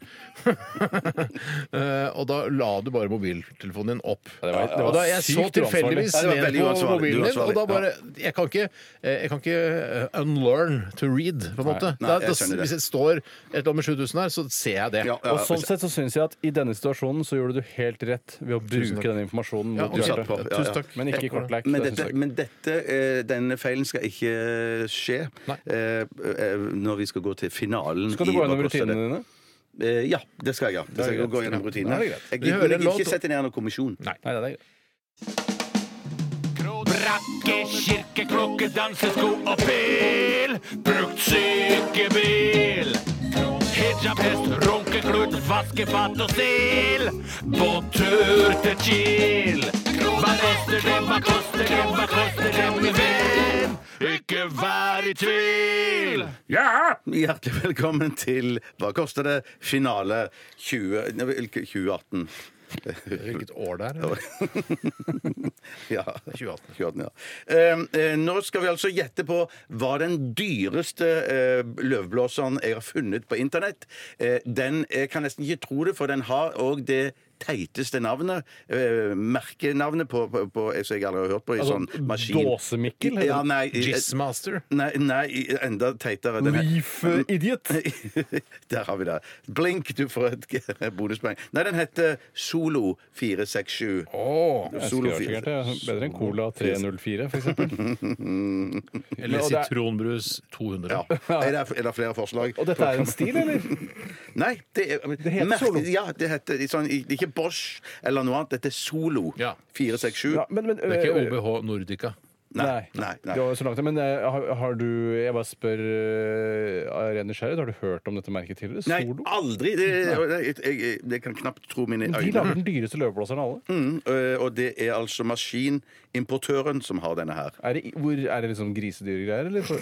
Speaker 6: Eh, og da la du bare mobiltelefonen din opp.
Speaker 8: det var- det var
Speaker 6: og da jeg så
Speaker 8: sykt
Speaker 6: tilfeldigvis
Speaker 7: uansvarlig. Ja, det var
Speaker 6: ned
Speaker 7: veldig
Speaker 6: på
Speaker 7: uansvarlig.
Speaker 6: mobilen din, og
Speaker 7: Uansvarlig,
Speaker 6: da bare Jeg kan ikke, eh, jeg kan ikke eh, unlearn to read, på en måte.
Speaker 7: Nei,
Speaker 6: Da-
Speaker 7: jeg
Speaker 6: da-
Speaker 7: skjønner det.
Speaker 6: hvis det står et eller annet med 7000 her, så ser jeg det.
Speaker 7: Ja, ja,
Speaker 8: Og sånn sett så syns jeg at i denne situasjonen så gjorde du helt rett ved å bruke den informasjonen
Speaker 6: Ja,
Speaker 8: mot
Speaker 6: og
Speaker 8: brystet.
Speaker 6: satt på.
Speaker 7: Ja, ja.
Speaker 6: Tusen takk.
Speaker 8: Men ikke i kortleik.
Speaker 7: Men
Speaker 8: det syns
Speaker 7: dette,
Speaker 8: jeg ikke.
Speaker 7: men dette eh, denne feilen skal ikke skje eh, eh, når vi skal gå til finalen.
Speaker 8: Skal du
Speaker 7: i
Speaker 8: gå gjennom
Speaker 7: Hva koster det?
Speaker 8: rutinene dine?
Speaker 7: Eh, ja, det skal jeg. ja. Det skal jeg gå gjennom rutinene.
Speaker 8: det
Speaker 7: Jeg,
Speaker 8: er greit.
Speaker 6: Vi
Speaker 7: gidder-
Speaker 6: hører
Speaker 7: men jeg
Speaker 6: en
Speaker 7: gidder
Speaker 6: låt,
Speaker 7: ikke sette ned noen kommisjon.
Speaker 8: Nei, det er greit.
Speaker 5: Brakke, kirke, klokke, dansesko og pil. Brukt sykebil. Hijab, hest, runkeklut, vaskefat og stil. På tur til Kiel. Hva koster det, hva koster det, hva koster det, min venn? Ikke vær i tvil.
Speaker 7: Hjertelig velkommen til Hva koster det? finale 20, nei, vel, 2018.
Speaker 6: Hvilket år det er? eller?
Speaker 7: Ja.
Speaker 6: 2018.
Speaker 7: 2018, ja. Ehm, eh, nå skal vi altså gjette på hva den dyreste eh, løvblåseren jeg har funnet på internett. Eh, den jeg kan nesten ikke tro det, for den har òg det teiteste navnet. Eh, merkenavnet på, på, på eh, som jeg aldri har hørt på i
Speaker 8: Altså,
Speaker 7: sånn maskin.
Speaker 8: Dåsemikkel?
Speaker 7: Ja, nei, i-
Speaker 6: Jizzmaster?
Speaker 7: nei, nei, i- enda teitere. Den er-
Speaker 8: uh, eh, Leaf-idiot?
Speaker 7: Der har vi det. Blink, du får et bonuspoeng. Nei, den heter Solo 467.
Speaker 6: Åh.
Speaker 7: Solo
Speaker 8: Skulle vært
Speaker 7: 4.
Speaker 8: sikkert det. Bedre enn Cola 304, for eksempel.
Speaker 6: Eller
Speaker 8: Og det er-
Speaker 6: sitronbrus 200.
Speaker 7: Ja. Er, det, er det flere forslag?
Speaker 8: Og dette er en stil, eller?
Speaker 7: Nei, det, er, det
Speaker 8: heter Solo.
Speaker 7: Ja, det heter i sånn, i- ikke Bosch eller noe annet. Dette er Solo
Speaker 6: Ja.
Speaker 7: 467.
Speaker 8: Ja, men, men,
Speaker 6: Det er
Speaker 8: øh,
Speaker 6: ikke OBH Nordica.
Speaker 7: Nei, nei, nei.
Speaker 8: Det var så langt, men øh, har, har du Jeg bare spør øh, av ren nysgjerrighet, har du hørt om dette merket tidligere?
Speaker 7: Nei,
Speaker 8: Solo?
Speaker 7: aldri! Det, jeg, jeg, jeg, det kan knapt tro mine
Speaker 8: De
Speaker 7: øyne.
Speaker 8: lager den dyreste løveblåseren av alle.
Speaker 7: Mm, øh, og det er altså maskinimportøren som har denne her.
Speaker 8: Er det, i- hvor, er det liksom grisedyrgreier, eller? For,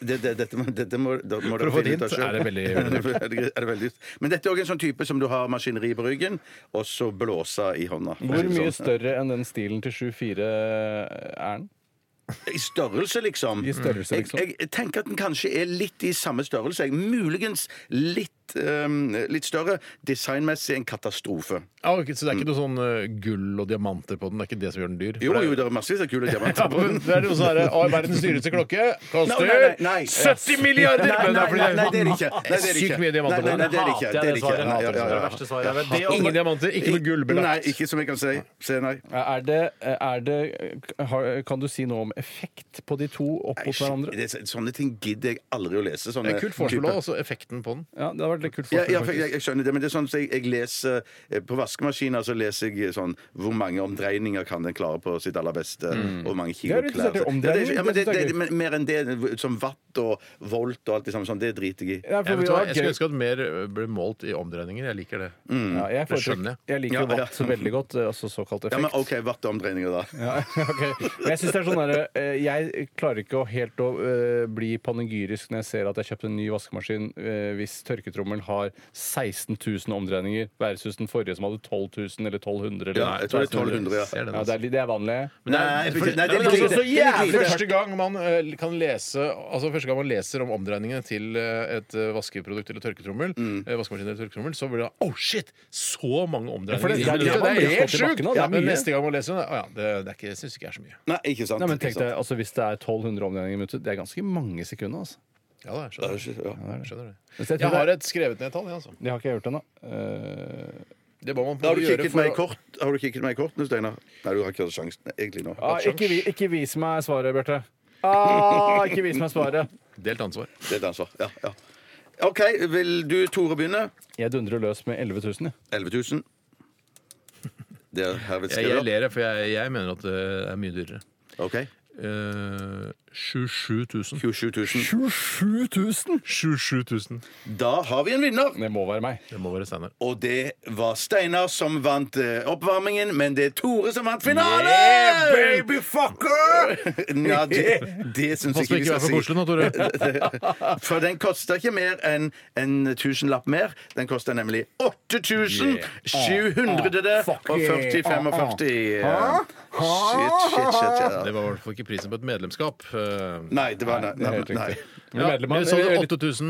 Speaker 7: Det, det, dette, må- dette må, da må dere
Speaker 6: å få
Speaker 7: finne ut
Speaker 6: et
Speaker 7: av
Speaker 6: hint,
Speaker 7: selv.
Speaker 6: er det veldig-
Speaker 7: Er det- er det- er det veldig Men dette er òg en sånn type som du har maskineri på ryggen, og så blåsa i hånda.
Speaker 8: hvor mye
Speaker 7: Sånn.
Speaker 8: større enn den stilen til 74 er den?
Speaker 7: I størrelse, liksom.
Speaker 8: I størrelse, liksom.
Speaker 7: Jeg, jeg tenker at den kanskje er litt i samme størrelse. Jeg, muligens litt, øhm, litt større. Designmessig en katastrofe.
Speaker 6: Ja, ok, så det er ikke noe sånn eh, gull og diamanter på den? Det er ikke det som gjør den dyr?
Speaker 7: Mm. Jo,
Speaker 6: For
Speaker 7: jo, det er massevis av kule diamanter på den.
Speaker 6: Det er noe sånn her, «Å, verdens dyreste klokke koster
Speaker 7: Nei, nei, nei, nei.
Speaker 6: 70 milliarder!
Speaker 7: Nei, nei, nei, nei, det er det ikke. Nei, det er det ikke.
Speaker 6: Sykt mye diamanter
Speaker 7: Nei,
Speaker 6: på
Speaker 7: nei,
Speaker 6: den.
Speaker 7: det er det ikke. Det er det ikke. Nei, ja, ja, ja.
Speaker 6: Ingen diamanter, ikke noe
Speaker 7: Nei,
Speaker 6: gullbelagt.
Speaker 7: ikke som jeg kan si. Se, nei.
Speaker 8: Er det, er det har, Kan du si noe om effekt på de to opp mot hverandre?
Speaker 7: Det, er sånne ting gidder jeg aldri å lese. Sånne
Speaker 6: Det er kult forskjell
Speaker 7: typer.
Speaker 6: òg, også effekten på den.
Speaker 8: Ja, det hadde vært litt kult
Speaker 7: Ja,
Speaker 8: forskning,
Speaker 7: ja, for
Speaker 8: faktisk.
Speaker 7: jeg, jeg skjønner det, men det er sånn at jeg, jeg leser eh, På vaskemaskiner så leser jeg sånn Hvor mange omdreininger kan den klare på sitt aller beste? Og hvor mange kilo
Speaker 8: Jeg
Speaker 7: klær
Speaker 8: er interessert i
Speaker 7: så-
Speaker 8: omdreininger,
Speaker 7: Ja, det er- ja, men
Speaker 8: det
Speaker 7: det,
Speaker 8: synes jeg er
Speaker 7: det, men Mer enn det, som watt og volt og alt det samme sånn, det driter jeg i.
Speaker 8: Ja, for
Speaker 6: Jeg,
Speaker 8: vi
Speaker 6: vet hva,
Speaker 8: har
Speaker 6: jeg
Speaker 8: gøy-
Speaker 6: skulle ønske at mer eh, ble målt i omdreininger. Jeg liker det.
Speaker 7: Mm,
Speaker 8: Ja, jeg,
Speaker 6: Det skjønner
Speaker 8: foretrekker-
Speaker 6: jeg.
Speaker 8: jeg liker
Speaker 7: Ja,
Speaker 8: jo
Speaker 7: ja.
Speaker 8: watt veldig godt, eh, altså såkalt effekt.
Speaker 7: Ja, men OK, watt og omdreininger, da.
Speaker 8: Ja, ok. Men Jeg synes det er sånn der, eh, Jeg klarer ikke å helt å eh, bli panegyrisk når jeg ser at jeg kjøpte en ny vaskemaskin eh, hvis tørketrommelen har 16 000 omdreininger versus den forrige som hadde 12 000 eller 1200. Eller
Speaker 7: Ja, jeg tror det er 1200. Ja.
Speaker 6: Ser den,
Speaker 8: Ja, det,
Speaker 6: altså.
Speaker 8: er, litt- det er vanlig.
Speaker 7: Nei, for- nei, det
Speaker 6: Men altså,
Speaker 7: ligger
Speaker 6: så jævlig
Speaker 7: det-
Speaker 6: Første gang man eh, kan lese Altså første gang man leser om omdreiningene til eh, et eh, vaskeprodukt eller tørketrommel,
Speaker 7: Mm.
Speaker 6: eh, vaskemaskin eller tørketrommel, så blir det Oh shit! Så mange
Speaker 8: for det-
Speaker 6: omdreininger!
Speaker 8: det er-
Speaker 6: Det
Speaker 8: det er-
Speaker 6: er
Speaker 8: det er-
Speaker 6: helt
Speaker 8: det er-
Speaker 6: sjukt!
Speaker 8: det er- det er
Speaker 6: Ja, Men
Speaker 8: mye.
Speaker 6: neste gang man leser det, å ja, det, det er ikke, jeg syns ikke det er så mye.
Speaker 7: Nei, ikke sant.
Speaker 8: Nei, men
Speaker 7: ikke
Speaker 8: tenk
Speaker 7: sant.
Speaker 8: deg, altså Hvis det er 1200 omdreininger i minuttet, det er ganske mange sekunder. altså
Speaker 6: Ja,
Speaker 7: Ja,
Speaker 6: da, jeg skjønner
Speaker 7: det er
Speaker 6: det.
Speaker 7: ikke- ja.
Speaker 6: Jeg skjønner det.
Speaker 8: Hvis jeg
Speaker 6: Jeg
Speaker 8: tror
Speaker 6: har
Speaker 8: det-
Speaker 6: et skrevet ned tall, jeg, altså.
Speaker 8: Det har ikke jeg gjort ennå. Eh,
Speaker 6: Det må man
Speaker 7: Da har du
Speaker 6: gjøre
Speaker 7: kikket
Speaker 6: for
Speaker 7: meg i
Speaker 6: å-
Speaker 7: kort? Har du kikket meg i kortene, Steinar? Nei, du har ikke hatt sjansen egentlig nå.
Speaker 8: ah, ikke, vi, ikke vis meg svaret, Bjarte. Ah, ikke vis meg svaret.
Speaker 6: Delt ansvar.
Speaker 7: Det er et ansvar. Ja, ja. OK, vil du, Tore, begynne?
Speaker 8: Jeg dundrer løs med 11 000. jeg.
Speaker 7: 11 000. Det er herved
Speaker 6: Jeg, jeg
Speaker 7: skrevet.
Speaker 6: ler, for jeg, jeg mener at eh, det er mye dyrere.
Speaker 7: OK.
Speaker 6: Eh, 27 000.
Speaker 7: 27 000.
Speaker 8: 27 000!
Speaker 6: 27 000.
Speaker 7: Da har vi en vinner!
Speaker 8: Det må være meg.
Speaker 6: Det må være Steinar.
Speaker 7: Og det var Steinar som vant eh, oppvarmingen, men det er Tore som vant finalen!
Speaker 6: Yeah, baby
Speaker 7: fucker! Nja, det, det syns
Speaker 6: Pass
Speaker 7: jeg
Speaker 6: på
Speaker 7: ikke vi
Speaker 6: ikke
Speaker 7: skal
Speaker 6: å være for
Speaker 7: si.
Speaker 6: koselig nå, Tore.
Speaker 7: For den koster ikke mer enn en tusenlapp mer. Den koster nemlig 8745. Yeah. Shit, shit, shit.
Speaker 6: Det
Speaker 7: shit.
Speaker 6: var i hvert fall ikke prisen på et medlemskap. Eh,
Speaker 7: Nei, det var nei,
Speaker 8: Det er
Speaker 7: nei,
Speaker 8: helt
Speaker 7: nei.
Speaker 8: riktig. Du
Speaker 6: Ja,
Speaker 8: blir medlem av-
Speaker 6: jeg så det
Speaker 8: eller-
Speaker 6: 8000.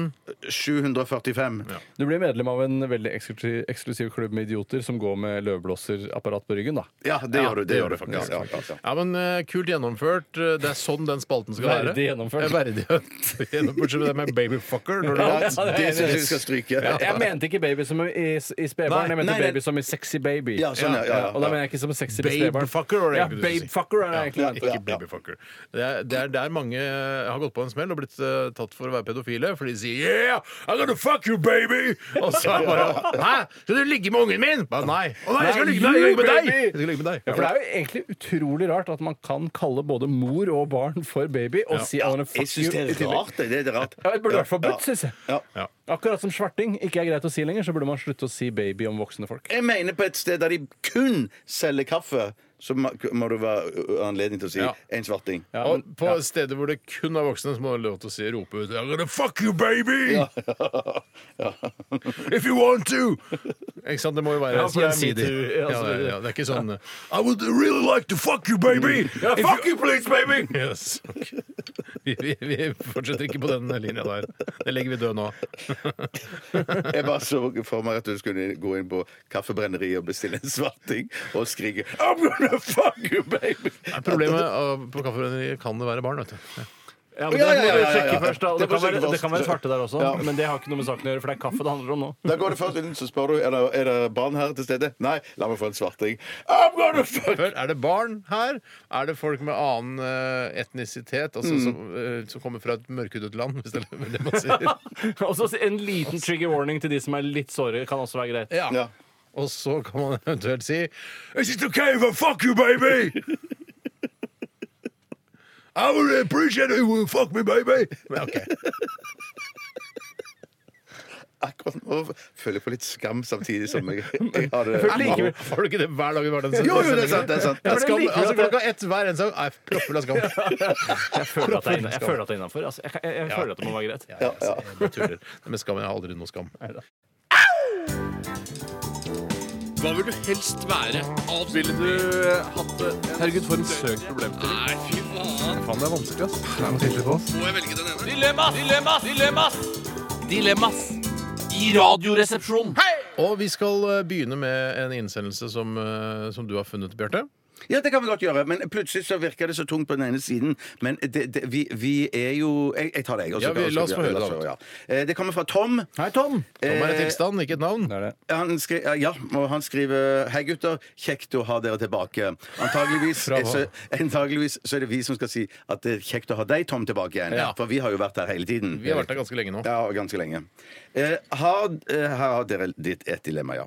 Speaker 7: 745.
Speaker 8: Du blir medlem av en veldig eksklusiv, eksklusiv klubb med idioter som går med løvblåserapparat på ryggen, da.
Speaker 7: Ja, det gjør du. Det gjør du faktisk.
Speaker 6: faktisk.
Speaker 7: Ja, ja, ja.
Speaker 6: Ja, men eh, Kult gjennomført. Eh, Det er sånn den spalten skal være.
Speaker 8: Verdig gjennomført.
Speaker 6: Eh, Verdig gjennomført. Som det med babyfucker. Når det
Speaker 7: Ja,
Speaker 6: er alt.
Speaker 7: Det syns jeg vi skal stryke.
Speaker 8: Jeg mente ikke baby som i, i spedbarn,
Speaker 7: Nei,
Speaker 8: jeg mente
Speaker 7: nei, nei.
Speaker 8: baby som i sexy baby.
Speaker 7: Ja, sånn, ja, ja, ja.
Speaker 8: Og da mener jeg ikke som sexy spedbarn.
Speaker 6: Babefucker, var det
Speaker 8: Ja,
Speaker 6: egentlig du skulle si.
Speaker 8: babefucker er det egentlig.
Speaker 6: Ja,
Speaker 8: ment.
Speaker 6: ikke babyfucker. Det er, det er der mange har gått på en smell og blitt eh, tatt for å være pedofile, for de sier 'yeah, I'm gonna fuck you, baby'! Og så er det bare 'hæ, skal du ligge med ungen min?' Bare, nei. 'Å nei, jeg skal ligge med deg! Jeg skal ligge med deg!' Jeg skal ligge med deg.
Speaker 8: Ja, for Det er jo egentlig utrolig rart at man kan kalle både mor og barn for baby og si I'm gonna
Speaker 7: Jeg
Speaker 8: fuck
Speaker 7: syns
Speaker 8: you.
Speaker 7: det
Speaker 8: i
Speaker 7: er
Speaker 8: tillegg.
Speaker 7: rart. Det, det er rart.
Speaker 8: Ja, det burde vært forbudt,
Speaker 7: Ja.
Speaker 8: syns jeg.
Speaker 7: Ja.
Speaker 6: Ja.
Speaker 8: Akkurat som sverting ikke er greit å si lenger, så burde man slutte å si baby om voksne folk.
Speaker 7: Jeg mener på et sted der de kun selger kaffe, så må må det være ø, anledning til å si
Speaker 6: Ja.
Speaker 7: en svarting.
Speaker 8: Ja,
Speaker 6: Og
Speaker 8: men-
Speaker 6: på steder hvor det kun er voksne, så må det være lov til å si, rope ut 'I'm gonna fuck you, baby!' If you want to! Ikke sant? Det må jo være
Speaker 8: Ja, for det er
Speaker 6: gjensidig.
Speaker 8: metoo, ja,
Speaker 6: Ja,
Speaker 8: så-
Speaker 6: ja, ja, det er ikke sånn I would really like to fuck you, baby! If you-
Speaker 7: please, baby!
Speaker 6: Yes. ok. Vi, vi, vi fortsetter ikke på den linja der. Det legger vi død nå.
Speaker 7: Jeg bare så for meg at du skulle gå inn på kaffebrenneriet og bestille en svarting og skrike I'm gonna fuck you, baby!
Speaker 6: Nei, Problemet av- på kaffebrenneriet kan det være barn, vet du.
Speaker 8: Ja, men
Speaker 7: Ja, ja,
Speaker 8: det
Speaker 7: ja,
Speaker 8: må du
Speaker 7: ja, ja,
Speaker 8: sjekke
Speaker 7: ja.
Speaker 8: først. Da.
Speaker 7: Det må
Speaker 8: Det, kan være,
Speaker 7: sjekke
Speaker 8: det kan være
Speaker 7: først.
Speaker 8: svarte der også,
Speaker 7: Ja.
Speaker 8: men det har ikke noe med saken å gjøre, for det er kaffe det handler om nå.
Speaker 7: Da går det først inn, så spør du er det, er det barn her til stede. Nei, la meg få en svarting. I'm gonna fuck
Speaker 6: Hør, er det barn her? Er det folk med annen eh, etnisitet,
Speaker 8: Mm.
Speaker 6: altså som, eh, som kommer fra et mørkhudet land, hvis det er det man sier?
Speaker 8: Og så en liten trigger warning til de som er litt såre, kan også være greit.
Speaker 6: Ja.
Speaker 7: Ja.
Speaker 6: Og så kan man eventuelt si Is it okay if I fuck you, baby? I would appreciate it if you fuck me, baby. Men ok.
Speaker 7: Akkurat nå føler jeg på litt skam samtidig som jeg, jeg har det.
Speaker 8: føler likevel-
Speaker 6: Får du ikke det hver dag i hverdagen?
Speaker 7: Jo, jo, det er sant. det er sant
Speaker 6: Det er skam,
Speaker 8: likevel
Speaker 6: altså
Speaker 8: at det-
Speaker 6: Klokka ett hver eneste dag er jeg proppfull av skam.
Speaker 8: Jeg føler at det er inne- jeg føler at det er innafor. Altså, jeg, kan- jeg, jeg føler at det må være greit.
Speaker 6: Ja, altså, jeg bare tuller. Men skam, jeg har aldri noe skam. Hva vil du helst være? Ville du hatt det?
Speaker 8: Herregud, for en søk problem.
Speaker 6: Nei, fy faen.
Speaker 8: Faen, det er vanskelig, ass.
Speaker 6: Må jeg velge den ene?
Speaker 10: Dilemmas! Dilemmas! Dilemmas! Dilemmas i Radioresepsjonen.
Speaker 6: Og vi skal eh, begynne med en innsendelse som, eh, som du har funnet, Bjarte.
Speaker 7: Ja, det kan vi godt gjøre, men plutselig så virker det så tungt på den ene siden. Men det, det, vi, vi er jo Jeg, jeg tar deg. og så
Speaker 6: Ja, vi-
Speaker 7: kan-
Speaker 6: la oss få høre det, da.
Speaker 7: ja. Eh, Det kommer fra Tom.
Speaker 8: Hei, Tom.
Speaker 6: Tom er en
Speaker 7: Eh,
Speaker 6: tilstand, ikke et navn.
Speaker 8: Det er det.
Speaker 7: Han skri, ja, og han skriver Hei gutter, kjekt å ha dere tilbake. Antageligvis,
Speaker 6: Fra hva?
Speaker 7: så, antageligvis så er det vi som skal si at det er kjekt å ha deg, Tom, tilbake igjen.
Speaker 6: Ja.
Speaker 7: For vi har jo vært her hele tiden.
Speaker 6: Vi har vært der ganske lenge nå.
Speaker 7: Ja, ganske lenge. Eh, har, eh, her har dere ditt et dilemma, ja.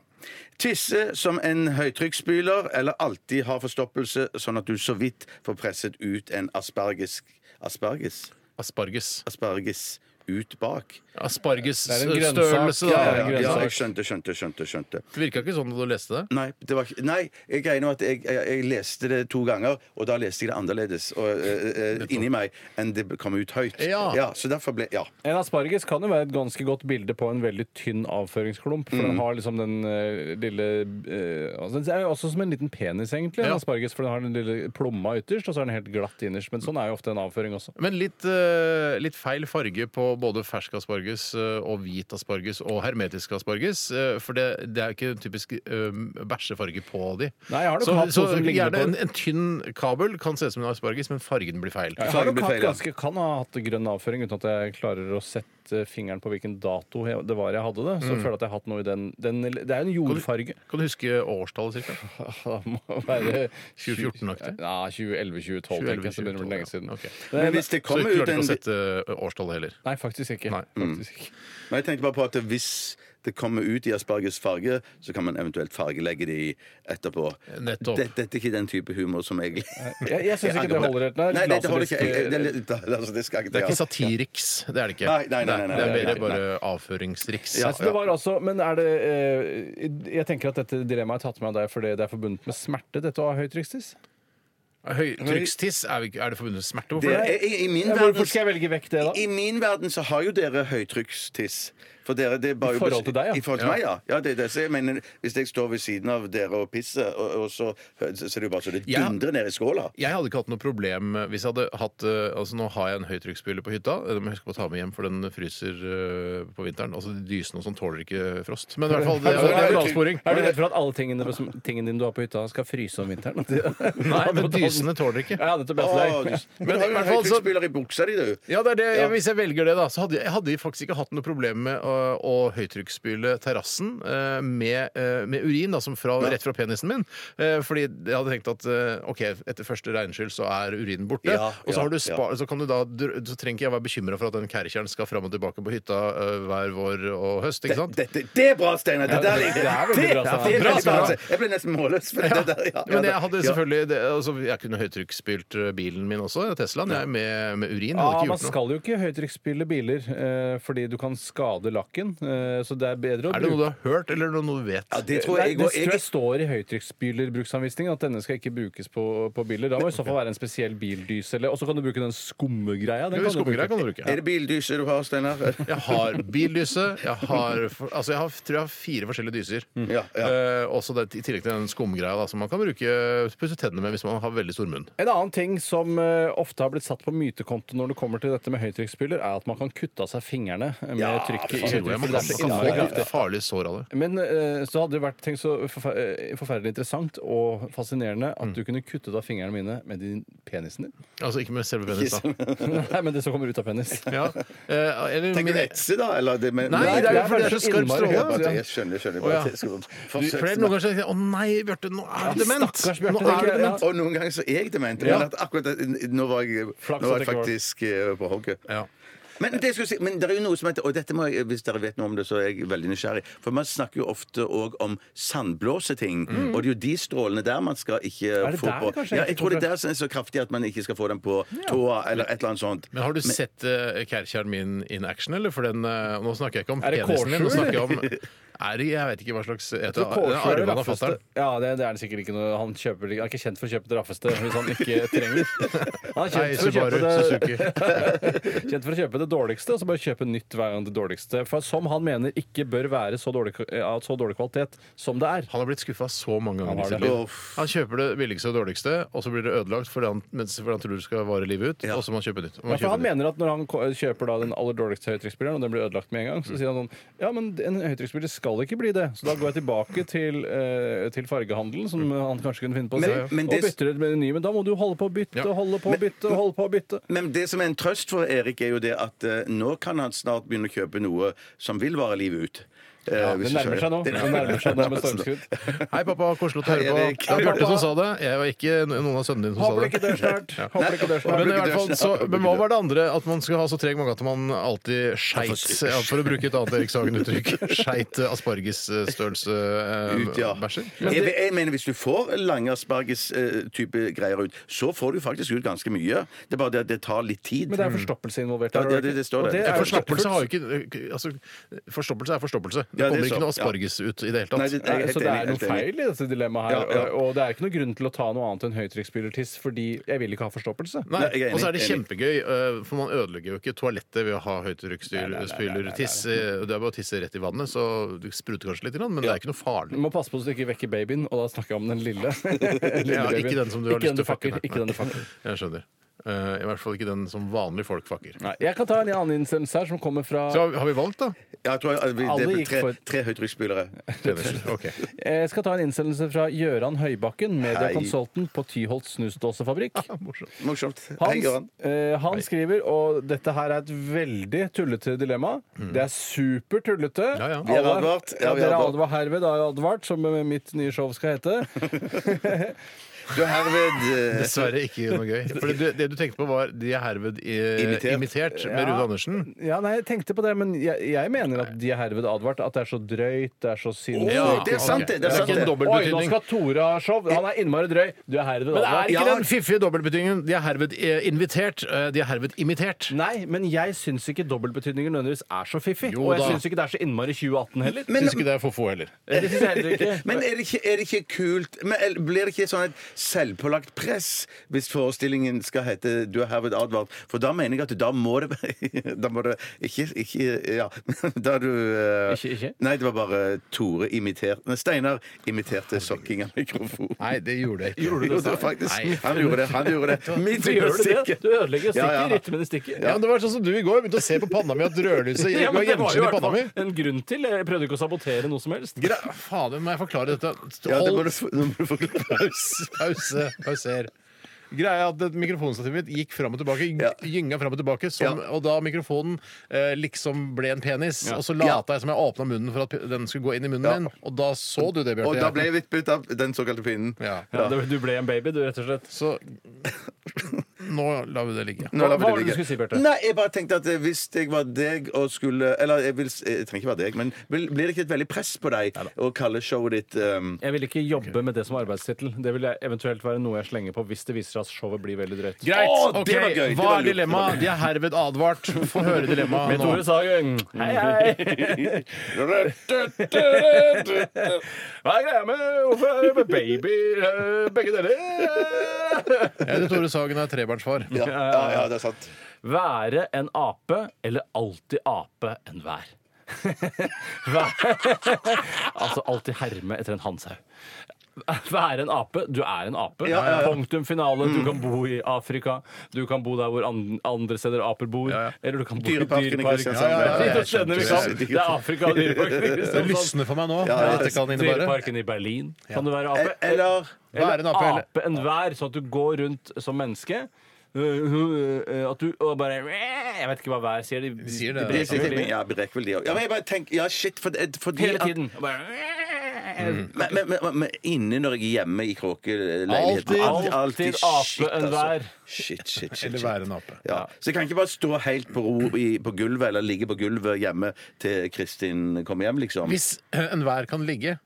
Speaker 7: Tisse som en høytrykksspyler eller alltid har forstoppelse, sånn at du så vidt får presset ut en asperges Asperges?
Speaker 6: Asparges.
Speaker 7: Asperges ut bak.
Speaker 8: Det er en grønnsak.
Speaker 6: Aspargesstørrelse,
Speaker 8: Ja,
Speaker 6: da.
Speaker 8: ja,
Speaker 7: ja, jeg skjønte, skjønte, skjønte. skjønte.
Speaker 6: Det virka ikke sånn da du leste det.
Speaker 7: Nei, det var ikke, nei jeg greier nå at jeg, jeg, jeg leste det to ganger, og da leste jeg det annerledes og, eh, eh, inni meg enn det kom ut høyt.
Speaker 6: Ja.
Speaker 7: så derfor ble Ja.
Speaker 8: En asparges kan jo være et ganske godt bilde på en veldig tynn avføringsklump. For den har liksom den eh, lille eh, altså Den er jo også som en liten penis, egentlig. En
Speaker 6: Ja.
Speaker 8: asparges, For den har den lille plomma ytterst, og så er den helt glatt innerst. Men sånn er jo ofte en avføring også.
Speaker 6: Men litt, eh, litt feil farge på både fersk asparges eh, og hvit asparges og hermetisk asparges. eh, For det, det er ikke en typisk eh, bæsjefarge på de.
Speaker 8: Nei, jeg har nok
Speaker 6: så
Speaker 8: hatt
Speaker 6: så
Speaker 8: noe som ligner på
Speaker 6: gjerne en,
Speaker 8: det.
Speaker 6: en tynn kabel kan se ut som en asparges, men fargen blir feil.
Speaker 8: Jeg
Speaker 7: Fargen
Speaker 8: har nok
Speaker 7: blir
Speaker 8: hatt
Speaker 7: feil, ja.
Speaker 8: ganske, kan ha hatt grønn avføring uten at jeg klarer å sette eh, fingeren på hvilken dato he- det var jeg hadde det. Så jeg føler at jeg har hatt noe i den, den Det er en jordfarge.
Speaker 6: Kan du huske årstallet cirka?
Speaker 8: Det må være
Speaker 6: 2014-aktig?
Speaker 8: Ja, 2011-2012. tenker jeg, så begynner det å bli lenge siden.
Speaker 6: Ok.
Speaker 7: Men hvis det
Speaker 6: Så du
Speaker 7: kommer ut
Speaker 6: klarte ikke
Speaker 7: en
Speaker 6: å sette eh, årstallet heller?
Speaker 8: Nei, faktisk ikke.
Speaker 6: Nei.
Speaker 8: Faktisk ikke.
Speaker 7: Men jeg tenkte bare på at hvis det kommer ut i asparges farge, så kan man eventuelt fargelegge det i etterpå.
Speaker 6: Nettopp.
Speaker 7: Dette, dette er ikke den type humor som jeg
Speaker 8: Jeg, jeg syns ikke det holder helt.
Speaker 7: Nei, det, det holder ikke. Jeg, jeg, det,
Speaker 8: Laserdisc-
Speaker 7: det, altså, det, det skal jeg
Speaker 6: Det er
Speaker 7: ikke
Speaker 6: ikke satiriks, det er det ikke.
Speaker 7: Nei, nei, nei, nei, nei,
Speaker 6: det er
Speaker 7: nei,
Speaker 6: mer
Speaker 7: nei,
Speaker 6: bare avføringsriks.
Speaker 7: Ja,
Speaker 8: Nei, så det var altså, men er det eh, Jeg tenker at dette dilemmaet er tatt med av deg fordi det er forbundet med smerte, dette å ha høytrykkstiss?
Speaker 6: Høytrykkstiss, er, vi ikke- er det forbundet med smerte?
Speaker 7: Det
Speaker 6: Hvorfor det?
Speaker 7: er, i, i min
Speaker 8: Ja,
Speaker 7: verden,
Speaker 8: hvorfor skal jeg velge vekk det, da?
Speaker 7: I, I min verden så har jo dere høytrykkstiss. For dere, det er bare
Speaker 8: I forhold til deg, ja.
Speaker 7: I forhold til meg, ja. ja det, er det, så jeg mener, hvis jeg står ved siden av dere og pisser, og, og så, så er det jo bare så det
Speaker 6: Ja.
Speaker 7: dundrer ned i skåla.
Speaker 6: Jeg hadde ikke hatt noe problem hvis jeg hadde hatt eh, Altså Nå har jeg en høytrykksspyler på hytta. Den må jeg huske på å ta med hjem, for den fryser eh, på vinteren. Altså Dysene og sånn tåler ikke frost. Men i hvert fall det,
Speaker 8: Er du-
Speaker 6: det er en
Speaker 8: er du-
Speaker 6: avsporing.
Speaker 8: er du redd for at alle tingene, som, tingene dine du har på hytta, skal fryse om vinteren? Nei,
Speaker 6: Ja, men dysene tåler ikke.
Speaker 8: Ja, nettopp.
Speaker 7: Å,
Speaker 8: altså,
Speaker 7: du,
Speaker 8: det
Speaker 7: men
Speaker 8: er-
Speaker 7: du har
Speaker 6: i
Speaker 7: jo
Speaker 6: hvert
Speaker 7: en
Speaker 6: fall så-
Speaker 7: høytrykksspyler i buksa di, du.
Speaker 6: Ja, det er det.
Speaker 7: Ja.
Speaker 6: Hvis jeg velger det, da, så hadde jeg, jeg hadde faktisk ikke hatt noe problem med å, å høytrykksspyle terrassen eh, med, eh, med urin da, som fra, rett fra penisen min. Eh, fordi jeg hadde tenkt at eh, OK, etter første regnskyll så er urinen borte.
Speaker 7: Ja,
Speaker 6: og så, har
Speaker 7: ja,
Speaker 6: du spa, så, kan du da, dr- så trenger ikke jeg være bekymra for at den kærkjæren skal fram og tilbake på hytta eh, hver vår og høst. ikke sant?
Speaker 7: Dette, det er bra, Steinar! Det, der liker jeg.
Speaker 8: det er veldig bra,
Speaker 7: Det er
Speaker 8: Steinar.
Speaker 7: veldig bra. Jeg ble nesten målløs. for det der, ja.
Speaker 6: Men jeg hadde
Speaker 7: Ja.
Speaker 6: selvfølgelig det, altså, Jeg kunne høytrykksspylt eh, bilen min også, Teslaen, jeg, med, med urin.
Speaker 8: Ja, man
Speaker 6: Hadde ikke gjort noe.
Speaker 8: skal jo ikke høytrykksspyle biler eh, fordi du kan skade lakken. Eh, så det er bedre å
Speaker 6: Er det noe du
Speaker 8: bruke
Speaker 6: har hørt, eller noe du vet?
Speaker 7: Ja, det tror
Speaker 8: Nei,
Speaker 7: jeg,
Speaker 8: det
Speaker 7: og
Speaker 8: tror jeg
Speaker 7: jeg,
Speaker 8: står i høytrykksspylerbruksanvisningen at denne skal ikke brukes på, på biler. Da må i så fall være en spesiell bildys. eller- Og så kan du bruke den skummegreia. Den
Speaker 6: Jo, Skummegreier kan du bruke.
Speaker 7: Er det bildyser du har, Steinar?
Speaker 6: Jeg har billyse. Jeg har, altså jeg har, tror jeg har fire forskjellige dyser.
Speaker 7: Ja, ja.
Speaker 6: Eh, også det, I tillegg til den skumgreia da, som man kan bruke pusse tennene med hvis man har veldig stor munn.
Speaker 8: En annen ting som eh, ofte har blitt satt på mytekonto når det kommer til dette med høytrykksspyler, er at man kan kutte av seg fingrene med
Speaker 7: Ja,
Speaker 8: trykket i
Speaker 7: faen,
Speaker 6: Tror jeg
Speaker 8: høytrykksspyler.
Speaker 6: man kan, man
Speaker 8: Det er så
Speaker 6: kan
Speaker 8: innmari
Speaker 6: få
Speaker 8: kraftig.
Speaker 6: farlige sår av det.
Speaker 8: Men eh, så hadde det vært tenk så forfer eh, forferdelig interessant og fascinerende
Speaker 6: Mm.
Speaker 8: at du kunne kuttet av fingrene mine med din penisen din.
Speaker 6: Altså ikke med selve penis, da.
Speaker 8: Nei, men det som kommer ut av penis.
Speaker 6: Ja. Eh, eller
Speaker 7: Tenker du
Speaker 6: min
Speaker 7: etse, da? Eller det med,
Speaker 6: Nei, det er jo fordi det er så skarp
Speaker 8: Innmari
Speaker 6: stråle.
Speaker 8: høyt, ja.
Speaker 7: Jeg skjønner, jeg skjønner.
Speaker 6: Å, ja.
Speaker 7: Bare at jeg skulle
Speaker 6: Du, for det
Speaker 7: forsøke
Speaker 6: er noen
Speaker 7: meg.
Speaker 6: ganger som tenker jeg, Å nei, Bjarte, nå er du dement!
Speaker 8: stakkars Bjarte,
Speaker 6: Nå er du
Speaker 8: tenker jeg, ja.
Speaker 6: dement!
Speaker 7: Og noen ganger så er jeg dement.
Speaker 8: Ja.
Speaker 7: Men at akkurat det- nå var jeg,
Speaker 8: Flaks
Speaker 7: nå var jeg
Speaker 8: at det ikke var.
Speaker 7: faktisk eh, på hogget.
Speaker 6: Ja.
Speaker 7: Men det, jeg skulle si, men det er jo noe som heter Og dette må jeg, hvis dere vet noe om det, så er jeg veldig nysgjerrig. For man snakker jo ofte òg om sandblåseting. Og det er jo de strålene der man skal ikke
Speaker 8: Mm. det
Speaker 7: få
Speaker 8: der
Speaker 7: på
Speaker 8: kanskje
Speaker 7: Ja,
Speaker 8: jeg
Speaker 7: jeg
Speaker 8: ikke
Speaker 7: tror det
Speaker 8: får
Speaker 7: er der som er så kraftig at man ikke skal få dem på tåa eller et eller annet sånt.
Speaker 6: Men har du sett uh, kærkjæren min in action, eller? For den, eh, nå snakker jeg ikke om
Speaker 8: Er det
Speaker 6: penisen min. Nå
Speaker 8: kårsjul,
Speaker 6: snakker jeg om er det, Jeg vet ikke hva slags Jeg
Speaker 8: Så
Speaker 6: tror den er
Speaker 8: Kårstø er det
Speaker 6: arven av
Speaker 8: raffeste-
Speaker 6: fatter'n.
Speaker 8: Ja, det, det er det sikkert ikke noe Han kjøper, han er ikke kjent for å kjøpe det raffeste hvis han ikke trenger. Han er
Speaker 6: Nei,
Speaker 8: kjent for, å
Speaker 6: Subaru,
Speaker 8: kjøpe det,
Speaker 6: Suzuki.
Speaker 8: kjent for å kjøpe det dårligste og så bare kjøpe nytt hver gang det dårligste. For som han mener ikke bør være så dårlig, eh, av så dårlig kvalitet som det er.
Speaker 6: Han har blitt skuffa så mange
Speaker 8: Han
Speaker 6: ganger.
Speaker 8: har
Speaker 6: i sitt
Speaker 8: det.
Speaker 6: liv. Han kjøper det billigste og dårligste, og så blir det ødelagt fordi han, mens, fordi han tror det skal vare livet ut, og så må han kjøpe nytt. Og
Speaker 8: Ja,
Speaker 6: man
Speaker 8: for han
Speaker 6: kjøper nytt.
Speaker 8: mener at Når han ko- kjøper da den aller dårligste høytrykksspilleren, og den blir ødelagt med en gang, så
Speaker 7: Mm.
Speaker 8: sier han sånn Ja, men en høytrykksspiller skal ikke bli det. Så da går jeg tilbake til, eh, til fargehandelen, som han kanskje kunne finne på
Speaker 7: Mm.
Speaker 8: å
Speaker 7: Men-
Speaker 8: si,
Speaker 7: men
Speaker 8: og
Speaker 7: det-
Speaker 8: bytter ut med en ny. Men da må du holde på å bytte, holde på å bytte, holde på å bytte.
Speaker 7: Men det som er en trøst for Erik, er jo det at eh, nå kan han snart begynne å kjøpe noe som vil vare livet ut. Eh,
Speaker 8: Ja,
Speaker 7: hvis
Speaker 8: det
Speaker 7: du
Speaker 8: nærmer
Speaker 7: skjønner.
Speaker 8: seg nå.
Speaker 7: Det
Speaker 8: Det nærmer seg nå med stormskritt.
Speaker 7: sånn.
Speaker 6: Hei, pappa. Koselig å ta
Speaker 7: Hei,
Speaker 6: høre på.
Speaker 7: Erik.
Speaker 6: Det var Bjarte som sa det. Jeg var ikke noen av sønnene dine som
Speaker 8: Håper det ikke
Speaker 6: sa
Speaker 8: dør
Speaker 6: det.
Speaker 8: snart. Håper det ikke dør snart.
Speaker 6: Men, i
Speaker 7: Håper
Speaker 6: hvert
Speaker 7: ikke
Speaker 6: fall,
Speaker 7: dør
Speaker 6: så,
Speaker 7: snart.
Speaker 6: men hva var det andre? At man skulle ha så treg mage at man alltid skeit ja, For å bruke et annet Erik Sagen-uttrykk. Skeit eh, aspargesstørrelse eh,
Speaker 7: Ut, ja.
Speaker 6: bæsjer.
Speaker 7: jeg, jeg mener, Hvis du får lange asparges-type greier ut, så får du faktisk ut ganske mye. Det er bare det at det tar litt tid.
Speaker 8: Men det er forstoppelse involvert.
Speaker 7: Mm. Ja, det-
Speaker 8: her,
Speaker 7: det- det står
Speaker 8: og
Speaker 7: det.
Speaker 8: er
Speaker 6: Ja,
Speaker 8: jo
Speaker 6: Forstoppelse
Speaker 8: fullt-
Speaker 6: har jo ikke altså, Forstoppelse er forstoppelse. Det
Speaker 7: Ja, det er
Speaker 6: kommer
Speaker 7: så.
Speaker 6: ikke noe asparges ut i det
Speaker 7: Nei,
Speaker 6: hele tatt.
Speaker 7: det- jeg
Speaker 8: Nei,
Speaker 7: helt
Speaker 8: Eh, så det
Speaker 7: enig,
Speaker 8: er noe
Speaker 7: helt enig.
Speaker 8: feil i dette dilemmaet her.
Speaker 7: Ja, ja.
Speaker 8: Og, og det er ikke noe grunn til å ta noe annet enn høytrykksspillertiss, fordi jeg vil ikke ha forstoppelse.
Speaker 6: Nei,
Speaker 7: Nei, jeg er
Speaker 6: og så er
Speaker 7: enig,
Speaker 6: det
Speaker 7: enig.
Speaker 6: kjempegøy, eh, for man ødelegger jo ikke toalettet ved å ha høytrykksspylertiss. eh, Det er bare å tisse rett i vannet, så du spruter kanskje litt, grann, men det er ikke noe farlig.
Speaker 8: Du må passe på så du ikke vekker babyen, og da snakker jeg om den lille. lille
Speaker 6: Ja,
Speaker 8: babyen.
Speaker 6: ikke den som du har lyst til å fucke.
Speaker 8: fucker.
Speaker 6: med.
Speaker 8: Ikke den du
Speaker 7: Mm.
Speaker 6: Nei.
Speaker 8: fucker.
Speaker 6: Jeg skjønner. Eh, I hvert fall ikke den som vanlige folk fucker.
Speaker 8: Nei, jeg kan ta en annen innsendelse her, som kommer fra
Speaker 6: Så har vi valgt, da.
Speaker 7: Ja, jeg tror jeg, det
Speaker 8: Alle
Speaker 7: blir
Speaker 8: gikk
Speaker 7: tre,
Speaker 8: for-
Speaker 7: tre høytrykksspylere.
Speaker 6: Pedersen. Ok.
Speaker 8: Jeg Eh, skal ta en innsendelse fra Gjøran Høybakken,
Speaker 7: Hei.
Speaker 8: mediekonsulten på Tyholt snusdåsefabrikk.
Speaker 6: Morsomt.
Speaker 7: Morsomt. Hei,
Speaker 8: Hans,
Speaker 7: Gøran.
Speaker 8: eh, han skriver, og dette her er et veldig tullete dilemma. Det er super tullete.
Speaker 6: Mm. Ja, ja.
Speaker 7: Vi er
Speaker 8: Alle-
Speaker 7: advart. Ja,
Speaker 8: Ja,
Speaker 7: vi er
Speaker 8: dere
Speaker 7: advart.
Speaker 8: advar herved er advart, som eh, mitt nye show skal hete.
Speaker 7: Du er herved eh,
Speaker 6: Dessverre ikke noe gøy. For det, det du tenkte på, var de er herved i,
Speaker 7: Imitert.
Speaker 6: imitert. med
Speaker 8: Ja.
Speaker 6: Rune Andersen.
Speaker 8: Ja, nei, jeg tenkte på det, men jeg, jeg mener at de er herved advart. At det er så drøyt, det er så sinnssykt.
Speaker 7: Ja, det er sant, det, det er
Speaker 6: ok.
Speaker 7: sant, det.
Speaker 8: Altså,
Speaker 6: ikke en
Speaker 8: Oi, nå
Speaker 6: dobbeltbetydning.
Speaker 8: skal Tore ha show! Han er innmari drøy. Du er herved
Speaker 6: Men det er
Speaker 8: advart.
Speaker 6: ikke
Speaker 7: Ja.
Speaker 6: den fiffige dobbeltbetydningen. De er herved eh, invitert. eh, De er herved imitert.
Speaker 8: Nei, men jeg syns ikke dobbeltbetydninger nødvendigvis er så fiffig.
Speaker 6: Jo
Speaker 8: og jeg
Speaker 6: da.
Speaker 8: syns ikke det er så innmari 2018 heller. Eh,
Speaker 6: Men, Syns ikke det er for få heller.
Speaker 8: Det synes jeg heller ikke.
Speaker 7: Men er det ikke, er det ikke kult men eller Blir det ikke sånn et selvpålagt press hvis forestillingen skal hete 'Du er herved advart'? For da mener jeg at da må det være- Da må det Ikke, ikke Ja. Da er du eh,
Speaker 8: Ikke- ikke?
Speaker 7: Nei, det var bare Tore imiterte Nei, Steinar imiterte sokking av mikrofon.
Speaker 6: Nei, det gjorde jeg ikke.
Speaker 7: Jo, det var faktisk. Han gjorde det. Han gjorde det. Midt
Speaker 8: Du
Speaker 7: i
Speaker 8: gjør det, det.
Speaker 7: musikken.
Speaker 8: Du ødelegger stikker,
Speaker 7: Ja, ja.
Speaker 8: rytmen stikker.
Speaker 6: Ja, men det var sånn som du i går begynte å se på panna mi at rødlyset
Speaker 8: Ja,
Speaker 6: gikk
Speaker 8: men det
Speaker 6: og
Speaker 8: var
Speaker 6: gjenskinn
Speaker 8: jo
Speaker 6: i
Speaker 8: i hvert
Speaker 6: panna mi.
Speaker 8: fall en grunn til. Jeg prøvde ikke å sabotere noe som helst.
Speaker 6: Gra- Fader, må jeg forklare dette?
Speaker 7: Ja, det må du
Speaker 6: Hold
Speaker 7: få- nå må du forklare.
Speaker 6: pause. Pause. Pauser. Greia er at det- mikrofonstativet mitt gikk fram og tilbake,
Speaker 7: Ja.
Speaker 6: gynga fram og tilbake, som, og da mikrofonen eh, liksom ble en penis, og så lata jeg som jeg åpna munnen for at pe- den skulle gå inn i munnen
Speaker 7: Ja.
Speaker 6: min, og da så du det,
Speaker 7: Og da ble
Speaker 6: Bjarte.
Speaker 7: jeg vippet av den såkalte pinnen.
Speaker 6: Ja.
Speaker 8: Ja, du du ble en baby, du, rett og slett.
Speaker 6: Så nå lar vi det ligge.
Speaker 7: Nå lar vi det
Speaker 8: Hva var det du
Speaker 7: ligge.
Speaker 8: skulle si, Bjarte?
Speaker 7: Nei, jeg bare tenkte at eh, hvis jeg var deg og skulle Eller jeg, vil, s- jeg trenger ikke være deg, men vil, blir det ikke et veldig press på deg å kalle showet ditt um,
Speaker 8: Jeg vil ikke jobbe med det som arbeidstittel. Det vil jeg eventuelt være noe jeg slenger på hvis det viser seg at showet blir veldig drøyt.
Speaker 6: Greit!
Speaker 7: Å,
Speaker 6: ok,
Speaker 7: det var gøy, det var
Speaker 6: Hva er
Speaker 7: lurt, det var
Speaker 6: dilemmaet? De er herved advart. Få høre dilemmaet
Speaker 8: Med Tore
Speaker 6: nå.
Speaker 8: Sagen. Hei, hei! Hva er greia med Hvorfor er det baby eh, begge deler?
Speaker 6: Ja, det Tore Sagen er trebarnsfar.
Speaker 7: ja, ja, ja, det er sant.
Speaker 8: Være en ape eller alltid ape enhver? Være- altså alltid herme etter en hanshaug. Være en ape. Du er en ape. Punktum finale. Du kan bo i Afrika. Du kan bo der hvor an- andre steder aper bor. Eller du kan bo
Speaker 7: Dyreparken i
Speaker 8: i dyrepark.
Speaker 7: Kristiansand.
Speaker 6: Ja, ja,
Speaker 8: Det
Speaker 6: ja,
Speaker 8: er skjønner vi sammen. Det er Afrika og dyreparken i
Speaker 6: Det
Speaker 8: Kristiansand.
Speaker 6: lysner for meg nå.
Speaker 7: ja.
Speaker 6: dette kan innebære.
Speaker 8: Dyreparken i Berlin. Kan du være ape?
Speaker 7: Eh, Eller
Speaker 8: eh,
Speaker 6: Være en ape, eller-
Speaker 8: ape enhver, sånn at du går rundt som menneske. Uh, uh, at du og bare Jeg vet ikke hva hver sier. De, de
Speaker 6: sier det,
Speaker 8: breker
Speaker 6: altså.
Speaker 8: veldig.
Speaker 7: Ja, vi rekker vel de òg. Ja, men jeg bare tenker Ja, shit, for, det- fordi
Speaker 8: Hele
Speaker 7: at-
Speaker 8: tiden. Og øh, Bare,
Speaker 7: Men, men, men, men inne når jeg er hjemme i kråkeleiligheten
Speaker 6: Alltid-
Speaker 7: alt-
Speaker 8: alltid ape enhver.
Speaker 7: altså. Shit, shit, shit.
Speaker 6: Eller
Speaker 7: shit.
Speaker 6: være en ape.
Speaker 7: Ja. Så jeg kan ikke bare stå helt på ro i, på gulvet eller ligge på gulvet hjemme til Kristin kommer hjem, liksom.
Speaker 6: Hvis eh, enhver kan ligge,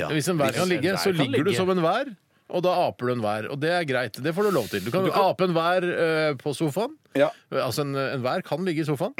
Speaker 7: Ja.
Speaker 6: hvis enhver kan ligge,
Speaker 8: enhver
Speaker 6: så
Speaker 8: kan
Speaker 6: ligger du
Speaker 8: ligge.
Speaker 6: som enhver. Og da aper du enhver. Og det er greit. Det får du lov til. Du kan, ape enhver eh, på sofaen.
Speaker 7: Ja.
Speaker 6: Altså en- enhver kan ligge i sofaen.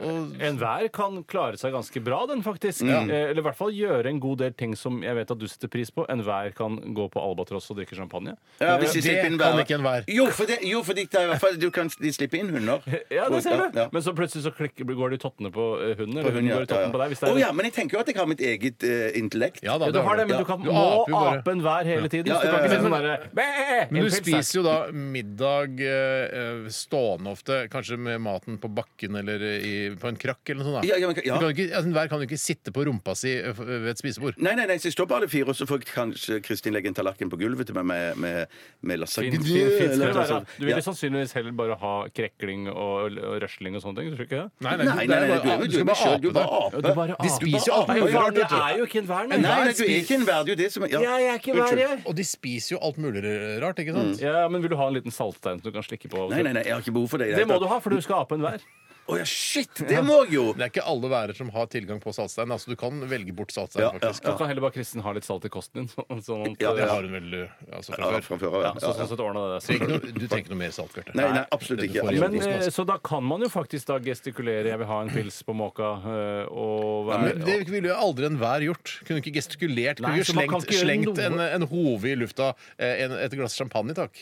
Speaker 8: Enhver kan klare seg ganske bra, den faktisk. Eh, Eller i hvert fall gjøre en god del ting som jeg vet at du setter pris på. Enhver kan gå på Albatross og drikke champagne.
Speaker 7: Ja, hvis de
Speaker 6: Det
Speaker 7: slipper inn
Speaker 6: kan
Speaker 7: hver-
Speaker 6: ikke enhver.
Speaker 7: Jo, for, det, jo, for de, det er i hvert fall, du kan de slipper inn hunder.
Speaker 8: Ja, det ser du.
Speaker 7: Ja, ja.
Speaker 8: Men så plutselig så klikker, går de tottene på eh, hunden. Eller
Speaker 7: På hund,
Speaker 8: hunden
Speaker 7: ja,
Speaker 8: går i totten
Speaker 7: ja,
Speaker 8: på
Speaker 7: ja.
Speaker 8: deg. Hvis det er
Speaker 7: Å, ja, men jeg tenker jo at jeg har mitt eget eh, intellekt.
Speaker 6: Ja da,
Speaker 8: Ja, du har det, men
Speaker 6: Ja.
Speaker 8: du kan
Speaker 6: Du
Speaker 8: må
Speaker 6: aper jo bare.
Speaker 8: ape enhver hele tiden.
Speaker 7: Ja,
Speaker 8: så du
Speaker 7: ja,
Speaker 8: kan
Speaker 7: ja,
Speaker 8: ikke si
Speaker 7: ja.
Speaker 8: sånn derre «Bæ,
Speaker 6: Men
Speaker 8: en
Speaker 6: du
Speaker 8: pils,
Speaker 6: spiser jo da middag eh, eh, stående ofte, kanskje med maten på bakken eller eh, i, på en krakk eller noe sånt. da.
Speaker 7: Ja, ja, men- ja.
Speaker 6: Du kan jo ikke, altså, enhver kan jo ikke sitte på rumpa si eh, f- ved et spisebord.
Speaker 7: Nei, nei, nei, så jeg står på alle fire, og så får kanskje Kristin legge en tallerken på gulvet til meg med, med, med lasagne.
Speaker 8: Fint, fint, fint skal det
Speaker 7: Eller noe
Speaker 8: være.
Speaker 7: sånt. altså.
Speaker 8: Du vil sånn-
Speaker 7: Ja.
Speaker 8: jo sannsynligvis heller bare ha krekling og, og røsling og sånne ting. Tror du ikke det?
Speaker 6: Nei,
Speaker 7: Nei, nei, nei,
Speaker 6: det er
Speaker 7: du
Speaker 6: bare-
Speaker 7: er jo
Speaker 6: du
Speaker 7: du
Speaker 6: skal
Speaker 7: er jo
Speaker 6: bare
Speaker 7: selv, du
Speaker 6: ape
Speaker 7: er
Speaker 6: det.
Speaker 7: bare ape.
Speaker 8: Du bare
Speaker 6: De
Speaker 8: aper.
Speaker 6: spiser jo alt
Speaker 8: Nei,
Speaker 6: mulig
Speaker 8: faen,
Speaker 6: rart, vet du.
Speaker 8: Jeg er jo ikke enhver,
Speaker 7: Nei, nei,
Speaker 8: nei.
Speaker 7: du er ikke en verd, det er jo det som ja.
Speaker 8: Jeg er ikke enhver, jeg.
Speaker 6: Og de spiser jo alt mulig rart, ikke sant?
Speaker 8: Ja, men vil du ha en liten saltstein som du kan slikke på?
Speaker 7: Nei, nei, nei, jeg har ikke behov for det. i
Speaker 8: Det
Speaker 7: hele
Speaker 8: må
Speaker 7: tatt.
Speaker 8: du ha, for du skal ape enhver.
Speaker 7: Å ja, shit! Det må jeg jo!
Speaker 6: Det er ikke alle værer som har tilgang på saltstein. Altså, du kan velge bort saltstein,
Speaker 7: Ja, ja,
Speaker 6: faktisk.
Speaker 8: Da kan heller bare Kristin ha litt salt i kosten din. Sånn, sånn at,
Speaker 7: Ja,
Speaker 6: Det
Speaker 7: ja.
Speaker 6: har hun vel altså, fra
Speaker 7: Ja,
Speaker 6: før.
Speaker 7: fra før av, ja.
Speaker 8: så,
Speaker 7: Ja,
Speaker 8: sånn
Speaker 7: ja.
Speaker 8: sett ordna det
Speaker 6: Du trenger
Speaker 8: seg.
Speaker 6: ikke noe, du trenger ikke noe mer salt, Bjarte.
Speaker 7: Nei, nei, absolutt
Speaker 6: Det du
Speaker 7: ikke,
Speaker 6: får i
Speaker 7: absolutt
Speaker 8: Men,
Speaker 6: kosten,
Speaker 8: eh,
Speaker 6: altså.
Speaker 8: så da kan man jo faktisk da gestikulere 'jeg vil ha en pils på måka' eh, og være
Speaker 6: Men det ville jo aldri enhver gjort. Kunne ikke gestikulert. Kunne
Speaker 8: Nei,
Speaker 6: ikke
Speaker 8: så man kan
Speaker 6: slengt,
Speaker 8: ikke gjøre
Speaker 6: slengt
Speaker 8: noe.
Speaker 6: en, en hove i lufta. eh, En, et glass champagne, takk.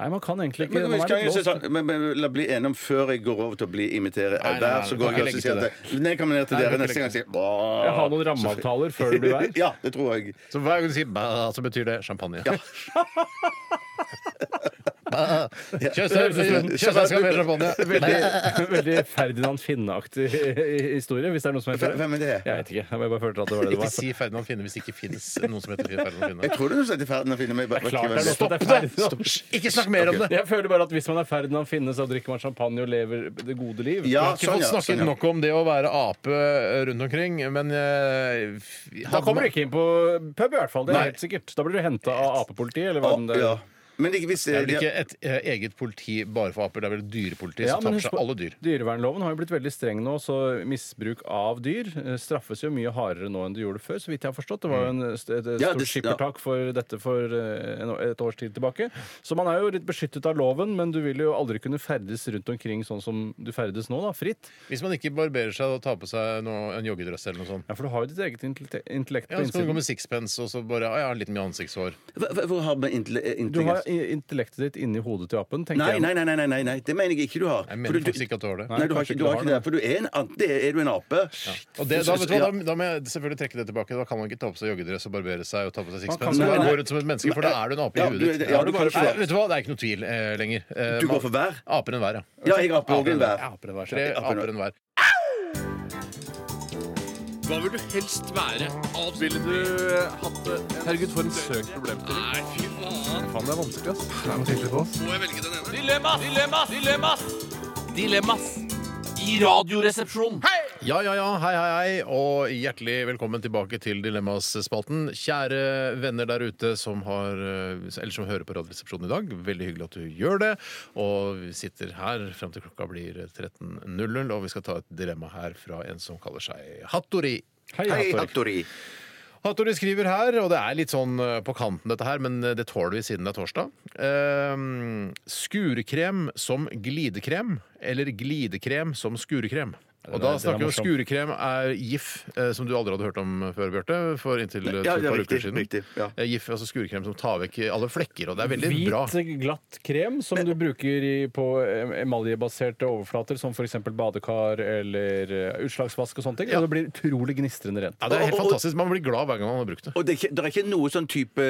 Speaker 8: Nei, man kan egentlig ikke.
Speaker 7: Men,
Speaker 8: man
Speaker 7: men,
Speaker 8: er
Speaker 7: kan jeg
Speaker 8: litt
Speaker 7: si
Speaker 8: låst.
Speaker 7: sånn, men, men la bli enige om før jeg går over til å bli imitere
Speaker 6: Nei, nei,
Speaker 7: der,
Speaker 6: nei,
Speaker 7: så
Speaker 6: du
Speaker 7: går
Speaker 6: kan
Speaker 7: jeg
Speaker 6: ikke
Speaker 7: og sier
Speaker 6: legge
Speaker 7: at jeg- Nei, jeg kommer ned til
Speaker 6: Nei, du
Speaker 7: dere
Speaker 6: kan
Speaker 7: neste
Speaker 6: ikke
Speaker 7: gang og sier «Bah».
Speaker 8: Jeg har noen rammeavtaler før du blir vær.
Speaker 7: Ja, det tror jeg.
Speaker 6: Så hver gang du sier bæ, så betyr det champagne.
Speaker 8: Veldig, veldig Ferdinand Finne-aktig historie, hvis det er noe som heter det.
Speaker 7: Hvem er det?
Speaker 8: Jeg vet ikke. Jeg bare følte at det var det det
Speaker 6: Ikke
Speaker 8: var.
Speaker 6: si Ferdinand Finne hvis det ikke fins noen som heter Ferdinand
Speaker 7: Jeg
Speaker 6: Finne.
Speaker 7: tror det er noe som heter Ferdinand Finne. men jeg bare-
Speaker 8: Klart det er noe som heter Ferdinand.
Speaker 6: Ikke snakk mer om det!
Speaker 8: Jeg føler bare at hvis man er Ferdinand Finne, så drikker man champagne og lever det gode liv.
Speaker 7: Ja,
Speaker 6: Vi har ikke
Speaker 7: sånn,
Speaker 6: fått
Speaker 7: ja.
Speaker 6: snakket
Speaker 7: Sånn, ja.
Speaker 6: nok om det å være ape rundt omkring, men eh,
Speaker 8: Da kommer du ikke inn på pub, i hvert fall. Det
Speaker 6: Nei.
Speaker 8: er helt sikkert. Da blir du henta av apepolitiet, eller hva
Speaker 7: Å,
Speaker 8: enn det
Speaker 7: ja.
Speaker 8: er.
Speaker 7: Men ikke hvis
Speaker 6: Det er
Speaker 7: det
Speaker 6: vel ikke et eh, eget politi bare for aper, det er vel dyrepoliti
Speaker 8: Ja,
Speaker 6: som
Speaker 8: men
Speaker 6: tar
Speaker 8: husk
Speaker 6: for seg
Speaker 8: på-
Speaker 6: alle dyr.
Speaker 8: Dyrevernloven har jo blitt veldig streng nå, så misbruk av dyr eh, straffes jo mye hardere nå enn det gjorde før, så vidt jeg har forstått. Det var
Speaker 6: Mm.
Speaker 8: jo en, eh, st- et, et
Speaker 7: Ja,
Speaker 8: stort
Speaker 7: det- ja.
Speaker 8: skippertak for dette for eh, en, et års tid tilbake. Så man er jo litt beskyttet av loven, men du vil jo aldri kunne ferdes rundt omkring sånn som du ferdes nå, da, fritt.
Speaker 6: Hvis man ikke barberer seg og tar på seg noe, en joggedress eller noe sånt.
Speaker 8: Ja, for du har jo ditt eget intellekt, intellekt
Speaker 6: Ja,
Speaker 8: på
Speaker 6: så kan du gå
Speaker 8: innsiden.
Speaker 6: med sixpence og så bare ah, jeg har litt mye ansiktshår.
Speaker 7: Hva- hva- Hvor har vi intelli-
Speaker 8: Du har
Speaker 7: intelligens?
Speaker 8: i- intellektet ditt inni hodet til apen, tenker
Speaker 7: Nei,
Speaker 8: jeg.
Speaker 7: nei, nei, nei, nei, nei, det mener jeg ikke du har.
Speaker 6: Jeg
Speaker 7: For
Speaker 6: mener
Speaker 7: du-
Speaker 6: faktisk ikke at du har det.
Speaker 7: Nei, du har
Speaker 8: kanskje
Speaker 7: ikke, du har ikke det, for du er en, an- det er du en ape.
Speaker 6: Og det, da, vet du, hva,
Speaker 7: Ja.
Speaker 6: da, da må jeg selvfølgelig trekke det tilbake. Da kan man ikke ta på seg joggedress og barbere seg og ta på seg
Speaker 8: kan ikke
Speaker 6: sixpence. Man
Speaker 8: det.
Speaker 6: går rundt som et menneske, for da er du en ape i
Speaker 7: Ja,
Speaker 6: huet
Speaker 7: du-
Speaker 6: ditt.
Speaker 7: ja, du kan ikke
Speaker 6: Nei,
Speaker 7: det.
Speaker 6: Vet du hva, det er ikke noe tvil eh, lenger. Eh,
Speaker 7: Du
Speaker 6: man-
Speaker 7: går for hver?
Speaker 6: Aper enn hver, ja.
Speaker 7: Ja, jeg er ape og en hver.
Speaker 8: Aper enn hver,
Speaker 6: Tre
Speaker 7: aper enn-
Speaker 6: aper enn hver.
Speaker 10: Hva vil du helst være? Ville du hatt det? Herregud, for en søk problemstilling. Nei, fy faen. Faen, det er vanskelig, ass. Må jeg velge den ene? Dilemmas! Dilemmas! Dilemmas! Dilemmas i radioresepsjonen. Hei!
Speaker 6: Ja, ja, ja. Hei, hei, hei. Og hjertelig velkommen tilbake til Dilemmaspalten. Kjære venner der ute som, har, eh, eller som hører på Radioresepsjonen i dag. Veldig hyggelig at du gjør det. Og vi sitter her fram til klokka blir 13.00, og vi skal ta et dilemma her fra en som kaller seg Hattori.
Speaker 7: Hei,
Speaker 8: Hattori.
Speaker 7: Hattori.
Speaker 6: Hattori skriver her, og det er litt sånn eh, på kanten dette her, men eh, det tåler vi siden det er torsdag. Ehm, skurekrem som glidekrem, eller glidekrem som skurekrem? Og da
Speaker 8: er- den er
Speaker 6: snakker vi om
Speaker 8: morsom.
Speaker 6: skurekrem er GIF, eh, som du aldri hadde hørt om før, Bjarte. For inntil et
Speaker 7: Ja, det er
Speaker 6: par
Speaker 7: riktig,
Speaker 6: uker siden.
Speaker 7: riktig, ja.
Speaker 6: Eh, GIF, altså skurekrem som tar vekk alle flekker, og det er veldig
Speaker 8: Hvit,
Speaker 6: bra.
Speaker 7: eh,
Speaker 8: glatt krem som du bruker i, på em- emaljebaserte overflater, som f.eks. badekar eller eh, utslagsvask og sånne ting. Og det blir utrolig gnistrende rent.
Speaker 6: Ja, det er helt
Speaker 7: Og- og-
Speaker 6: fantastisk. Man blir glad hver gang man har brukt det.
Speaker 7: Og det er, ikke, det er ikke noe sånn type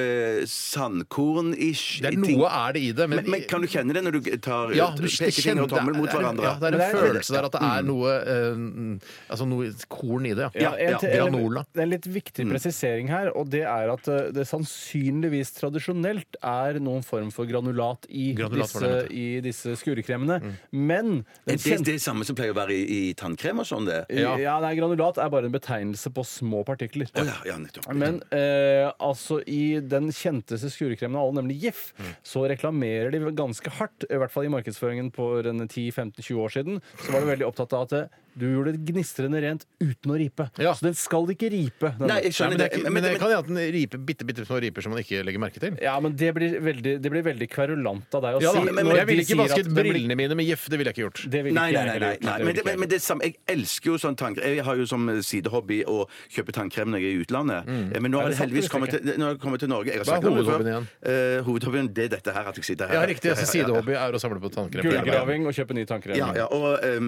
Speaker 7: sandkorn-ish
Speaker 6: Det er
Speaker 7: ting.
Speaker 6: noe er det i det, men,
Speaker 7: Men, men kan du kjenne det når du tar
Speaker 6: Ja, du
Speaker 7: pekefinger og
Speaker 6: kjenner-
Speaker 7: tommel mot
Speaker 6: det er-
Speaker 7: hverandre?
Speaker 6: Ja, det er
Speaker 8: Men
Speaker 6: en
Speaker 8: det er-
Speaker 6: følelse der at det er noe, eh, altså noe korn i det.
Speaker 8: Ja, en,
Speaker 7: ja,
Speaker 8: til- en-
Speaker 6: granola.
Speaker 8: Det er en litt viktig presisering her, og det er at eh, det sannsynligvis tradisjonelt er noen form for granulat i,
Speaker 6: Granulat
Speaker 8: disse,
Speaker 6: var det jeg
Speaker 8: i disse skurekremene. Men den
Speaker 7: Det, det,
Speaker 8: kjente
Speaker 7: er samme som pleier å være i, i tannkrem og sånn, det.
Speaker 8: ja. nei, granulat er bare en betegnelse på små partikler.
Speaker 7: Å ja, ja, nettopp.
Speaker 8: Men eh, altså i den kjenteste skurekremen av alle, nemlig GIF, så reklamerer de ganske hardt, i hvert fall i markedsføringen for en 10-15-20 år siden, så var du veldig opptatt av at eh, du gjorde det gnistrende rent uten å ripe.
Speaker 6: Ja.
Speaker 8: Så den skal ikke ripe. denne.
Speaker 7: Nei, jeg
Speaker 6: Nei,
Speaker 7: skjønner
Speaker 6: men det, er ikke,
Speaker 7: det.
Speaker 6: men,
Speaker 7: Men,
Speaker 6: det
Speaker 7: men,
Speaker 6: kan hende at den riper bitte, bitte små riper som man ikke legger merke til.
Speaker 8: Ja, men det blir veldig, det blir veldig kverulant av deg å
Speaker 6: Ja, da,
Speaker 8: si.
Speaker 6: men,
Speaker 7: men
Speaker 8: når
Speaker 6: jeg
Speaker 8: de
Speaker 6: ville ikke
Speaker 8: sier at
Speaker 6: vasket
Speaker 8: den blir-
Speaker 6: brillene mine med gif. Det ville jeg ikke gjort.
Speaker 8: Det vil
Speaker 7: Nei, nei,
Speaker 8: ikke jeg
Speaker 7: nei.
Speaker 8: heller
Speaker 7: nei,
Speaker 8: gjort.
Speaker 7: nei.
Speaker 8: Det vil
Speaker 7: Men, det,
Speaker 8: ikke jeg
Speaker 7: men det er samme, jeg elsker jo sånn tannkrem. Jeg har jo som sidehobby å kjøpe tannkrem når jeg er i utlandet.
Speaker 6: Mm.
Speaker 7: Eh, Men nå har det
Speaker 8: det sant,
Speaker 7: heldigvis
Speaker 8: eller
Speaker 7: kommet til, nå har det kommet til Norge. Jeg har
Speaker 6: Hva er
Speaker 7: snakket om det
Speaker 6: hovedhobbyen
Speaker 7: før. Eh, hovedhobbyen det er dette her, at jeg sitter her.
Speaker 6: Ja, riktig.
Speaker 7: Ja, ja,
Speaker 6: Altså,
Speaker 7: ja.
Speaker 6: sidehobby er å samle på tannkrem.
Speaker 8: Gullgraving og kjøpe ny tannkrem.
Speaker 7: Ja, ja, og uh,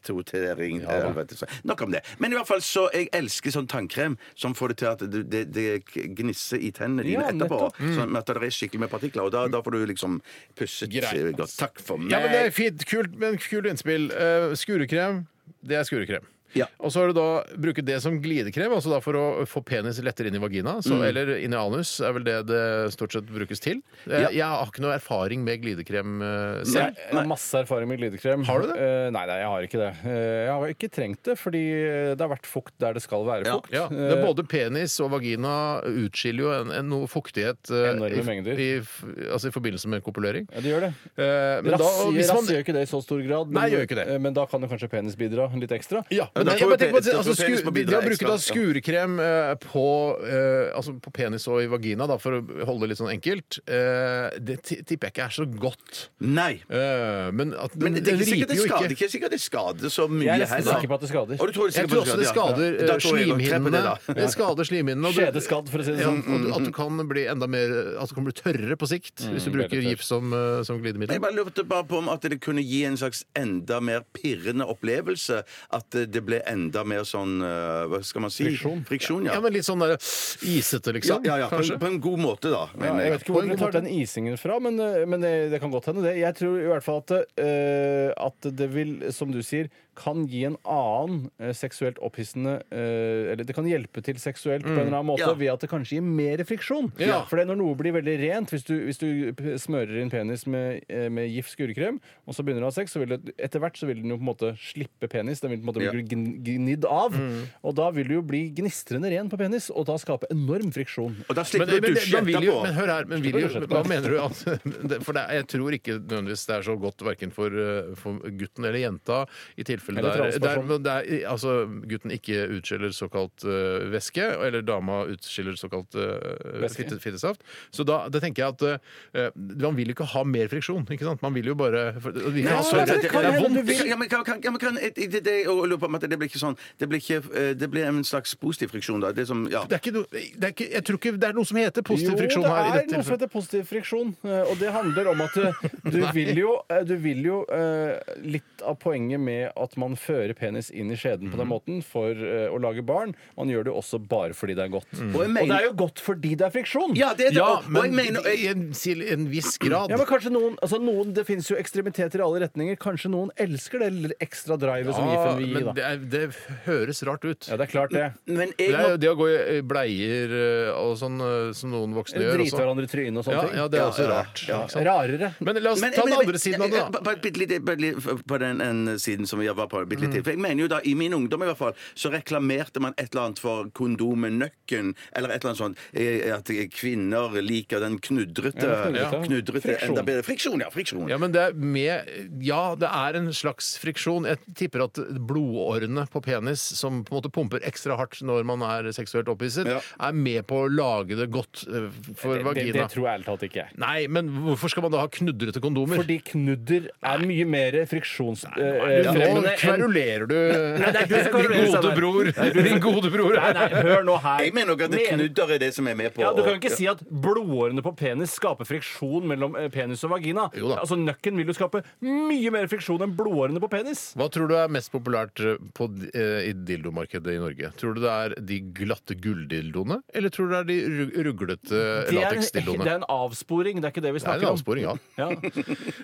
Speaker 7: metalldektorering. eh, vet du så. Nok om det. Men i hvert fall så jeg elsker sånn tannkrem som får det til at det, det, det gnisser i tennene dine
Speaker 8: Ja,
Speaker 7: etterpå.
Speaker 8: nettopp.
Speaker 7: Sånn at det er skikkelig med partikler. Og da, da får du liksom pusset
Speaker 6: Greit,
Speaker 7: eh, godt. Takk for meg.
Speaker 6: Ja, men det er fint. Kult, men kult innspill. Eh, skurekrem, det er skurekrem.
Speaker 7: Ja.
Speaker 6: Og så er det da bruke det som glidekrem, altså da for å få penis lettere inn i vagina. Så, Eller inn i anus, er vel det det stort sett brukes til. Eh,
Speaker 7: Ja.
Speaker 6: Jeg har ikke noe erfaring med glidekrem eh,
Speaker 8: Jeg
Speaker 6: selv.
Speaker 8: jeg har masse erfaring med glidekrem.
Speaker 6: Har du det?
Speaker 8: Eh, nei, nei, jeg har ikke det. Eh, jeg har ikke trengt det, fordi eh, det har vært fukt der det skal være fukt.
Speaker 6: Ja, det er både penis og vagina utskiller jo en, en noe fuktighet eh,
Speaker 8: Enorme
Speaker 6: i,
Speaker 8: mengder.
Speaker 6: I, f- altså i forbindelse med kopulering.
Speaker 8: Ja, det gjør det.
Speaker 6: Eh, men
Speaker 8: Rass,
Speaker 6: da, og hvis
Speaker 8: rass
Speaker 6: man,
Speaker 8: gjør ikke det i så stor grad,
Speaker 6: Nei, gjør ikke det.
Speaker 8: eh, men da kan jo kanskje penis bidra litt ekstra.
Speaker 6: ja,
Speaker 7: Men
Speaker 6: men
Speaker 7: da
Speaker 6: jeg
Speaker 7: tror
Speaker 6: bare
Speaker 7: jeg
Speaker 6: tenker på at,
Speaker 7: pe- da
Speaker 6: altså,
Speaker 7: tror jeg penis
Speaker 6: sku,
Speaker 7: må
Speaker 6: De
Speaker 7: bidra
Speaker 6: har brukt
Speaker 7: ekstra,
Speaker 6: da
Speaker 7: ja.
Speaker 6: skurekrem eh, på, eh, altså på penis og i vagina, da, for å holde det litt sånn enkelt. Eh, det ti- tipper jeg ikke er så godt.
Speaker 7: Nei.
Speaker 6: Eh, men at den,
Speaker 7: Men det er
Speaker 6: den
Speaker 7: ikke sikkert
Speaker 6: riper
Speaker 7: det
Speaker 6: jo
Speaker 7: skader,
Speaker 6: ikke.
Speaker 7: ikke sikkert det skader så mye
Speaker 8: Jeg er nesten sikker på at det skader.
Speaker 7: Og du tror det
Speaker 6: Jeg
Speaker 7: sikkert
Speaker 6: tror også det
Speaker 7: på
Speaker 6: skader
Speaker 7: Ja.
Speaker 6: eh,
Speaker 7: Da tror jeg nok tre på
Speaker 6: slimhinnene.
Speaker 7: det, da. mm,
Speaker 6: Det skader slimhinnene. og du-
Speaker 8: Skjedeskadd, for å si det
Speaker 6: Ja,
Speaker 8: sånn.
Speaker 6: og du- at du kan bli enda mer At du kan bli tørrere på sikt hvis du bruker
Speaker 8: veldig tørr.
Speaker 6: gips som, eh, som glidemiddel.
Speaker 7: Jeg bare lurte bare på om at det kunne gi en slags enda mer pirrende opplevelse. At eh, det ble enda mer sånn eh, Hva skal man si? Friksjon. ja.
Speaker 6: Ja, men litt sånn der isete,
Speaker 7: ja,
Speaker 6: liksom?
Speaker 7: ja, ja. På,
Speaker 6: Kanskje?
Speaker 7: en, på en god måte, da. Men, eh,
Speaker 8: Ja, jeg vet ikke hvor
Speaker 6: På en
Speaker 8: dere tar
Speaker 6: måte.
Speaker 8: den isingen fra, men, eh, men det, det kan godt hende, det. Jeg tror i hvert fall at, eh, at det vil, som du sier, kan gi en annen eh, seksuelt opphissende eh, Eller det kan hjelpe til seksuelt på en eller annen måte
Speaker 7: Mm. Ja.
Speaker 8: ved at det kanskje gir mer friksjon.
Speaker 6: Ja.
Speaker 8: For det er når noe blir veldig rent, hvis du, hvis du p- smører inn penis med, eh, med gift skurekrem, og så begynner du å ha sex, så vil det, etter hvert så vil den jo på en måte slippe penis. Den vil på en måte
Speaker 7: Ja. Mm.
Speaker 8: bli gn- gnidd av. Og da vil du jo bli gnistrende ren på penis, og da skape enorm friksjon.
Speaker 7: og da
Speaker 6: Men,
Speaker 7: slipper
Speaker 6: men,
Speaker 7: du å
Speaker 6: men,
Speaker 7: dusje
Speaker 6: man vil jo,
Speaker 7: etterpå.
Speaker 6: men hør her, men vil
Speaker 8: Slipper å
Speaker 6: jo,
Speaker 8: dusje
Speaker 6: hva
Speaker 8: etterpå.
Speaker 6: mener du at det- For det, er- jeg tror ikke nødvendigvis det er så godt verken for, eh, for gutten eller jenta i tilfelle
Speaker 8: Eller
Speaker 6: der, der,
Speaker 8: transperson.
Speaker 6: der altså, gutten ikke utskiller såkalt eh, væske, eller dama utskiller såkalt eh,
Speaker 8: Væske.
Speaker 6: fitte, fittesaft. Så da det tenker jeg at eh, man vil jo ikke ha mer friksjon, ikke sant? Man vil jo bare for, det- vi kan
Speaker 7: Nei,
Speaker 8: altså,
Speaker 6: ha
Speaker 7: men det-
Speaker 6: sorg. Det
Speaker 7: det-
Speaker 6: er vondt.
Speaker 7: Ja, men kan- kan- ja, men kan- det- det- det- og jeg lurer på om at Det blir ikke sånn Det blir, ikke, eh, det blir en slags positiv friksjon, da. Det er som, ja.
Speaker 6: Det er ikke, noe- det er ikke, jeg tror ikke det er noe som heter positiv
Speaker 8: jo,
Speaker 6: friksjon
Speaker 8: det
Speaker 6: her. i
Speaker 8: er
Speaker 6: dette
Speaker 8: noe som
Speaker 6: tilfellet.
Speaker 8: heter positiv friksjon. eh, Og det handler om at eh, du vil jo, eh, du vil jo eh, Litt av poenget med at man fører penis inn i skjeden
Speaker 6: Mm.
Speaker 8: på den måten for eh, å lage barn, man gjør det jo også bare fordi det er godt.
Speaker 7: Og jeg
Speaker 6: Mm.
Speaker 8: Og det
Speaker 7: mener-
Speaker 8: er jo godt fordi det er friksjon!
Speaker 7: Ja, det er det.
Speaker 6: Ja,
Speaker 7: og, og jeg
Speaker 6: men
Speaker 7: mener og jeg,
Speaker 6: i en, til en viss grad.
Speaker 8: Ja, men kanskje noen, altså noen, Det finnes jo ekstremiteter i alle retninger. Kanskje noen elsker det lille ekstra drivet som
Speaker 6: Ja,
Speaker 8: Giffen vil gi.
Speaker 6: Ah, men
Speaker 8: da.
Speaker 6: det, er, det høres rart ut.
Speaker 8: Ja, det er klart, det.
Speaker 7: men
Speaker 6: Det
Speaker 7: jeg
Speaker 6: er jo
Speaker 7: må
Speaker 6: det å gå i bleier eh, og sånn eh, som noen voksne
Speaker 8: Eller
Speaker 6: gjør.
Speaker 8: drite
Speaker 6: Også.
Speaker 8: hverandre i trynet og
Speaker 6: Ja,
Speaker 8: sånne
Speaker 6: ja, det er
Speaker 7: Ja,
Speaker 6: også
Speaker 7: ja,
Speaker 6: rart.
Speaker 7: ja.
Speaker 6: ikke
Speaker 8: ting.
Speaker 6: sant?
Speaker 8: Rarere.
Speaker 6: Men la oss
Speaker 7: men-
Speaker 6: ta
Speaker 7: men-
Speaker 6: den
Speaker 7: men-
Speaker 6: andre siden av det,
Speaker 7: eh,
Speaker 6: da.
Speaker 7: Bare bitte litt- bare litt- På den ene siden som jeg var på. Bitte litt
Speaker 6: Mm.
Speaker 7: til. For jeg mener jo da, I min ungdom i hvert fall, så reklamerte man et eller annet for kondomet Nøkken, eller et eller annet sånt. eh, At kvinner liker den knudrete.
Speaker 8: Ja, knudrete.
Speaker 7: knudrete
Speaker 8: Friksjon.
Speaker 7: enda bedre. Friksjon, ja. Friksjon.
Speaker 6: Ja, men det er med Ja, det er en slags friksjon. Jeg tipper at blodårene på penis, som på en måte pumper ekstra hardt når man er seksuelt opphisset,
Speaker 7: Ja.
Speaker 6: er med på å lage det godt eh, for
Speaker 8: Det, det, det
Speaker 6: vagina.
Speaker 8: tror jeg ærlig talt ikke jeg.
Speaker 6: Nei, men hvorfor skal man da ha knudrete kondomer?
Speaker 8: Fordi knudder er mye mer eh,
Speaker 6: Du, nå
Speaker 8: friksjonsfremmende
Speaker 6: kverulerer du
Speaker 8: det er du som kverulerer,
Speaker 6: Min gode
Speaker 8: Steinar.
Speaker 6: bror. Min gode bror.
Speaker 8: Nei, nei, hør nå her.
Speaker 7: Jeg mener nok at det
Speaker 8: Men-
Speaker 7: knudder er det som er med på
Speaker 8: ja, Du kan
Speaker 7: å-
Speaker 8: jo ikke si at blodårene på penis skaper friksjon mellom eh, penis og vagina.
Speaker 6: Jo da.
Speaker 8: Altså Nøkken vil jo skape mye mer friksjon enn blodårene på penis.
Speaker 6: Hva tror du er mest populært eh, på, eh, i dildomarkedet i Norge? Tror du det er de glatte gulldildoene, eller tror du det er de rug- ruglete
Speaker 8: Det er, en, det
Speaker 6: lateksdildoene?
Speaker 8: er en avsporing, det er ikke det vi
Speaker 6: Det er en
Speaker 8: snakker om.
Speaker 6: avsporing, ja.
Speaker 8: Ja.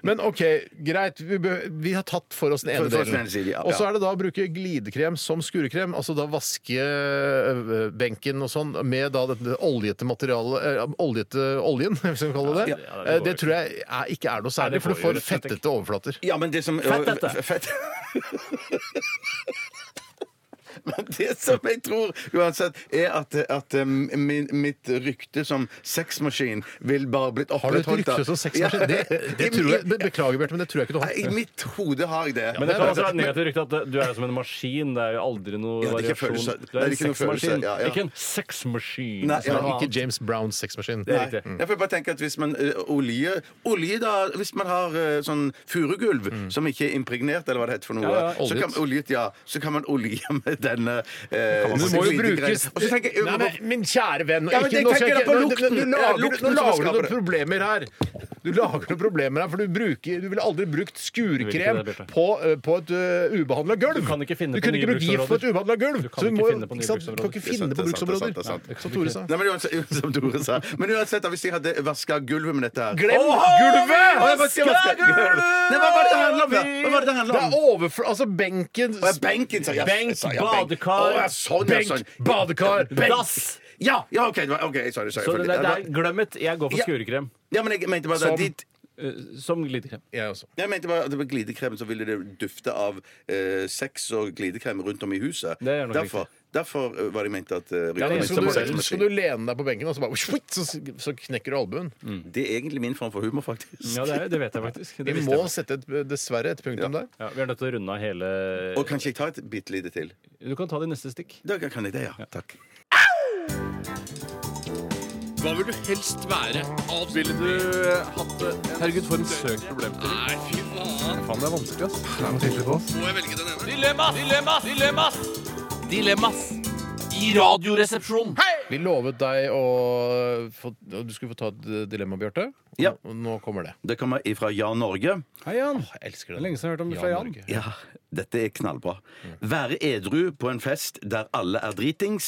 Speaker 6: Men OK, greit. Vi, bø- vi har tatt for oss den ene
Speaker 7: For- for oss den
Speaker 6: delen.
Speaker 7: ene siden, ja.
Speaker 6: Og så er det da å bruke glidekrem som skurekrem. Altså da vaske ø, benken og sånn med da dette oljete materialet ø, Oljete oljen, hvis vi kan kalle det det.
Speaker 8: Ja, det går
Speaker 6: det tror jeg er, ikke er noe
Speaker 8: Nei,
Speaker 6: særlig,
Speaker 8: det
Speaker 6: for
Speaker 8: går
Speaker 6: du
Speaker 8: jo
Speaker 6: får
Speaker 8: rett og slett
Speaker 6: fettete overflater.
Speaker 7: Ja, men det som
Speaker 8: Fett dette.
Speaker 7: Fett. Men det som jeg tror uansett, er at, at um, min, mitt rykte som sexmaskin vil bare blitt
Speaker 6: Har du et
Speaker 7: opprettholdt. da.
Speaker 6: rykte som sexmaskin?
Speaker 7: Ja.
Speaker 6: Det, det tror jeg, be- beklager, Bjarte, men det tror jeg ikke du har.
Speaker 7: Nei, I mitt hode har jeg det. altså,
Speaker 8: Men det
Speaker 6: Ja,
Speaker 8: kan
Speaker 6: det er
Speaker 8: også være
Speaker 6: det.
Speaker 8: et negativt rykte at du er jo som en maskin. Det er jo aldri noe
Speaker 7: Ja, det er ikke
Speaker 8: variasjon.
Speaker 7: følelse.
Speaker 8: Du
Speaker 7: Det
Speaker 8: er
Speaker 7: er
Speaker 8: en
Speaker 7: ikke noe følelse,
Speaker 8: sexmaskin.
Speaker 7: ja, ja.
Speaker 8: Ikke en sexmaskin.
Speaker 7: Nei,
Speaker 8: som
Speaker 7: ja,
Speaker 8: er noe
Speaker 6: Ikke
Speaker 8: annet.
Speaker 6: James Browns sexmaskin.
Speaker 7: Nei.
Speaker 8: riktig.
Speaker 7: Jeg får bare tenke at hvis man ø, olje, olje da, Hvis man har ø, sånn furugulv som ikke er impregnert, eller hva det heter for noe,
Speaker 8: Ja,
Speaker 6: Mm. ja.
Speaker 7: Så, kan, oljet, ja, så kan man olje med denne eh, sånn
Speaker 6: Men det må jo brukes Nei, men, Min kjære venn
Speaker 7: Ja, men
Speaker 6: ikke,
Speaker 7: det
Speaker 6: nå,
Speaker 7: tenker
Speaker 6: skal jeg
Speaker 7: jeg
Speaker 6: ikke,
Speaker 7: på
Speaker 6: nå, nå,
Speaker 7: lukten.
Speaker 6: nå,
Speaker 7: Ja,
Speaker 6: lager du-
Speaker 7: lukten
Speaker 6: nå
Speaker 7: som
Speaker 6: lager du
Speaker 7: skaper
Speaker 6: noen
Speaker 7: det.
Speaker 6: problemer her. Du lager noen problemer her, for du bruker Du ville aldri brukt
Speaker 8: ikke
Speaker 6: skurkrem
Speaker 8: det, Bjarte.
Speaker 6: på, eh, på et uh, ubehandla gulv.
Speaker 8: Du kan ikke finne på
Speaker 6: kunne
Speaker 8: nye
Speaker 6: ikke brukt gift på et ubehandla gulv.
Speaker 8: Du kan
Speaker 6: Så du
Speaker 8: ikke
Speaker 6: må jo
Speaker 8: finne på nye
Speaker 6: ikke sant, du kan
Speaker 8: bruksområder.
Speaker 6: ikke finne på
Speaker 7: Det er sant, det er sant,
Speaker 6: bruksområder.
Speaker 7: det er sant, det er
Speaker 6: Som Tore sa.
Speaker 7: Nei, men uansett, som Tore sa. Men uansett, da, hvis jeg hadde vaska gulvet med dette her
Speaker 6: Glem
Speaker 7: Åh,
Speaker 6: gulvet!
Speaker 7: Åh, jeg vasket- vasket gulvet! Nei, hva var det det handla om, da? Hva var det det handla
Speaker 6: Det er
Speaker 7: om?
Speaker 6: overfor... Altså, benken
Speaker 7: Åh, ja, Benken, sa jeg.
Speaker 6: Benk,
Speaker 7: Sa jeg benk.
Speaker 8: badekar.
Speaker 7: Åh, ja, sånn, ja,
Speaker 6: Benk,
Speaker 7: sånn.
Speaker 6: badekar, benk!
Speaker 8: Dass!
Speaker 7: Ja, ja, OK. det var- ok, sorry. sorry
Speaker 8: Så
Speaker 7: for
Speaker 8: det,
Speaker 7: det-
Speaker 8: det er glemmet. Jeg går for
Speaker 7: Ja.
Speaker 8: skurekrem.
Speaker 7: Ja, men jeg mente bare
Speaker 6: Som-
Speaker 7: at dit
Speaker 8: eh, Som glidekrem.
Speaker 6: Jeg også.
Speaker 7: jeg mente bare at det var glidekremen, så ville det dufte av eh, sex og glidekrem rundt om i huset.
Speaker 8: Det er nok
Speaker 7: derfor, derfor eh, var det jeg mente at eh,
Speaker 6: Ja,
Speaker 7: ryktet mitt
Speaker 6: skal,
Speaker 7: som
Speaker 6: du,
Speaker 7: sexmaskin-
Speaker 6: skal du lene deg på benken, og så bare switt, så, så knekker du albuen.
Speaker 7: Det er egentlig min form for humor, faktisk.
Speaker 8: Ja, det, er, det vet jeg faktisk. Det
Speaker 6: Vi
Speaker 8: visste
Speaker 6: må
Speaker 8: jeg.
Speaker 6: sette et, dessverre et punktum der.
Speaker 8: Ja, vi er nødt til å runde av hele
Speaker 7: Og kanskje jeg tar et bitte lite til?
Speaker 8: Du kan ta det i neste stikk.
Speaker 7: Da kan jeg det, ja. Takk.
Speaker 10: Hva vil du helst være? Ville du eh, hatt det? Herregud, for en søkt problemstilling. Nei, fy faen. Faen, det er vanskelig, ass. Må jeg velge den ene? Dilemmas! Dilemmas! Dilemmas! Dilemmas! I radioresepsjonen.
Speaker 6: Vi lovet deg å få, Du skulle få ta et eh, dilemma, Bjarte.
Speaker 7: Ja.
Speaker 6: Og Nå kommer det.
Speaker 7: Det kommer ifra Jan Norge.
Speaker 8: Hei, Jan.
Speaker 6: Jeg
Speaker 8: Det
Speaker 6: elsker
Speaker 8: er lenge siden jeg har hørt om det fra Jan.
Speaker 6: Norge.
Speaker 7: Ja. Dette er knallbra.
Speaker 8: Mm.
Speaker 7: Være edru på en fest der alle er dritings,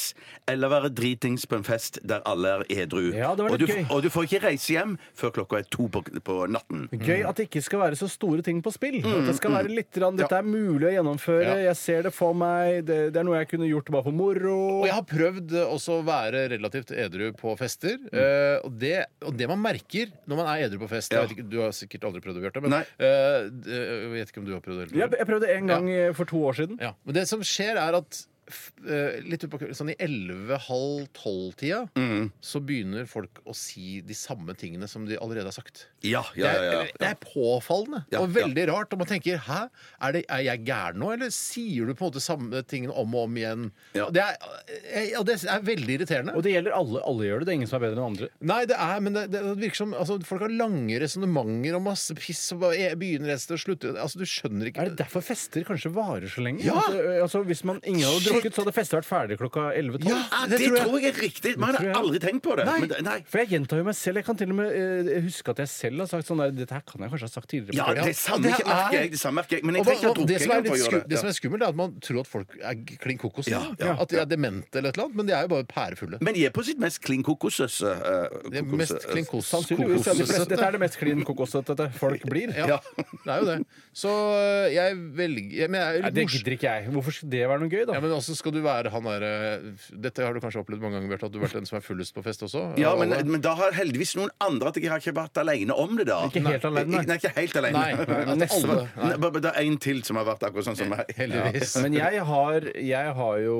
Speaker 7: eller være dritings på en fest der alle er edru.
Speaker 8: Ja, det var
Speaker 7: og,
Speaker 8: litt
Speaker 7: du,
Speaker 8: gøy.
Speaker 7: og du får ikke reise hjem før klokka er to på, på natten.
Speaker 8: Gøy at det ikke skal være så store ting på spill. At det skal være litt, grann, Dette er mulig å gjennomføre,
Speaker 6: Ja.
Speaker 8: jeg ser det for meg, det, det er noe jeg kunne gjort bare for moro.
Speaker 6: Og jeg har prøvd eh, også å være relativt edru på fester. eh, og, det, og det man merker når man er edru på fest jeg vet ikke, Du har sikkert aldri prøvd det, Bjarte. Men
Speaker 7: Nei.
Speaker 6: eh, d- jeg vet ikke om du har prøvd det? eller?
Speaker 8: Jeg, jeg prøvde en gang eh, for to år siden.
Speaker 6: Ja, men det som skjer er at f- eh, Litt utpå kvelden, sånn i 11.30-tida,
Speaker 7: Mm.
Speaker 6: så begynner folk å si de samme tingene som de allerede har sagt.
Speaker 7: Ja,
Speaker 6: Det
Speaker 7: ja, ja,
Speaker 6: er,
Speaker 7: ja.
Speaker 6: eller, det er påfallende
Speaker 7: Ja,
Speaker 6: og
Speaker 7: ja.
Speaker 6: veldig rart. Og man tenker 'hæ, er, det, er jeg gæren nå', eller sier du på en måte samme tingene om og om igjen?
Speaker 7: Ja.
Speaker 6: Og Det, er, eh, og det er veldig irriterende.
Speaker 8: Og det gjelder alle. Alle gjør det. Det er ingen som er bedre enn andre.
Speaker 6: Nei, det er, men det, det virker som altså, folk har lange resonnementer og masse piss og bare eh, begynner et sted og slutter Altså, du skjønner ikke
Speaker 8: Er det derfor fester kanskje varer så lenge?
Speaker 6: Ja!
Speaker 8: At, ø, altså, hvis man ingen hadde
Speaker 6: Shit!
Speaker 8: drukket, så hadde festet vært ferdig klokka 11-12.
Speaker 6: Ja,
Speaker 7: Ah,
Speaker 6: det
Speaker 7: det
Speaker 6: tror jeg-
Speaker 7: tror jeg er riktig! Man
Speaker 8: tror
Speaker 7: har
Speaker 8: jeg-
Speaker 7: aldri tenkt på det. Men det- nei.
Speaker 8: For jeg gjentar jo meg selv. Jeg kan til og med eh, huske at jeg selv har sagt sånn der Dette her kan jeg kanskje ha sagt tidligere.
Speaker 7: Ja,
Speaker 8: på
Speaker 7: det
Speaker 8: kvelden».
Speaker 7: samme
Speaker 6: Ja, det er-
Speaker 7: merker jeg. Det samme merker jeg. Men jeg
Speaker 6: Og,
Speaker 7: trenger ikke
Speaker 6: hva-
Speaker 7: ha
Speaker 6: og det,
Speaker 7: drukket
Speaker 6: som er
Speaker 7: engang for
Speaker 6: litt
Speaker 7: å
Speaker 6: sku,
Speaker 7: gjøre
Speaker 6: det som
Speaker 7: det.
Speaker 6: er skummelt, er at man tror at folk er g- klin kokos.
Speaker 7: Ja,
Speaker 6: da.
Speaker 7: ja,
Speaker 6: at de er demente eller et eller annet, men de er jo bare pærefulle.
Speaker 7: Men de er på sitt mest klin kokosøs. eh,
Speaker 6: Det er mest klin kos-
Speaker 8: Sannsynligvis er det fleste- Dette
Speaker 6: kokosete.
Speaker 8: er det mest klin kokosete folk blir.
Speaker 6: Ja, det er jo det. Så øh, jeg velger ja, Men jeg er jo
Speaker 8: Nei,
Speaker 6: litt
Speaker 8: det
Speaker 6: morsom.
Speaker 8: gidder ikke jeg. Hvorfor skal det være noe gøy, da?
Speaker 6: Ja, men også skal du være han derre Dette har du kanskje opplevd mange ganger, Bjarte, at du har vært den som er fullest på fest også?
Speaker 7: eh, Ja,
Speaker 6: Av
Speaker 7: men,
Speaker 6: alle.
Speaker 7: men da har heldigvis noen andre at jeg har ikke vært alene om det, da.
Speaker 8: Ikke helt
Speaker 7: Nei.
Speaker 8: alene, nei.
Speaker 7: Nei, ikke helt alene.
Speaker 6: Nei, nei, at
Speaker 7: Nesten.
Speaker 6: alle- nei.
Speaker 7: Nei, bare- Det er en til som har vært akkurat sånn som meg.
Speaker 6: Heldigvis.
Speaker 8: Men jeg har, jeg har jo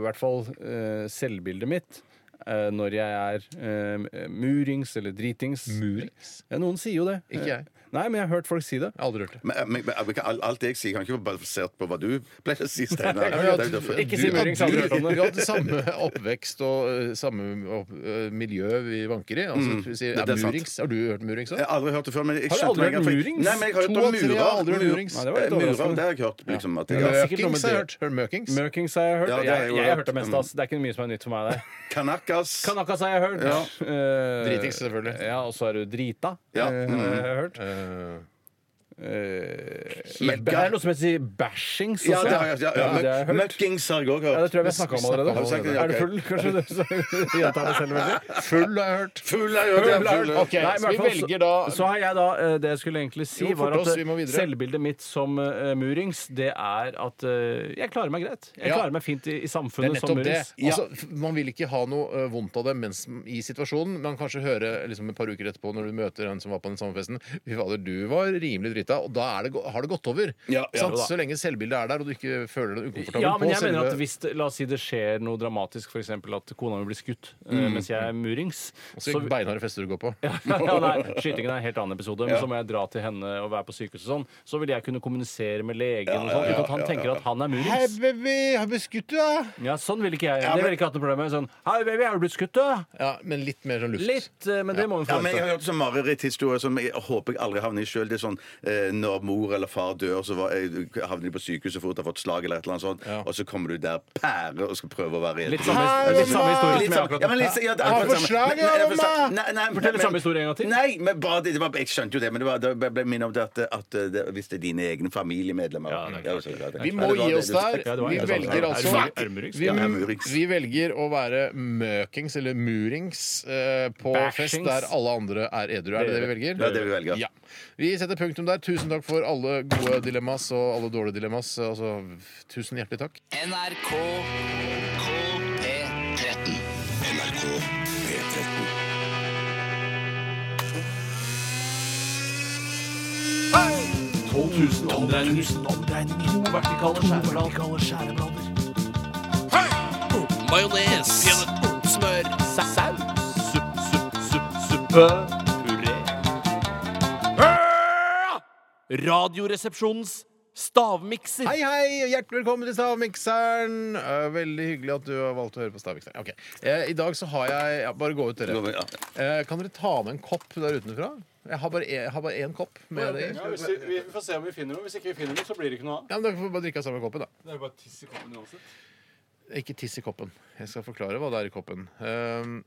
Speaker 8: i hvert fall eh, selvbildet mitt. eh, når jeg er eh, murings eller dritings. Murings? Ja, noen sier jo det.
Speaker 6: Ikke jeg.
Speaker 8: Nei, men jeg har hørt folk si det.
Speaker 6: Jeg har aldri hørt det.
Speaker 7: Men, eh, men, men, men alt- alt jeg sier, kan ikke være basert på hva du pleier å si, Steinar.
Speaker 6: Ja, men
Speaker 7: Det er
Speaker 6: at-
Speaker 7: jo derfor-
Speaker 8: Ikke si
Speaker 6: du-
Speaker 8: murings,
Speaker 6: at
Speaker 8: aldri hørt om
Speaker 6: Du
Speaker 8: det.
Speaker 6: vi har hatt samme oppvekst og øh, samme opp, øh, miljø vi vanker i. Altså, vi sier,
Speaker 7: Mm. det
Speaker 6: ja,
Speaker 7: er sant.
Speaker 6: murings. Har du hørt murings òg?
Speaker 7: Jeg har aldri hørt det før. Men jeg
Speaker 8: Har du
Speaker 7: skjønte
Speaker 8: aldri
Speaker 7: meg
Speaker 8: hørt
Speaker 7: at-
Speaker 8: murings?
Speaker 7: Nei, men jeg har hørt
Speaker 6: To
Speaker 7: om
Speaker 6: av tre
Speaker 7: murer.
Speaker 6: har aldri hørt murings.
Speaker 8: Nei, det var litt
Speaker 7: Eh, murer,
Speaker 8: overraskende.
Speaker 7: det har jeg hørt. Liksom, at jeg,
Speaker 8: Ja.
Speaker 7: har-
Speaker 8: sikkert noe med
Speaker 6: Møkings har jeg
Speaker 8: det.
Speaker 6: hørt. Hører du Møkings?
Speaker 8: Murkings har jeg hørt.
Speaker 7: Ja, det har jeg
Speaker 8: jeg, jeg,
Speaker 7: jo
Speaker 8: har
Speaker 7: hørt.
Speaker 8: hørt det meste. ass. Det er ikke mye som er nytt for meg der.
Speaker 7: Kanakas.
Speaker 8: Kanakas har jeg hørt. Eh,
Speaker 6: Dritings, selvfølgelig.
Speaker 8: Ja, Og så er du drita.
Speaker 7: Ja.
Speaker 8: eh,
Speaker 7: Mm.
Speaker 8: har jeg hørt.
Speaker 6: Eh,
Speaker 8: Eh,
Speaker 7: Møkka.
Speaker 8: det er noe som heter bæsjings.
Speaker 7: Ja,
Speaker 8: også.
Speaker 7: det har jeg, ja, ja,
Speaker 8: det har jeg hørt.
Speaker 7: Møkkings har jeg òg
Speaker 8: Ja, det
Speaker 7: hørt.
Speaker 8: tror jeg vi har snakka om allerede.
Speaker 7: Har vi sagt det?
Speaker 8: Er du
Speaker 7: Ok.
Speaker 8: full, kanskje? Du så gjentar det selv veldig.
Speaker 6: Full har jeg hørt. eh,
Speaker 7: Full har jeg hørt. ja, full har
Speaker 8: Full har jeg
Speaker 7: jeg hørt.
Speaker 6: Ok,
Speaker 8: Nei, men
Speaker 6: så
Speaker 8: i
Speaker 6: vi
Speaker 8: hvert fall så-
Speaker 6: velger da
Speaker 8: Så har jeg da eh, Det jeg skulle egentlig si,
Speaker 6: Jo, fort
Speaker 8: var at
Speaker 6: oss,
Speaker 8: eh,
Speaker 6: vi må videre.
Speaker 8: selvbildet mitt som eh, murings, det er at eh, jeg klarer meg greit. Jeg
Speaker 6: Ja.
Speaker 8: klarer meg fint i, i
Speaker 6: Det er
Speaker 8: samfunnet som
Speaker 6: nettopp det.
Speaker 8: murings.
Speaker 6: Altså, f- man vil ikke ha noe ø, vondt av det mens, i situasjonen. Man kanskje hører liksom, et par uker etterpå når du møter en som var på den samme festen Fy fader, du var rimelig drita, og da er det, gå- har det gått over.
Speaker 7: Ja, ja,
Speaker 6: Sant?
Speaker 8: jo da.
Speaker 6: Så lenge selvbildet er der, og du ikke føler deg ukomfortabel
Speaker 8: Ja, men
Speaker 6: på
Speaker 8: jeg mener at hvis det, La oss si det skjer noe dramatisk, f.eks. at kona mi blir skutt eh, mens jeg er murings.
Speaker 6: Mm. så beinharde fester du går på.
Speaker 8: ja, nei, Skytingen er en helt annen episode, men så må jeg dra til henne og være på sykehuset og sånn. Så vil jeg kunne kommunisere med legen og sånn, uten at han tenker at han er murings.
Speaker 6: baby, har du skutt deg?
Speaker 8: Ja, sånn vil ikke jeg. det vil ikke jeg hatt noe problem med. Sånn, Hei, baby, er du blitt skutt, da?
Speaker 6: Ja, men litt mer sånn luft.
Speaker 8: Litt, eh, men det må vi
Speaker 7: Ja, men jeg
Speaker 8: forvente.
Speaker 7: har hørt sånn mareritthistorier som jeg håper jeg aldri havner i sjøl. Det er sånn eh, når mor eller far dør, så var, eh, havner de på sykehuset for at de har fått slag eller et eller annet sånt,
Speaker 6: Ja.
Speaker 7: og så kommer du der pære og skal prøve å være edru.
Speaker 8: Litt samme, litt samme historie som jeg akkurat
Speaker 7: Ja, men litt, ja, det er
Speaker 6: Hva
Speaker 7: akkurat
Speaker 6: for
Speaker 7: samme.
Speaker 6: slag er
Speaker 7: Nei,
Speaker 6: det,
Speaker 7: for slag- nei, nei,
Speaker 8: Fortell
Speaker 7: men-
Speaker 8: samme historie en gang til.
Speaker 7: Nei, men bare det, det var, jeg skjønte jo det, men det var, det ble- ble minnet om det at, at eh, det, hvis det er dine egne familiemedlemmer
Speaker 8: Ja, det er
Speaker 7: så klart det.
Speaker 6: Vi
Speaker 7: Ja,
Speaker 6: må
Speaker 7: det var
Speaker 6: gi
Speaker 7: det
Speaker 6: oss
Speaker 7: du-
Speaker 6: der.
Speaker 8: Ja, det var
Speaker 6: Vi
Speaker 8: helt sant.
Speaker 6: velger
Speaker 8: Er du-
Speaker 6: altså
Speaker 8: er du murings?
Speaker 6: vi,
Speaker 7: Ja, jeg er murings.
Speaker 6: vi velger å være møkings eller murings eh, på
Speaker 8: Bashings.
Speaker 6: fest der alle andre er edru. Er det det vi velger?
Speaker 7: Det er det vi velger.
Speaker 6: Ja. Vi setter punktum der. Tusen takk for alle gode dilemmas og alle dårlige dilemmas. Altså, tusen hjertelig takk.
Speaker 4: NRK P13.
Speaker 2: NRK P13.
Speaker 10: Majones. Smør. Saus. Supp, supp, supp, suppe. Puré. Radioresepsjonens stavmikser.
Speaker 6: Hei, hei, og hjertelig velkommen til Stavmikseren. Eh, Veldig hyggelig at du har valgt å høre på Stavmikseren. Ok. Eh, I dag så har jeg ja, Bare gå ut, dere.
Speaker 7: Gå med, ja.
Speaker 6: Eh, Kan dere ta med en kopp der utenfra? Jeg har bare, jeg har bare én kopp med det i.
Speaker 8: Ja, hvis vi, vi får se om vi finner noe. Hvis ikke vi finner noe, så blir det ikke noe av.
Speaker 6: Ja, men Dere får bare drikke av samme koppen, da.
Speaker 8: Det er bare tiss i koppen uansett.
Speaker 6: Ikke tiss i koppen. Jeg skal forklare hva det er i koppen. Ehm,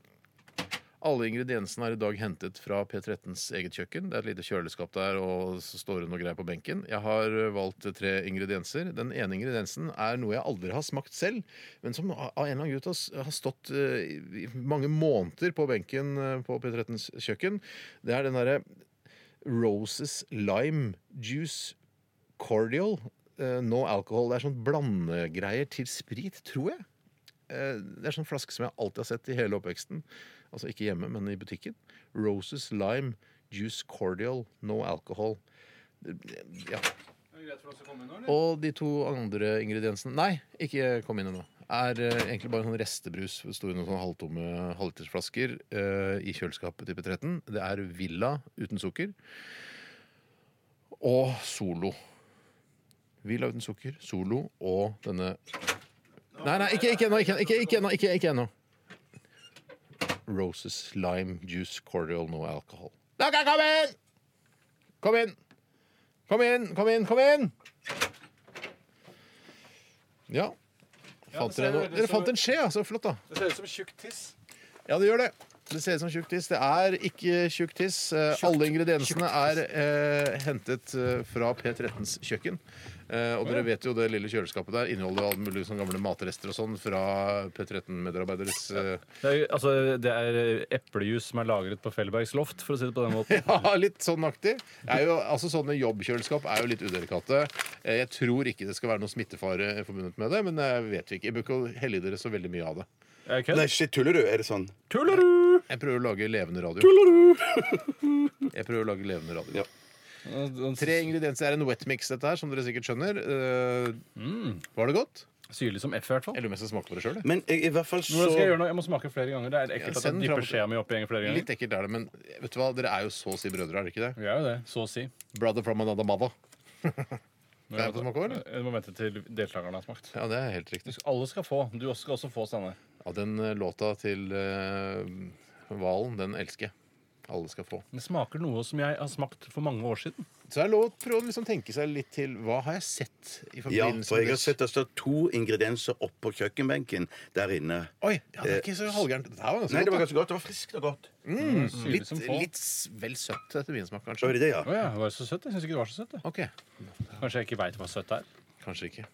Speaker 6: Alle ingrediensene er i dag hentet fra P13s eget kjøkken. Det er et lite kjøleskap der, og så står det noe greier på benken. Jeg har eh, valgt tre ingredienser. Den ene ingrediensen er noe jeg aldri har smakt selv, men som av av en eller annen grunn har s- har stått eh, i i mange måneder på benken eh, på P13s kjøkken. Det er den derre Roses Lime Juice Cordial. eh, No alcohol. Det er sånn blandegreier til sprit, tror jeg. Eh, Det er sånn flaske som jeg alltid har sett i hele oppveksten. Altså ikke hjemme, men i butikken. Roses Lime Juice Cordial No Alcohol. Eh, Ja. Og de to andre ingrediensene Nei, ikke kom inn ennå. Er eh, egentlig bare sånn restebrus. Det sto i noen sånne halvtomme halvlitersflasker eh, i kjøleskapet type 13. Det er Villa uten sukker. Og Solo. Villa uten sukker, Solo og denne Nei, nei, ikke ikke ennå. Ikke, ikke, ikke, ennå, ikke, ikke ennå. Roses lime juice cordial no alcohol. Dere, kom inn! Kom inn! Kom inn, kom inn, kom inn! Ja. Fant
Speaker 10: ser
Speaker 6: dere, noe?
Speaker 10: veldig
Speaker 6: dere
Speaker 10: så-
Speaker 6: fant en skje, ja. Så flott, da.
Speaker 10: Det ser ut som tjukk tiss.
Speaker 6: Ja, det gjør det. Det ser ut som tjukk tiss. Det er ikke tjukk tiss. Eh, Alle ingrediensene er eh, hentet eh, fra P13s kjøkken. Eh, og dere vet jo det lille kjøleskapet der inneholder alle mulige sånne gamle matrester og sånn fra P13-medarbeideres eh,
Speaker 8: Det er, altså, det er eplejus som er lagret på Fellbergs loft, for å si det på den måten.
Speaker 6: Ja, litt sånn aktig. Det Er jo, altså, sånne jobbkjøleskap er jo litt udelikate. Eh, Jeg tror ikke det skal være noe smittefare forbundet med det, men jeg vet vi ikke. Jeg bør ikke hellige dere så veldig mye av det.
Speaker 8: Er jeg kødd?
Speaker 7: Nei, shit, tuller du? Er det sånn?
Speaker 8: Tullerud!
Speaker 6: Jeg prøver å lage levende radio. Jeg prøver å lage levende radio. Tre ingredienser er en wet mix, dette her, som dere sikkert skjønner. Eh, Var det godt?
Speaker 8: Syrlig som F, i hvert fall.
Speaker 6: Jeg lurer på om jeg skal smake på det sjøl.
Speaker 7: Men jeg, i hvert fall så
Speaker 8: Hvordan skal jeg gjøre noe? Jeg må smake flere ganger. Det er
Speaker 6: Ja,
Speaker 8: ekkelt at
Speaker 6: send
Speaker 8: jeg
Speaker 6: den
Speaker 8: dypper skjea
Speaker 6: fram.
Speaker 8: mi opp i gjengen flere ganger.
Speaker 6: Litt ekkelt er det, men vet du hva? dere er jo så å si brødre, er dere ikke det?
Speaker 8: Vi er jo det, så å si.
Speaker 6: Brother from another mother. Det er
Speaker 8: Jeg
Speaker 6: på smak over, eller?
Speaker 8: må vente til deltakerne har smakt.
Speaker 6: Ja, det er helt riktig.
Speaker 8: Alle skal få. Du også skal også få, Stanne.
Speaker 6: Ja, den eh, låta til eh, Valen, den elsker jeg. Alle skal få.
Speaker 8: Det smaker noe som jeg har smakt for mange år siden.
Speaker 6: Så det er lov å prøve å liksom tenke seg litt til hva har jeg sett i
Speaker 7: Ja,
Speaker 6: forbindelse
Speaker 7: for jeg
Speaker 6: med
Speaker 7: har
Speaker 6: det?
Speaker 7: sett det står to ingredienser oppå kjøkkenbenken der inne.
Speaker 6: Oi, ja, det er ikke så halvgærent. Det her var
Speaker 7: eh, Nei,
Speaker 6: ganske
Speaker 7: det var
Speaker 6: godt.
Speaker 7: ganske godt. Det var friskt og godt.
Speaker 6: da.
Speaker 8: Syrlig
Speaker 6: Litt,
Speaker 8: som få.
Speaker 6: litt s- vel søtt til dette vinsmak,
Speaker 7: Var
Speaker 6: kanskje.
Speaker 7: det det, ja?
Speaker 8: Å ja, var det så søtt? Jeg syns ikke det var så søtt. jeg.
Speaker 6: Ok,
Speaker 8: Kanskje jeg ikke veit hva søtt er.
Speaker 6: kanskje ikke.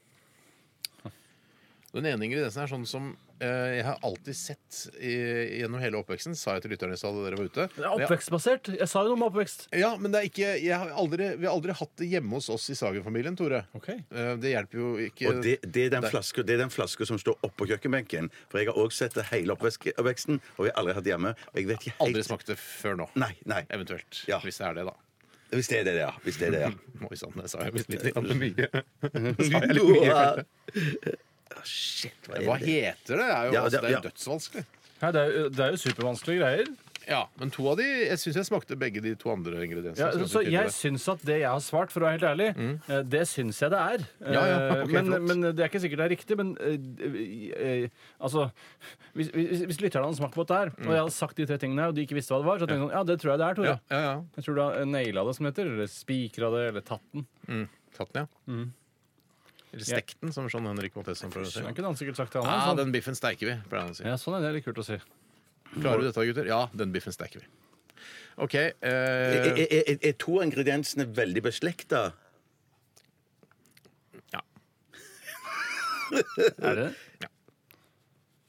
Speaker 6: Den ene ingrediensen er sånn som eh, jeg har alltid sett i, gjennom hele oppveksten, sa jeg til lytterne i stad da dere var ute.
Speaker 8: Det er
Speaker 6: Men jeg-
Speaker 8: oppvekstbasert. Jeg sa jo noe om oppvekst.
Speaker 6: Ja, men det er ikke, jeg har aldri, vi har aldri hatt det hjemme hos oss i Sagen-familien, Tore.
Speaker 8: Ok.
Speaker 6: Eh, det hjelper jo ikke
Speaker 7: Og det, det, er den flaske, det er den flaske som står oppå kjøkkenbenken. For jeg har òg sett det hele oppveksten, og vi har aldri hatt det hjemme. Og jeg vet ikke helt
Speaker 6: Aldri smakt det før nå.
Speaker 7: Nei, nei.
Speaker 6: Eventuelt.
Speaker 7: Ja.
Speaker 6: Hvis det er det, da.
Speaker 7: Hvis det er det, ja. Hvis det er det, ja.
Speaker 6: Oi sann, det sa jeg visst litt grann mye. Sa jeg litt mye, kanskje?
Speaker 7: Loa. Å, Shit, hva
Speaker 6: Hva
Speaker 7: er det?
Speaker 6: heter det? Det er jo,
Speaker 7: Ja,
Speaker 6: altså,
Speaker 7: det-
Speaker 6: det er
Speaker 7: ja.
Speaker 6: jo dødsvanskelig.
Speaker 8: Nei, det, er, jo- det er jo supervanskelige greier.
Speaker 6: Ja, Men to av de Jeg syns jeg smakte begge de to andre ingrediensene.
Speaker 8: Ja,
Speaker 6: som
Speaker 8: så
Speaker 6: jeg
Speaker 8: jeg
Speaker 6: tydelig-
Speaker 8: syns at det jeg har svart, for å være helt ærlig, eh, det syns jeg det er.
Speaker 6: Mm. Ja, ja,
Speaker 8: Eh,
Speaker 6: ok,
Speaker 8: men,
Speaker 6: flott.
Speaker 8: men det er ikke sikkert det er riktig. Men eh, eh, altså Hvis, hvis, hvis lytterne hadde smakt på dette her, og jeg hadde sagt de tre tingene her, og de ikke visste hva det var, så tenkte jeg sånn Ja, det tror jeg det er, Tore.
Speaker 6: ja, ja, ja.
Speaker 8: Jeg tror du har naila det, som det heter. Eller spikra det, eller tatt den.
Speaker 6: Tatt den, ja.
Speaker 8: Mm.
Speaker 6: Eller stekt den, som Jean Henrik Montesson prøver å si.
Speaker 8: Det kunne han sikkert sagt til
Speaker 6: Ja,
Speaker 8: han. sånn.
Speaker 6: den biffen steiker vi, pleier han å si.
Speaker 8: Ja, sånn er det. det er litt kult å si.
Speaker 6: Klarer du dette, gutter? Ja, den biffen steiker vi. OK.
Speaker 7: Er,
Speaker 6: Eh,
Speaker 7: er, er, er to av ingrediensene veldig beslekta?
Speaker 6: ja.
Speaker 8: Er det?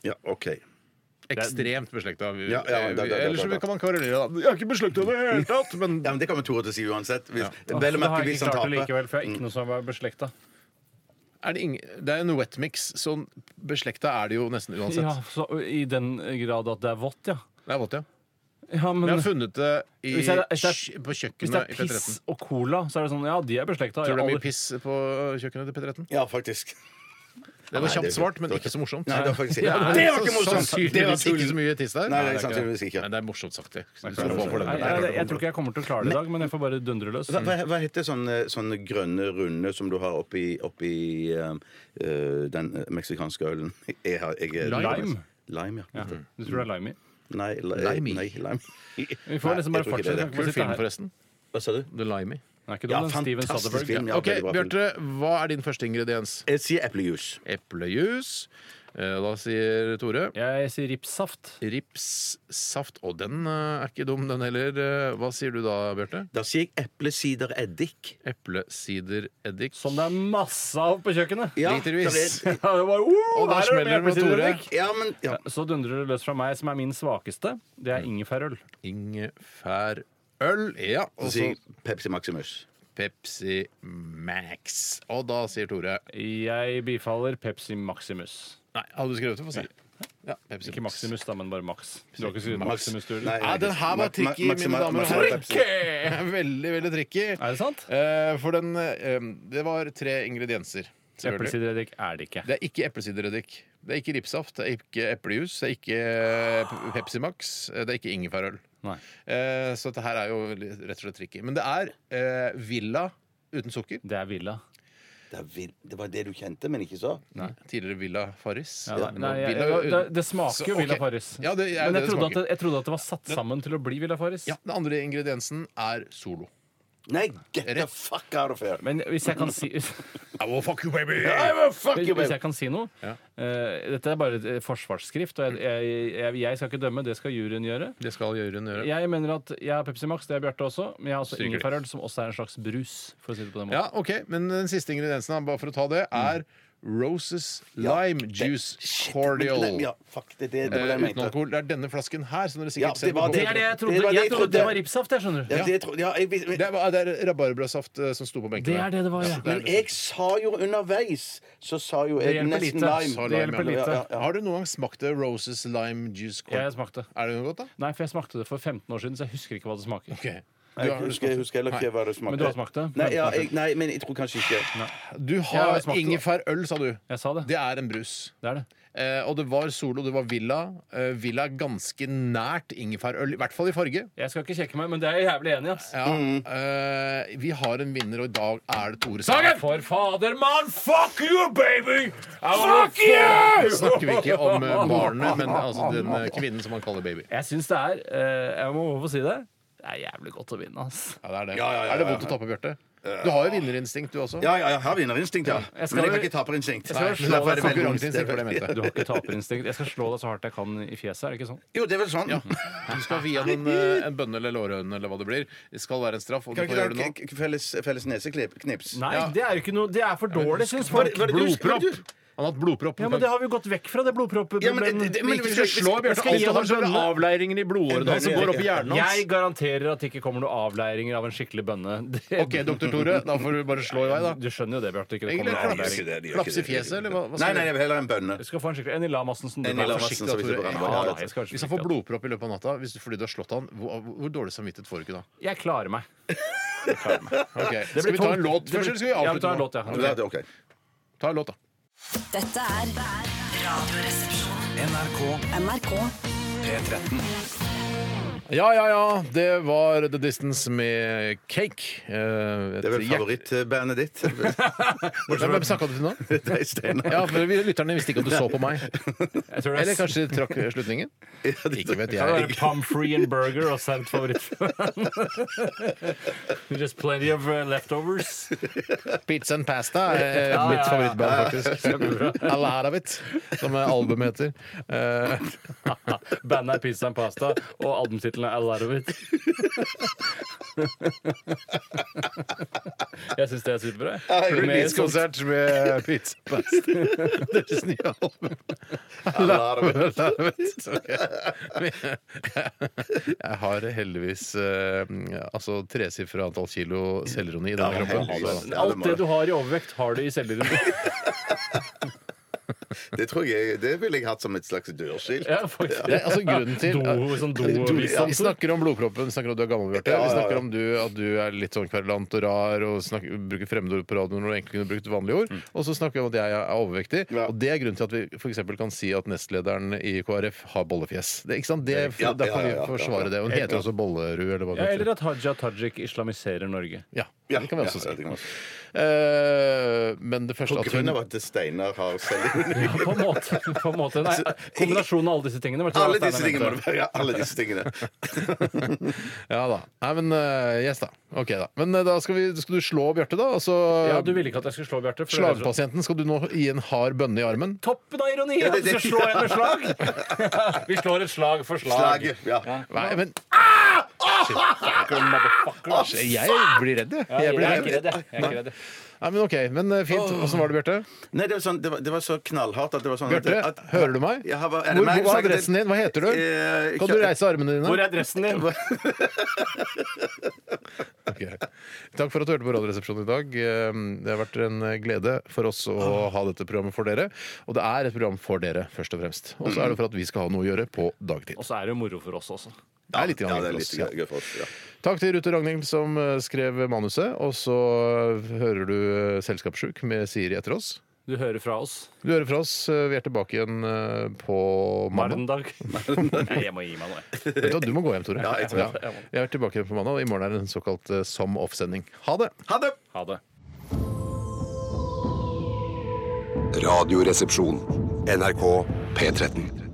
Speaker 7: Ja, OK.
Speaker 6: Ekstremt beslekta. Vi-
Speaker 7: Ja, ja, da, da, da,
Speaker 6: Ellers
Speaker 7: da, da.
Speaker 6: kan man kverulere, da. Jeg har ikke beslekta det i det hele tatt, men
Speaker 7: Ja, men Det kommer Tore til å si uansett. Hvis,
Speaker 8: Åh,
Speaker 7: Vel å
Speaker 8: det
Speaker 7: merke
Speaker 8: har jeg
Speaker 7: hvis han
Speaker 8: ikke klart det
Speaker 7: taper.
Speaker 8: likevel, for jeg er ikke noe som er beslekta.
Speaker 6: er det, ing det er en wet mix, så beslekta er det jo nesten uansett.
Speaker 8: Ja, så I den grad at det er vått, ja.
Speaker 6: Det er vått, ja.
Speaker 8: ja men,
Speaker 6: Men jeg har funnet det, i,
Speaker 8: Hvis det er- hvis det er-
Speaker 6: kj- på
Speaker 8: Hvis det
Speaker 6: kjøkkenet i
Speaker 8: er
Speaker 6: P13.
Speaker 8: piss og cola, så er det sånn Ja, de er beslekta.
Speaker 6: Tror du det er
Speaker 8: Jeg
Speaker 6: mye piss på kjøkkenet til P13?
Speaker 7: Ja, faktisk.
Speaker 6: Det var
Speaker 7: det
Speaker 6: kjapt
Speaker 7: er-
Speaker 6: svart, men ikke så morsomt.
Speaker 7: Nei, det var faktisk
Speaker 8: Ja,
Speaker 7: Det var ikke
Speaker 6: Så
Speaker 7: morsomt! Det var
Speaker 6: Sannsynligvis ikke så
Speaker 7: tull.
Speaker 6: mye tiss der.
Speaker 7: Nei, det er
Speaker 6: Nei, det er ikke det.
Speaker 7: sannsynligvis ikke.
Speaker 6: Men det er morsomt sagt, det. Du
Speaker 8: aldri-
Speaker 6: skal få for
Speaker 8: Nei,
Speaker 6: den. Det
Speaker 8: jeg,
Speaker 6: er
Speaker 8: jeg,
Speaker 6: klart
Speaker 8: jeg tror ikke jeg kommer til å klare det i dag, men jeg får bare dundre løs.
Speaker 7: Hva, hva, hva heter sånne, sånne grønne runde som du har oppi, oppi um, øh, den øh, meksikanske ølen? Jeg har, jeg, er-
Speaker 8: Lime?
Speaker 7: Lime, ja.
Speaker 8: Ja. Du tror det er lime i?
Speaker 7: Nei, li,
Speaker 6: Lime.
Speaker 7: nei, lime.
Speaker 8: Vi får
Speaker 7: Nei, jeg
Speaker 8: liksom
Speaker 7: tror ikke det
Speaker 8: bare
Speaker 7: er det.
Speaker 8: fortsette. Vi
Speaker 6: det. Kul
Speaker 8: kan sitte
Speaker 6: film,
Speaker 8: her.
Speaker 6: forresten.
Speaker 7: Hva sa du?
Speaker 6: The Limey.
Speaker 8: Den er ikke
Speaker 7: Ja,
Speaker 8: dum, den. Steven
Speaker 7: fantastisk
Speaker 8: Soderbergh.
Speaker 7: film. Ja,
Speaker 6: OK,
Speaker 7: veldig bra film.
Speaker 6: Bjarte. Hva er din første ingrediens?
Speaker 7: Jeg sier eplejus.
Speaker 6: Eplejus. Eh, Da sier Tore
Speaker 8: Jeg sier ripssaft.
Speaker 6: ripssaft. Og den eh, er ikke dum, den heller. Eh, Hva sier du da, Bjarte?
Speaker 7: Da sier jeg eplesidereddik.
Speaker 6: Eplesidereddik.
Speaker 8: Som det er masse av på kjøkkenet.
Speaker 7: Ja,
Speaker 6: Litervis.
Speaker 7: der er-
Speaker 8: Ja, det var, uh,
Speaker 6: Og da
Speaker 8: her er
Speaker 6: smeller det med Tore.
Speaker 8: eplesidereddik.
Speaker 7: Ja, men ja.
Speaker 8: Så dundrer det løs fra meg, som er min svakeste. Det er
Speaker 6: Mm.
Speaker 8: ingefærøl.
Speaker 6: Ingefærøl. Ja.
Speaker 7: Så
Speaker 6: Og så
Speaker 7: sier jeg Pepsi Maximus.
Speaker 6: Pepsi Max. Og da sier Tore
Speaker 8: Jeg bifaller Pepsi Maximus.
Speaker 6: Nei, hadde du skrevet det? Få se. Ja, Pepsi
Speaker 8: Ikke
Speaker 6: Max.
Speaker 8: Maximus, da, men bare Max. Du har ikke skrevet
Speaker 7: Max-
Speaker 8: Maximus, du?
Speaker 7: Nei,
Speaker 8: eller?
Speaker 6: Nei, den her
Speaker 7: Ma-
Speaker 6: var tricky,
Speaker 7: ma-
Speaker 6: mine
Speaker 7: maksima-
Speaker 6: damer og
Speaker 7: maksimal
Speaker 6: herrer.
Speaker 7: Pepsi.
Speaker 6: Tricky! Veldig, veldig tricky.
Speaker 8: Er det sant?
Speaker 6: Eh, For den eh, Det var tre ingredienser. selvfølgelig.
Speaker 8: Eplesidereddik er det ikke.
Speaker 6: Det er ikke eplesidereddik. Det er ikke ripssaft, det er ikke eplejus, det er ikke Pe- Pepsi Max, eh, det er ikke ingefærøl.
Speaker 8: Nei.
Speaker 6: Eh, Så dette her er jo litt- rett og slett tricky. Men det er eh, Villa uten sukker.
Speaker 8: Det er Villa.
Speaker 7: Det er vil- Det var det du kjente, men ikke så.
Speaker 6: Tidligere Villa Faris.
Speaker 8: Ja,
Speaker 6: Nå
Speaker 8: nei, jeg,
Speaker 6: Villa-
Speaker 8: jeg, det, det smaker jo
Speaker 6: Så, ok.
Speaker 8: Villa Farris.
Speaker 6: Ja, det er jo
Speaker 8: Men jeg
Speaker 6: det det
Speaker 8: trodde, at
Speaker 6: smaker.
Speaker 8: det, jeg trodde at det var satt sammen til å bli Villa Farris.
Speaker 6: Ja, Den andre ingrediensen er Solo.
Speaker 7: Nei, get the
Speaker 6: Rett.
Speaker 7: fuck out of here!
Speaker 8: Men hvis jeg kan si,
Speaker 6: I will fuck you, baby!
Speaker 7: Ah, fuck you, baby.
Speaker 8: hvis jeg kan si noe eh, Dette er bare et eh, forsvarsskrift, og jeg, jeg, jeg, jeg skal ikke dømme. Det skal juryen gjøre.
Speaker 6: Det skal juryen gjøre.
Speaker 8: Jeg mener at jeg har Pepsi Max, det er Bjarte også. Men jeg har også
Speaker 6: Stryker det.
Speaker 8: ingefærøl, som også er en slags brus. For å si det på den måten.
Speaker 6: Ja, ok, Men den siste ingrediensen, da, bare for å ta det,
Speaker 7: Mm.
Speaker 6: er Roses Lime Juice Cordial.
Speaker 7: Ja, fuck, det, det, det var det jeg
Speaker 6: Eh, uten
Speaker 7: mente.
Speaker 6: alkohol. Det er denne flasken her som dere
Speaker 7: Ja,
Speaker 6: sikkert
Speaker 7: det var
Speaker 6: på-
Speaker 8: Det er det jeg trodde. Jeg trodde det var ripssaft, jeg, skjønner du.
Speaker 7: Ja, det tro- ja, jeg, vis-
Speaker 6: Det er, ah, det er rabarbrasaft eh, som sto på benken.
Speaker 8: Det er det det var, ja.
Speaker 6: der.
Speaker 7: men jeg sa jo underveis Så sa jo jeg
Speaker 8: hjelper
Speaker 7: nesten
Speaker 8: lite.
Speaker 7: lime.
Speaker 6: Sa
Speaker 8: Det
Speaker 6: lime,
Speaker 8: hjelper
Speaker 6: ja.
Speaker 8: lite.
Speaker 7: Ja, ja, ja.
Speaker 6: Har du noen gang smakt det Roses Lime Juice Corn?
Speaker 8: Jeg smakte.
Speaker 6: Er det noe godt, da?
Speaker 8: Nei, for jeg smakte det for 15 år siden, så jeg husker ikke hva det smaker.
Speaker 6: Ok. Du
Speaker 7: Jeg
Speaker 6: har- du
Speaker 7: husker, jeg
Speaker 6: smakte-
Speaker 7: husker heller ikke hva det smakte.
Speaker 8: Men du har smakt det?
Speaker 7: Nei, ja, jeg, nei, men jeg tror kanskje ikke.
Speaker 6: Du
Speaker 8: Jeg
Speaker 6: har
Speaker 8: har smakt det.
Speaker 6: ingefærøl, sa du.
Speaker 8: Jeg sa det.
Speaker 6: Det er en brus.
Speaker 8: Det er det.
Speaker 6: Eh, og det var Solo, det var Villa. Eh, villa er ganske nært ingefærøl, i hvert fall i farge.
Speaker 8: Jeg skal ikke sjekke meg, men det er jeg jævlig enig i. ass.
Speaker 6: Ja, eh, vi har en vinner, og i dag er det Tore Sagen!
Speaker 8: For fader, mann! Fuck you, baby! Fuck
Speaker 6: Nå snakker vi ikke om eh, barnet, men altså den eh, kvinnen som man kaller baby.
Speaker 8: Jeg syns det er eh, Jeg må få si det. Det er jævlig godt å vinne, ass.
Speaker 6: Ja, det er, det.
Speaker 7: Ja, ja, ja,
Speaker 6: er det
Speaker 7: ja, Eh,
Speaker 6: vondt å tappe, Bjarte? Du har jo vinnerinstinkt, du også.
Speaker 7: Ja, ja, jeg har vinnerinstinkt, ja.
Speaker 8: Jeg skal-
Speaker 7: Men jeg har ikke taperinstinkt.
Speaker 8: skal
Speaker 7: Nei, derfor er
Speaker 8: slå
Speaker 6: deg
Speaker 7: det veldig
Speaker 6: konkurranseinstinkt, for det mente jeg.
Speaker 8: Du har ikke taperinstinkt. Jeg skal slå deg så hardt jeg kan i fjeset. er det ikke sånn?
Speaker 7: Jo, det er vel sånn.
Speaker 6: Du skal vie ham en, eh, en bønne eller lårhøne eller hva det blir. Det skal være en straff, og du
Speaker 7: Kan
Speaker 6: får
Speaker 7: ikke
Speaker 6: gjøre
Speaker 7: du ha
Speaker 6: det
Speaker 7: k- k- felles, felles neseknips?
Speaker 8: Nei, det er jo ikke noe, det er for dårlig, syns folk.
Speaker 7: Hva er det du- hva er
Speaker 6: nå.
Speaker 7: det du-
Speaker 6: Blodpropp! Han har hatt blodpropp.
Speaker 8: Ja, men det har vi gått vekk fra, det blodproppet.
Speaker 7: Ja, men det- det- men
Speaker 6: Men hvis du slår
Speaker 7: Jeg
Speaker 6: Bjarte
Speaker 7: skal gi
Speaker 6: Alstad,
Speaker 8: ham
Speaker 6: har sånne
Speaker 8: en bønne.
Speaker 6: avleiringer i blodåret hans som går opp i hjernen
Speaker 8: Jeg
Speaker 6: hans.
Speaker 8: garanterer at det ikke kommer noen avleiringer av en skikkelig bønne. Det,
Speaker 6: OK, doktor Tore, da får du bare slå i vei, da.
Speaker 8: Du skjønner jo det, Bjarte. ikke det
Speaker 6: Egentlig
Speaker 8: kommer noen
Speaker 6: klaps,
Speaker 8: avleiring.
Speaker 7: det, de gjør
Speaker 6: klaps
Speaker 7: ikke det, de gjør
Speaker 6: i fjeset, eller hva? hva
Speaker 7: Nei,
Speaker 6: skal
Speaker 7: nei,
Speaker 6: du-
Speaker 7: jeg vil heller ha en bønne.
Speaker 8: Du skal få en skikkelig En Ila Madsensen.
Speaker 7: En lilla vassen som vi sitter på
Speaker 8: Ja, da,
Speaker 6: Tore.
Speaker 7: hverandre.
Speaker 8: jeg skal
Speaker 6: Hvis
Speaker 8: kanskje
Speaker 6: han får
Speaker 8: sjekke at-
Speaker 6: blodpropp i løpet av natta hvis du, fordi du har slått han, hvor, hvor dårlig samvittighet får du ikke da?
Speaker 8: Jeg klarer meg.
Speaker 6: Ok,
Speaker 8: Det
Speaker 6: Skal
Speaker 8: blir
Speaker 6: vi ta en
Speaker 8: tungt.
Speaker 6: låt
Speaker 8: Det blir-
Speaker 6: først, eller skal vi
Speaker 8: Ja, vi tar en låt,
Speaker 6: avslutte? nå?
Speaker 8: ja.
Speaker 7: Ja, det er ok.
Speaker 6: Ta en låt, da.
Speaker 9: Dette er Radioresepsjonen.
Speaker 4: NRK
Speaker 9: NRK
Speaker 4: P13.
Speaker 6: Ja, ja, ja. Det var The Distance med Cake. Eh,
Speaker 7: Det er vel
Speaker 6: et-
Speaker 7: favorittbandet ditt? Nei,
Speaker 6: Hvem hvem snakka du til nå?
Speaker 7: Steinar.
Speaker 6: Ja, for vi- Lytterne visste ikke at du så på meg.
Speaker 8: Jeg tror
Speaker 6: Eller
Speaker 8: det er
Speaker 6: kanskje trakk slutningen? Ikke vet
Speaker 8: kan det
Speaker 6: jeg.
Speaker 8: være Pomfrey and burger og sent favoritt. Just plenty of uh, leftovers.
Speaker 6: Pizza and pasta er eh,
Speaker 8: Ja,
Speaker 6: mitt
Speaker 8: ja, ja.
Speaker 6: favorittband, faktisk. A lot of it, som eh, albumet heter. Eh,
Speaker 8: Bandet er pizza and pasta, og albumtittelen er A lot of it. Jeg syns det er superbra. jeg. Med sånn-
Speaker 6: Release-konsert med pizza and pasta. Deres nye album. Jeg har heldigvis eh, altså tresifra antall kilo selvroni i denne kroppen.
Speaker 7: heldigvis.
Speaker 6: Altså,
Speaker 7: Ja, det
Speaker 8: Alt
Speaker 7: må
Speaker 8: det
Speaker 7: det.
Speaker 8: du har i overvekt, har du i cellerunden.
Speaker 7: Det tror jeg Det ville jeg hatt som et slags dørskilt.
Speaker 8: Ja, faktisk.
Speaker 6: det er altså grunnen til
Speaker 8: Do, sånn do
Speaker 6: Vi snakker om blodproppen, vi snakker om at du er gammel, Bjarte.
Speaker 7: Ja, ja,
Speaker 6: Vi
Speaker 7: ja.
Speaker 6: snakker om du, at du er litt sånn kverulant og rar og snakker, bruker fremmedord på radioen når du egentlig kunne brukt vanlige ord. Og så snakker vi om at jeg er overvektig.
Speaker 7: Mm. Ja.
Speaker 6: Og det er grunnen til at vi for eksempel kan si at nestlederen i KrF har bollefjes. Det, ikke sant? Det,
Speaker 7: Ja,
Speaker 6: da kan
Speaker 7: ja, ja, ja,
Speaker 6: vi forsvare
Speaker 7: ja.
Speaker 6: det. Og hun heter også Bollerud, eller hva
Speaker 8: Ja,
Speaker 6: det
Speaker 8: eller at Haja Tajik islamiserer Norge.
Speaker 6: Ja.
Speaker 7: Ja,
Speaker 6: Det kan vi
Speaker 7: ja,
Speaker 6: også
Speaker 7: ja, det kan man
Speaker 6: si. Eh, men det første
Speaker 7: På
Speaker 6: at
Speaker 7: grunn av
Speaker 6: hun
Speaker 7: at Steinar har selvironi.
Speaker 8: På en måte. På en måte. Nei, kombinasjonen av alle disse tingene. var det
Speaker 7: Alle
Speaker 8: Steinar
Speaker 7: disse tingene må det
Speaker 8: mente.
Speaker 7: være. Ja, alle disse tingene.
Speaker 6: Ja da. Nei, men eh, yes, da. Ok, da. Men eh, da skal, vi, skal du slå Bjarte, da? Altså,
Speaker 8: Ja, Du ville ikke at jeg skulle slå Bjarte? for det er så-
Speaker 6: Slagpasienten skal du nå gi en hard bønne i armen.
Speaker 8: Toppen av ironi! At du skal slå en med slag! Vi slår et slag for slag.
Speaker 7: Slaget. Ja.
Speaker 6: Nei, men Jeg blir redd, jeg.
Speaker 8: Jeg
Speaker 6: jeg blir
Speaker 8: er altså. ikke
Speaker 6: redd.
Speaker 8: redd, jeg. jeg. er ikke redd.
Speaker 6: Nei, men OK. Men eh, fint. Åssen var det, Bjarte?
Speaker 7: Nei, det var, sånn, det, var, det var så knallhardt at det var sånn at-
Speaker 6: Bjarte,
Speaker 7: at-
Speaker 6: hører du meg?
Speaker 7: Ja, hva- er det
Speaker 6: Hvor,
Speaker 7: meg du
Speaker 6: hva er
Speaker 7: snakker til?
Speaker 6: adressen din? Hva heter du?
Speaker 7: Eh,
Speaker 6: Kan du reise armene dine?
Speaker 8: Hvor er dressen din?
Speaker 6: Ok. Takk for at du hørte på Radioresepsjonen i dag. Eh, Det har vært en glede for oss å ha dette programmet for dere. Og det er et program for dere, først og fremst. Og så er det for at vi skal ha noe å gjøre på dagtid.
Speaker 8: Og så er det jo moro for oss også.
Speaker 6: Det er litt
Speaker 7: Ja, det er
Speaker 6: grann
Speaker 7: litt
Speaker 6: for oss, ja.
Speaker 7: gøy for oss. Ja.
Speaker 6: Takk til Ruter Ragnhild som eh, skrev manuset. Og så hører du eh, Selskapssjuk med Siri etter oss.
Speaker 8: Du hører fra oss.
Speaker 6: Du hører fra oss. eh, Vi er tilbake igjen eh, på mandag.
Speaker 8: Marendag. Nei, jeg må gi meg nå, jeg.
Speaker 6: Vet Du hva, du må gå hjem, Tore.
Speaker 7: jeg tror
Speaker 6: Ja. Vi er tilbake igjen på mandag, og i morgen er det en såkalt eh, som off-sending. Ha det!
Speaker 7: Ha det!
Speaker 8: Ha det.
Speaker 2: Radioresepsjon. NRK P13.